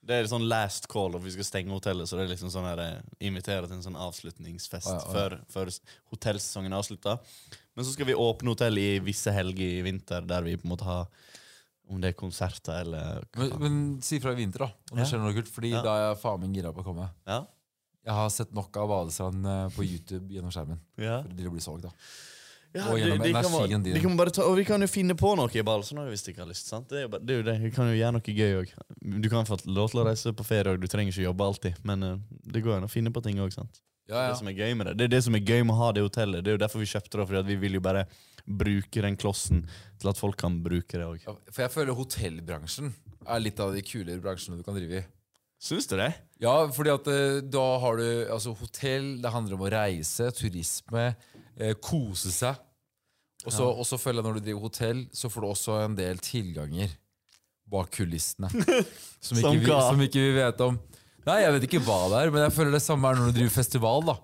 Det er sånn last call, og vi skal stenge hotellet. Så det er liksom sånn her, eh, invitere til en sånn avslutningsfest
Å ja, å ja.
Før, før s- hotellsesongen er avslutta. Men så skal vi åpne hotell i visse helger i vinter, der vi på en måte har Om det er konserter eller
Men, men si fra i vinter, da. Om det
Ja.
skjer noe kult. Fordi
Ja.
da er jeg faen meg gira på å komme.
Ja?
Jeg har sett nok av Balestrand eh, på YouTube gjennom skjermen.
ja.
For det blir solgt, da.
ja
Og gjennom
de, de kan, bare-
energien din.
de kan bare ta, og vi kan jo finne på noe i Balsen også, hvis de ikke har lyst. sant? Det er jo bare, det er jo det. Vi kan jo gjøre noe gøy òg. Du kan få lov til å reise på ferie òg, du trenger ikke jobbe alltid. Men eh, det går an å finne på ting òg, sant?
Ja, ja.
Det som er gøy med det Det er det som er gøy med å ha det hotellet. Det er jo derfor vi kjøpte det, fordi at vi vil jo bare bruke den klossen til at folk kan bruke det òg.
Ja, For jeg føler hotellbransjen er litt av de kulere bransjene du kan drive i.
Syns du det?
Ja, fordi at eh, da har du altså hotell, det handler om å reise, turisme, eh, kose seg. Og så og så føler jeg når du driver hotell, så får du også en del tilganger. bak kulissene. Som ikke,
Som
vi,
hva?
som ikke vi vet om. Nei, jeg vet ikke hva det er, men jeg føler det samme er når du driver festival, da.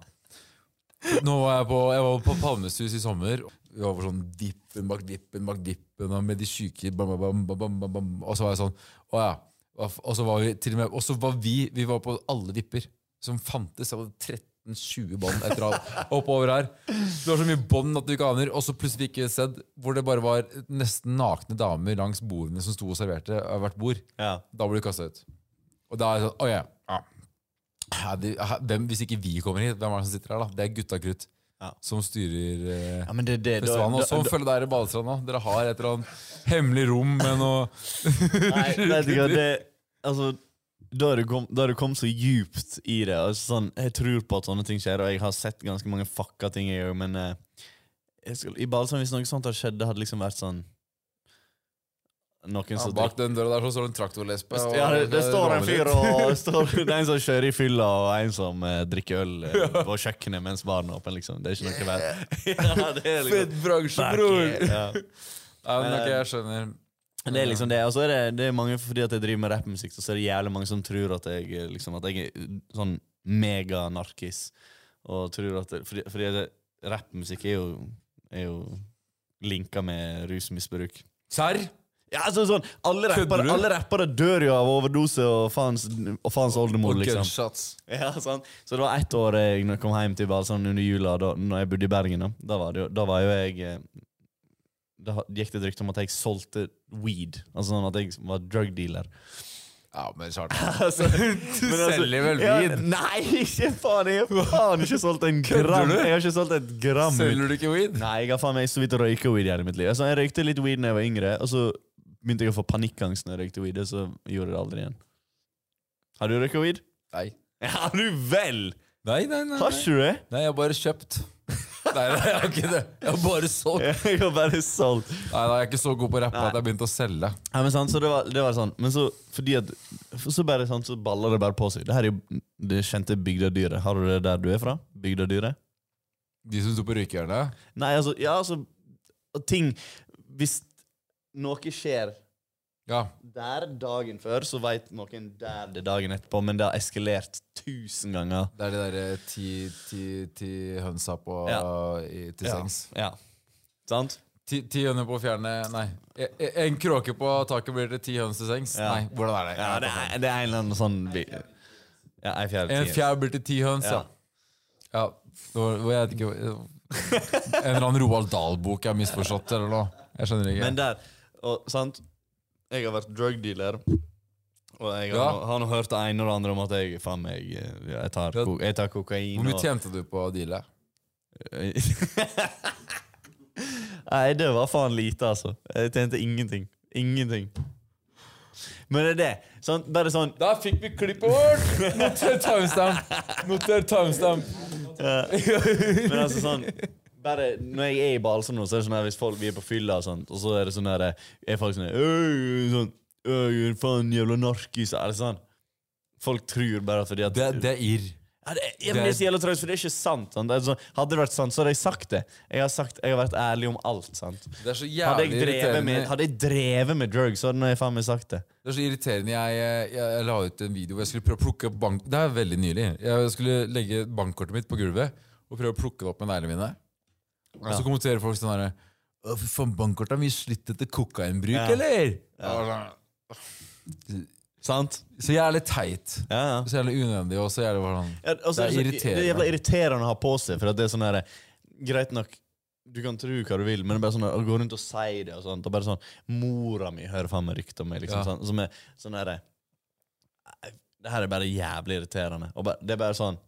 Nå var jeg på, jeg var på Palmesus i sommer. Vi var på sånn dippen bak dippen bak dippen og med de syke bam, bam, bam, bam, bam, bam. Og så var jeg sånn Å ja. Hva f- Og så var vi til og med Og så var vi Vi var på alle dipper som fantes. Det var 13-20 bånd etter alt oppover her. Det var så mye bånd at du ikke aner. Og så plutselig ikke et sted hvor det bare var nesten nakne damer langs bordene som sto og serverte av hvert bord.
Ja.
Da blir du kasta ut. Og da er det sånn, «Å ja, ja. Her, de, her, hvem, Hvis ikke vi kommer hit, hvem er det som sitter her da? Det er gutta krutt
Ja.
som styrer eh,
men det, det, da,
festivalen. Og
da,
så følger dere badestrand nå. Dere har et eller annet hemmelig rom med noe
nei, vet du hva, det, altså, da har du kom- da har du kommet så djupt i det. Altså, sånn, jeg tror på at sånne ting skjer, og jeg har sett ganske mange fucka ting. Jeg, gjør, men eh, jeg skal, i Balsam, hvis noe sånt hadde skjedd, det hadde liksom vært sånn Noen
ja,
som
Bak den døra der så står det en traktorlesbe. og-
Ja, det, det står en fyr
råner.
og det står, det er en som kjører i fylla, og en som eh, drikker øl eh, på kjøkkenet mens baren er åpen. Liksom. Det er ikke noe verdt. Ja, det
Fett
er liksom
bransje,
Fuck
bror!
yeah, ja.
Ja, men ok, jeg skjønner.
Men Det er liksom det, og så er det, det er mange fordi at jeg driver med rappmusikk, så er det jævlig mange som tror at jeg, eh, liksom, at jeg er sånn meganarkis. Og tror at det, Fordi, fordi det, rappmusikk er jo, er jo linka med rusmisbruk.
Serr?
Ja, altså sånn, alle
Kødder
rappere,
du?
alle rappere dør jo av overdose og faens, og faens oldemor,
Og
liksom.
gunshots.
Ja, sant. Så det var ett år eh, jeg kom hjem til Balsand under jula, da når jeg bodde i Bergen. Da, da, var, det jo, da var jo jeg eh, Da ha- gikk det et rykte om at jeg solgte weed. Altså sånn at jeg var drug dealer.
Ja, men Charles
Altså,
Du selger vel
Ja,
weed?
nei, ikke faen! Jeg har faen ikke solgt en gram!
du?
Jeg har ikke solgt et gram
Selger du ikke weed?
Nei, jeg har faen meg så vidt røyka weed igjen i mitt liv. Altså, jeg røykte litt weed da jeg var yngre, og så begynte jeg å få panikkangst når jeg røykte weed, og så gjorde jeg det aldri igjen. Har du røyka weed?
Nei.
Ja, du vel!
Nei, nei, nei. nei.
Har ikke du det?
Nei, jeg har bare kjøpt. Nei, nei, jeg har ikke det. Jeg har bare solgt.
Jeg har bare solgt.
Nei, nei, jeg er ikke så god på å rappe at jeg begynte å selge.
Ja, men sant, så det var, det var sånn. Men så, fordi at, for så bare sånn, så baller det bare på seg. Det her er jo det kjente bygdadyret. Har du det der du er fra? Bygdadyret?
De som sto på røykehjørnet.
Nei, altså, ja, altså, og ting, hvis noe skjer
Ja.
der dagen før, så vet noen der det dagen etterpå, men det har eskalert tusen ganger.
Det er de derre ti, ti, ti hønsa på i, til sengs.
Ja. Sant?
Ti, ti høner på fjernet Nei. E- e- En kråke på taket blir til ti høns til sengs.
Ja.
Nei, hvordan er det?
Ja, det er, det er en eller annen sånn... bi- Ja, en fjerde
En
tid.
fjær blir til ti høns, ja. ja. Det var- det var- Jeg vet ikke En eller annen Roald Dahl-bok jeg har misforstått, eller noe. Jeg skjønner ikke.
Men der, og sant Jeg har vært drug dealer Og jeg har,
Ja.
nå- har nå hørt det ene og det andre om at jeg Faen meg, eh, ja, jeg tar,
Ja.
ko jeg tar kokain
Hvor mye
og-
tjente du på å deale?
Nei, det var faen lite altså Jeg tjente ingenting Ingenting Men det er det sant? Bare sånn
Da fikk vi klippet vårt! Noter timestamp! Noter timestamp!
Men altså sånn bare, Når jeg er i Balsam nå, så er det sånn her hvis folk vi er på fylla og sånt, og så er det sånn her Er folk sånn her, «Øy», sånn Øy, faen, jævla narkis Er det sånn? Folk tror bare fordi at
Det, det er irr.
ja, det, ja, men det
Det
er
er-
så jævla traust, for det er ikke sant. sant? Det er sånn, hadde det vært sant, så hadde jeg sagt det. Jeg har, sagt, jeg har vært ærlig om alt. sant?
Det er så
Hadde
jævlig
jeg drevet
irriterende.
med, hadde jeg drevet med drugs, så hadde jeg faen meg sagt det.
Det er så irriterende. Jeg, jeg, jeg la ut en video hvor jeg skulle prøve å plukke opp bank... Det er veldig nylig. Jeg skulle legge bankkortet mitt på gulvet og prøve å plukke det opp med neglene mine. Og så kommenterer folk sånn herre Å, fy faen, bankkortet er mye slitt etter kokainbruk,
Ja.
eller?
Sant?
Så jævlig teit.
Ja, ja.
Så jævlig unødvendig, og så jævlig bare sånn
Ja, og så
Det er
det, så- det er jævla irriterende å ha på seg, for at det er sånn her Greit nok, du kan tro hva du vil, men det er bare sånn her, å gå rundt og si det og sånt, og bare sånn Mora mi hører faen meg rykter om meg, liksom.
Ja.
Sånn, som er sånn her eh, Det her er bare jævlig irriterende. Og bare, det er bare sånn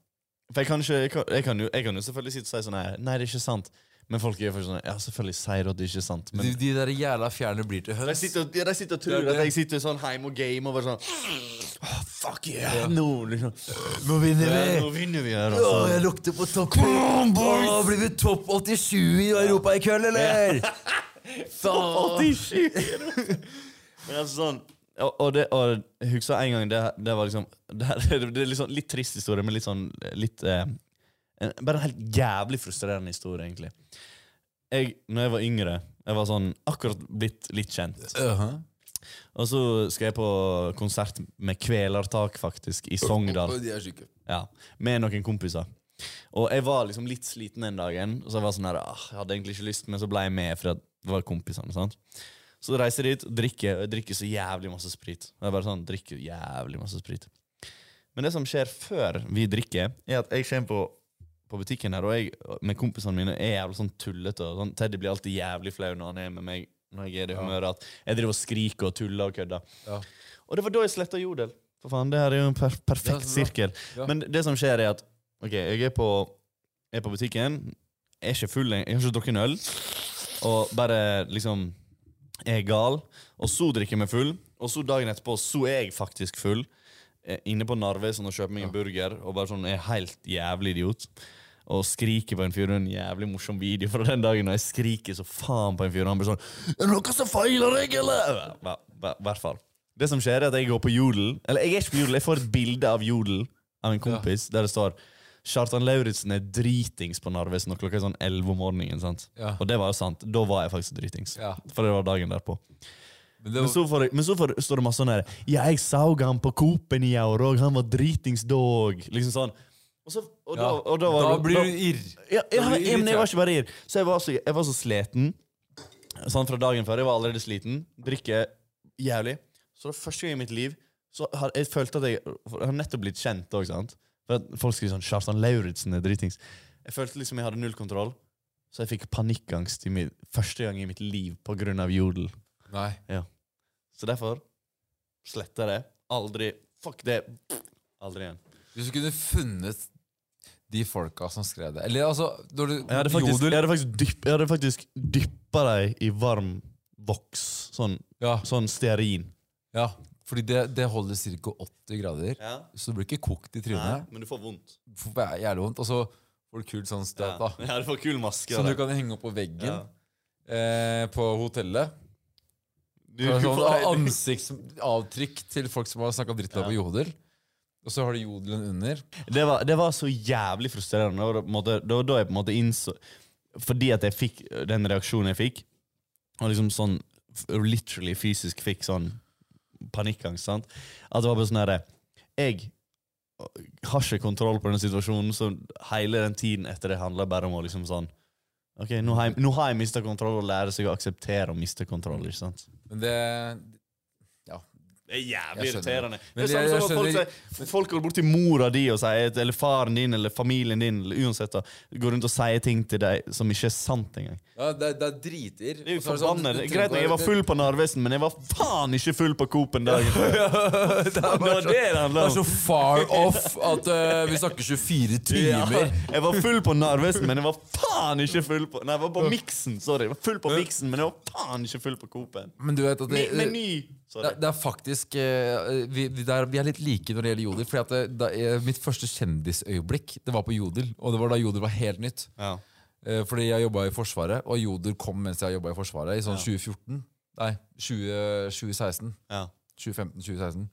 For jeg kan ikke jeg kan, jeg kan, jo, jeg kan jo selvfølgelig sitte og si sånn her Nei, det er ikke sant. Men folk gjør faktisk sånn Ja, selvfølgelig sier du at det ikke er sant, men
De, de der jævla fjærene blir til
de
høns.
sitter, og- ja, de sitter og tror
Det er det.
at jeg sitter sånn hjemme og gamer og bare sånn «Åh, Fuck yeah! Nå, liksom.
Nå vinner
Ja, nå vinner vi her, altså.
lukter på topp Nå blir vi topp 87 i Europa i kveld, eller?
Topp 87! Men altså sånn og, og, det, og jeg husker en gang det, det var liksom Det, her- det er litt, sånn, litt trist historie, men litt sånn litt, eh, en, Bare en helt jævlig frustrerende historie, egentlig. Jeg, når jeg var yngre, jeg var sånn akkurat blitt litt kjent.
Uh -huh.
Og så skal jeg på konsert med kvelertak, faktisk, i Sogndal.
De er syke.
Ja, Med noen kompiser. Og jeg var liksom litt sliten den dagen. Og så jeg var sånn her, ah, jeg hadde egentlig ikke lyst, men så ble jeg med fordi det var kompisene. sant? Så reiser jeg dit og drikker, og jeg drikker så jævlig masse sprit. Og jeg bare sånn, drikker jævlig masse sprit. Men det som skjer før vi drikker, er at jeg kommer på, på butikken her, og jeg med kompisene mine er jævlig sånn tullete. og sånn. Teddy blir alltid jævlig flau når han er med meg. Når jeg er i det humøret at jeg driver og skriker og tuller og kødder. Og det var da jeg sletta Jodel. For faen, det her er jo en per perfekt
så bra.
sirkel.
Ja.
Men det som skjer, er at Ok, jeg er på, er på butikken. Jeg er ikke full, jeg jeg har ikke drukket en øl. Og bare liksom er gal. Og så drikker jeg meg full. Og så dagen etterpå så er jeg faktisk full. Eh, Inne på Narvesen og kjøper meg en burger og bare sånn er helt jævlig idiot. Og skriker på en fyr. Det er En jævlig morsom video fra den dagen. Og jeg skriker så faen på en fyr. Og han blir sånn Er det noe som feiler deg, eller? Ja, hva- hvert fall. Det som skjer, er at jeg går på Jodel. Eller jeg er ikke på Jodel, jeg får et bilde av Jodel av en kompis der det står Kjartan Lauritzen er dritings på Narvesen, og klokka er sånn 11 om morgenen. sant?
Ja.
Og det var jo sant. Da var jeg faktisk dritings.
Ja.
For det var dagen derpå.
Men det
Men
var,
så, får jeg, men så får, står det masse sånn her Ja, jeg saug han på Coop-en i år òg, han var dritings dog. Liksom sånn. Og, så, og, da,
ja.
og da var det-
blir
da-
du irr.
ja, ja,
Da blir du
ja, men jeg
irritert.
var ikke bare irr. Så jeg var så, jeg var så sliten sånn fra dagen før. Jeg var allerede sliten. Drikker jævlig. Så det var første gang i mitt liv så har jeg følte at jeg, jeg har nettopp blitt kjent òg, sant. For at folk skriver sånn 'Kjartan Lauritzen er dritings'. Jeg følte liksom jeg hadde null kontroll, så jeg fikk panikkangst i mitt, første gang i mitt liv på grunn av jodel.
Nei.
Så derfor sletter jeg det. Aldri Fuck det! Aldri igjen.
Hvis du kunne funnet de folka som skrev det Eller altså når du,
Jeg hadde faktisk,
Jodel
jeg hadde faktisk, dypp, jeg hadde faktisk dyppa dem i varm voks. Sånn,
ja,
sånn stearin.
ja, fordi det, det holder ca. 80 grader. Så du blir ikke kokt i trynet.
men du får vondt.
Får bare Jævlig vondt. Og så får du kult sånn støt, da.
Ja, du får kul maske.
Som
av
du
det.
kan henge opp på veggen
Ja.
eh, på hotellet.
Du,
Det er
du
Sånn
får-
ansiktsavtrykk til folk som har snakka dritt om deg på Jodel. Og så har du jodelen under.
det, var, det var så jævlig frustrerende. Det var, på en måte, det var da jeg på en måte innså Fordi at jeg fikk den reaksjonen jeg fikk, og liksom sånn f- literally fysisk fikk sånn panikkangst, sant? At det var bare sånn herre Jeg øh, har ikke kontroll på den situasjonen, så hele den tiden etter det handler bare om å liksom sånn Ok, nå har jeg, nå har jeg mista kontroll, og lære seg å akseptere å miste kontroll. ikke sant?
Men det
Det er jævlig
Jeg skjønner.
irriterende. Det
Men
er samme
jeg- jeg
som at folk,
skjønner-
sier, folk går bort til mora di og sier, eller faren din eller familien din eller uansett da, går rundt og sier ting til deg som ikke er sant engang.
ja, det, er- det er driter.
Det er jo
Og så det sånn,
forbannet.
du- du trenger
Greit,
ikke
jeg
å-
var full på Narvesen, men jeg var faen ikke full på Coop en dag. det var det det handla
Det er
om.
så far off at eh, vi snakker 24
Ja,
timer.
jeg var full på Narvesen, men jeg var faen ikke full på Nei, jeg var på Mixen, sorry. Jeg var full på Mixen, men jeg var faen ikke full på Coop-en.
Men du vet at det,
Meny!
det,
Sorry.
det er faktisk eh, vi, vi, der, vi er litt like når det gjelder Jodel. Fordi at det, da, eh, Mitt første kjendisøyeblikk Det var på Jodel, og det var da Jodel var helt nytt.
Ja.
Eh, Fordi jeg jobba i Forsvaret, og Jodel kom mens jeg jobba i Forsvaret. I sånn 2014. Nei, 20, 2016.
Ja.
2015-2016.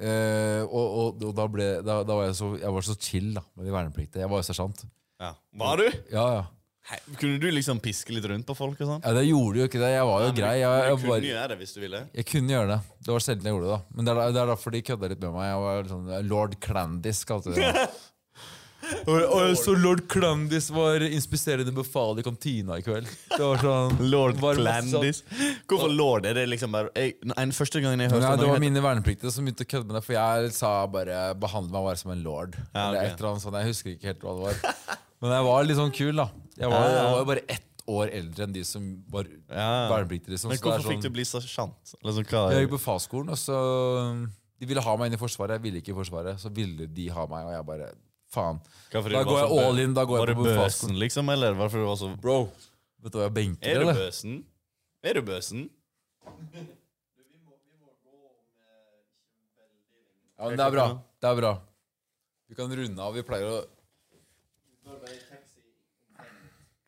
Eh, og, og, og da ble da, da var jeg så Jeg var så chill da med de vernepliktige. Jeg var jo sersjant.
Ja. Var du?
Ja, ja.
Hei, Kunne du liksom piske litt rundt på folk og sånn?
ja, det gjorde jo ikke det. Jeg var jo grei. Jeg, jeg,
du
var,
kunne gjøre det hvis du ville.
jeg kunne gjøre det. Det var sjelden jeg gjorde det. da Men det er, da- det er derfor de kødda litt med meg. Jeg var sånn eh, Lord Clandis, kalte de det. og, og så lord Clandis var inspiserende befal i kantina i kveld. Det var sånn
Lord
var masse sånn-
Clandis. Hvorfor lord? Er det liksom bare jeg, nei, Første gangen jeg hørte
Nei,
om
det var
noen-
mine vernepliktige som begynte å kødde med det. For jeg sa bare 'behandle meg bare som en lord'.
Ja,
Eller
ok.
et eller annet sånt, Jeg husker ikke helt hva det var. Men jeg var litt sånn kul, da. Jeg var, jeg var jo bare ett år eldre enn de som var
Ja.
vernepliktige. Liksom.
Men
Så det
hvorfor
er
fikk du
sånn,
bli sersjant? Eller sånn, hva-
jeg gikk på fagskolen, og så um, De ville ha meg inn i Forsvaret. Jeg ville ikke i Forsvaret. Så ville de ha meg, og jeg bare Faen.
hva fordi
Da
du var
går jeg
så bø-
all in. Da går
Var
jeg
du
på befalsskolen.
bøsen, liksom? Eller hvorfor du var så
Bro. Vet du hva jeg benker,
Er du
eller?
bøsen? Er du bøsen?
Ja, men det er bra. Det er bra. Vi kan runde av. Vi pleier å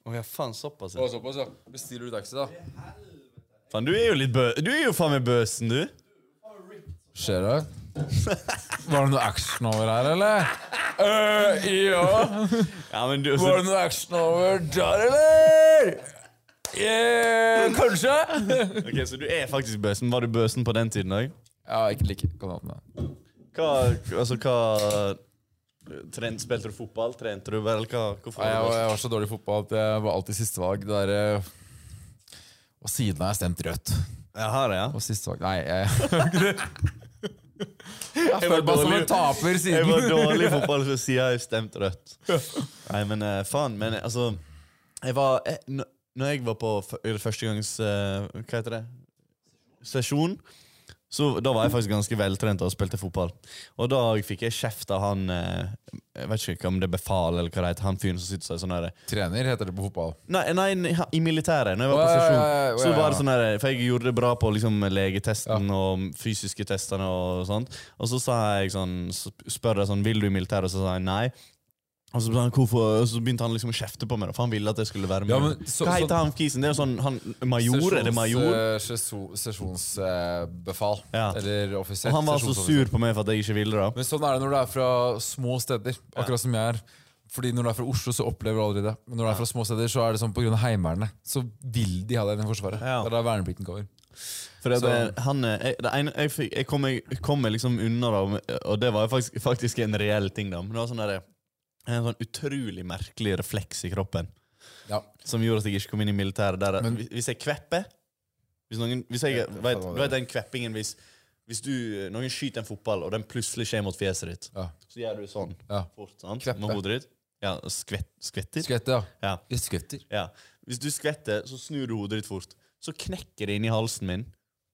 Å ja, faen, såpass.
Å,
ja.
Såpass, ja. Bestiller du taxi, da?
Faen, du er jo litt bø... Du er jo faen meg bøsen, du.
Skjer det? Var det noe action over her, eller? Øh, ja.
Ja, men du
Var det noe action over der, eller? Eh, kanskje?
Ok, Så du er faktisk bøsen. Var du bøsen på den tiden òg?
Ja, ikke like kandidatene.
Hva, altså, hva Tren- Spilte du fotball? Trente du? Eller hva? Hvorfor?
Nei, jeg, var-
var du
jeg var så dårlig i fotball at jeg var alltid sistevalg. Det er, eh, Og siden har jeg stemt rødt.
bøsen? Jeg har det, ja.
Og sistevalg Nei, jeg Jeg
var
føler meg som
dårlig.
en taper
Jeg var
siden.
dårlig i fotball, så sier jeg stemt rødt. Nei, men eh, faen. Men eh, altså jeg var, jeg, n- Når jeg var på f- eller første gangs eh, Hva heter det? Sesjon. Så Da var jeg faktisk ganske veltrent og spilte fotball. Og da fikk jeg kjeft av han eh, Jeg vet ikke om det er befal eller hva det heter. Han fyren som sitter sånn her
Trener heter det på fotball.
Nei, nei, nei, i militæret, når jeg
Å,
var på
ja,
sesjon.
ja, ja, ja,
Så
ja.
var det sånn her, For jeg gjorde det bra på liksom, legetesten og fysiske testene og sånt. Og så sa jeg sånn sp- Spør jeg sånn Vil du i militæret? Og så sa jeg nei. Og så, sa han, Hvorfor? og så begynte han liksom å kjefte på meg, da, for han ville at jeg skulle være med.
Ja, men så-
Hva
sånn-
heter han kisen? Det er jo sånn han, Major? er det major?
eh, Sesjonsbefal.
Ja.
Eller offiser.
Og han var så
sesjonsoffiser.
sur på meg for at jeg ikke ville det.
Men sånn er det når du er fra små steder. Akkurat som jeg er. Fordi Når du er fra Oslo, så opplever du aldri det. Men når du er fra små steder, så er det sånn pga. Heimevernet. Så vil de ha deg inn i Forsvaret.
Ja.
Det er da verneplikten kommer.
For det,
Så-
han, eh, jeg, det ene, jeg, fikk- jeg, kom, meg- kom meg liksom unna, da, og det var jo faktisk, faktisk en reell ting. da Men det var sånn der, En sånn utrolig merkelig refleks i kroppen
Ja.
som gjorde at jeg ikke kom inn i militæret. Der,
Men-
hvis- hvis jeg kvepper hvis noen, hvis jeg, vet,
faen var
Du vet den kveppingen hvis, hvis du, eh, noen skyter en fotball, og den plutselig skjer mot fjeset ditt,
Ja.
så gjør du sånn
Ja.
fort sant?
Kveppe.
med hodet ditt. Ja, skvett, skvetter.
Skvetter, ja.
Ja.
Jeg skvetter.
Ja. Hvis du skvetter, så snur du hodet ditt fort. Så knekker det inni halsen min,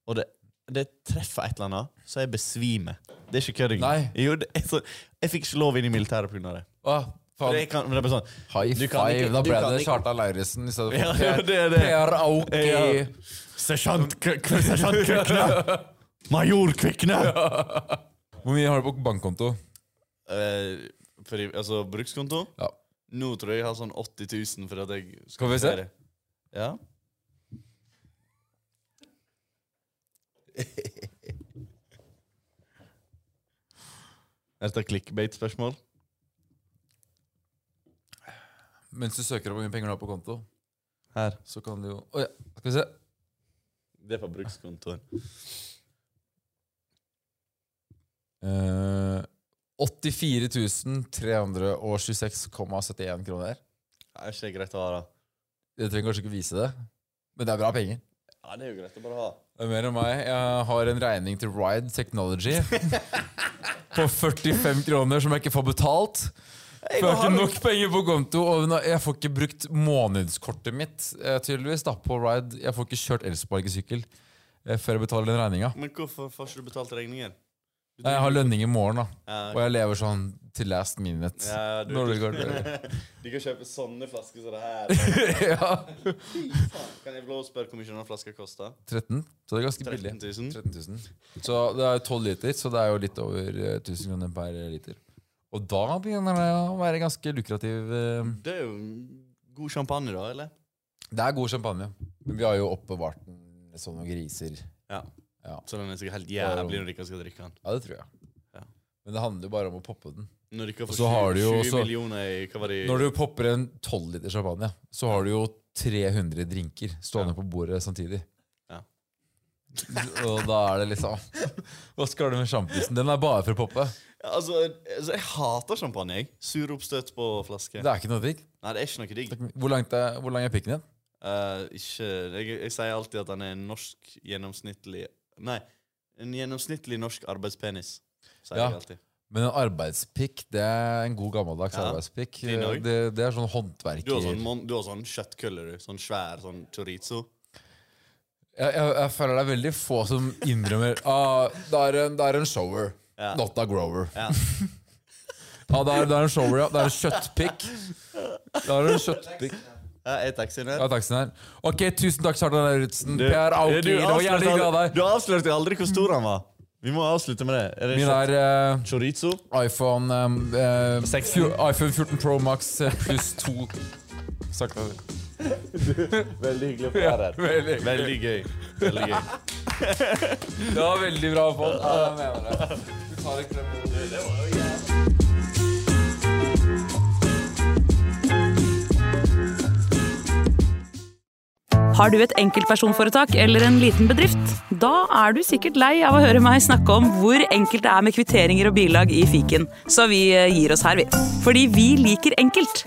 og det, det treffer et eller annet, så jeg besvimer. Det er ikke kødd. engang.
Nei.
Jo, det er så- Jeg fikk ikke lov inn i militæret pga. det.
Å, faen.
For jeg kan, men det er bare sånn
High
du
five.
kan ikke-
da
du
ble
kan
det
ikke-
Kjartan Lauritzen i stedet for
Ja,
Per,
det er det.
per Aoki.
Ja. Sersjant Kø- Kø- sersjant Kvikne! Major Kvikne!
Hvor mye har du på bankkonto?
Eh, pri- altså, brukskonto?
Ja.
Nå tror jeg jeg har sånn 80 000 for at jeg
Skal vi se?
det. Ja. Er dette clickbait-spørsmål?
Mens du søker opp hvor mye penger du har på konto,
Her.
så kan du jo Å ja, skal vi se.
Det er på brukskontoen.
Eh, 84 326,71 kroner.
Det er ikke greit å ha, da.
Jeg trenger kanskje ikke vise det, men det er bra penger.
Ja, det er jo greit å bare ha.
Det er mer enn meg. Jeg har en regning til Ride Technology på 45 kroner som jeg ikke får betalt. For jeg har ikke nok penger på konto, og nå- jeg får ikke brukt månedskortet mitt eh, tydeligvis da, på Ride. Jeg får ikke kjørt elsparkesykkel eh, før jeg betaler den regninga.
Men hvorfor får ikke du betalt regningen?
Jeg har lønning i morgen, da.
Ja,
Og jeg lever sånn til last minute.
Ja, du-
Når det går til-
Du kan kjøpe sånne flasker som det her.
ja.
Kan jeg få lov å spørre hvor mye denne flaska koster?
13, så det er ganske
13
billig.
000?
13 000. Så det er 12 liter, så det er jo litt over eh, 1000 kroner per liter. Og da begynner det å være ganske lukrativ. eh,
Det er jo god champagne, da, eller?
Det er god champagne. Men vi har jo oppbevart den som noen griser.
Ja.
Ja.
Så den er sikkert helt jævlig når dere skal drikke den.
Ja, det tror jeg.
Ja.
Men det handler jo bare om å poppe den.
Når dere
Og
får
så har du jo
20
også-
millioner i hva var det?
Når du popper en 12 liter champagne, så har du jo 300 drinker stående på bordet samtidig.
Ja.
Og da er det liksom Hva skal du med sjampisen? Den er bare for å poppe.
altså, altså, jeg hater champagne, jeg. Sur oppstøt på flaske.
Det er ikke noe digg.
Nei, det er ikke noe digg.
Hvor, langt er- hvor lang er pikken din?
Eh, ikke jeg, jeg sier alltid at han er en norsk gjennomsnittlig Nei, en gjennomsnittlig norsk arbeidspenis. Sier
Ja.
jeg alltid.
Men en arbeidspikk, det er en god gammeldags
Ja.
arbeidspikk.
Din òg.
Det, det er sånn
Du
håndverker...
har sånn, mon- du har sånn kjøttkølle, du. Sånn svær sånn chorizo.
Jeg, jeg, jeg føler det er veldig få som innrømmer ah, det, er en, det er en shower,
Ja.
not a grower.
Ja.
Ja, det er, det er en shower, ja. Det er en kjøttpikk. Det er en kjøttpikk.
Ja, er taxien her?
Ja, taxien her. Ok, tusen takk, Kjartan Lauritzen.
Du-
Per Auki,
du
det var
avslørte
jævlig hyggelig av
aldri-
deg.
Du avslørte aldri hvor stor han var. Vi må avslutte med det. Er det
Min
kjøtt-
er eh,
chorizo?
iPhone eh, eh, fjo- iPhone 14 Pro Max eh, pluss 2. Sakta det.
Veldig hyggelig å få være her.
Veldig.
Veldig gøy. Veldig gøy.
Det var veldig bra fond. Jeg mener det. Du tar en klem.
Har du et enkeltpersonforetak eller en liten bedrift? Da er du sikkert lei av å høre meg snakke om hvor enkelt det er med kvitteringer og bilag i fiken, så vi eh, gir oss her, vi. Fordi vi liker enkelt.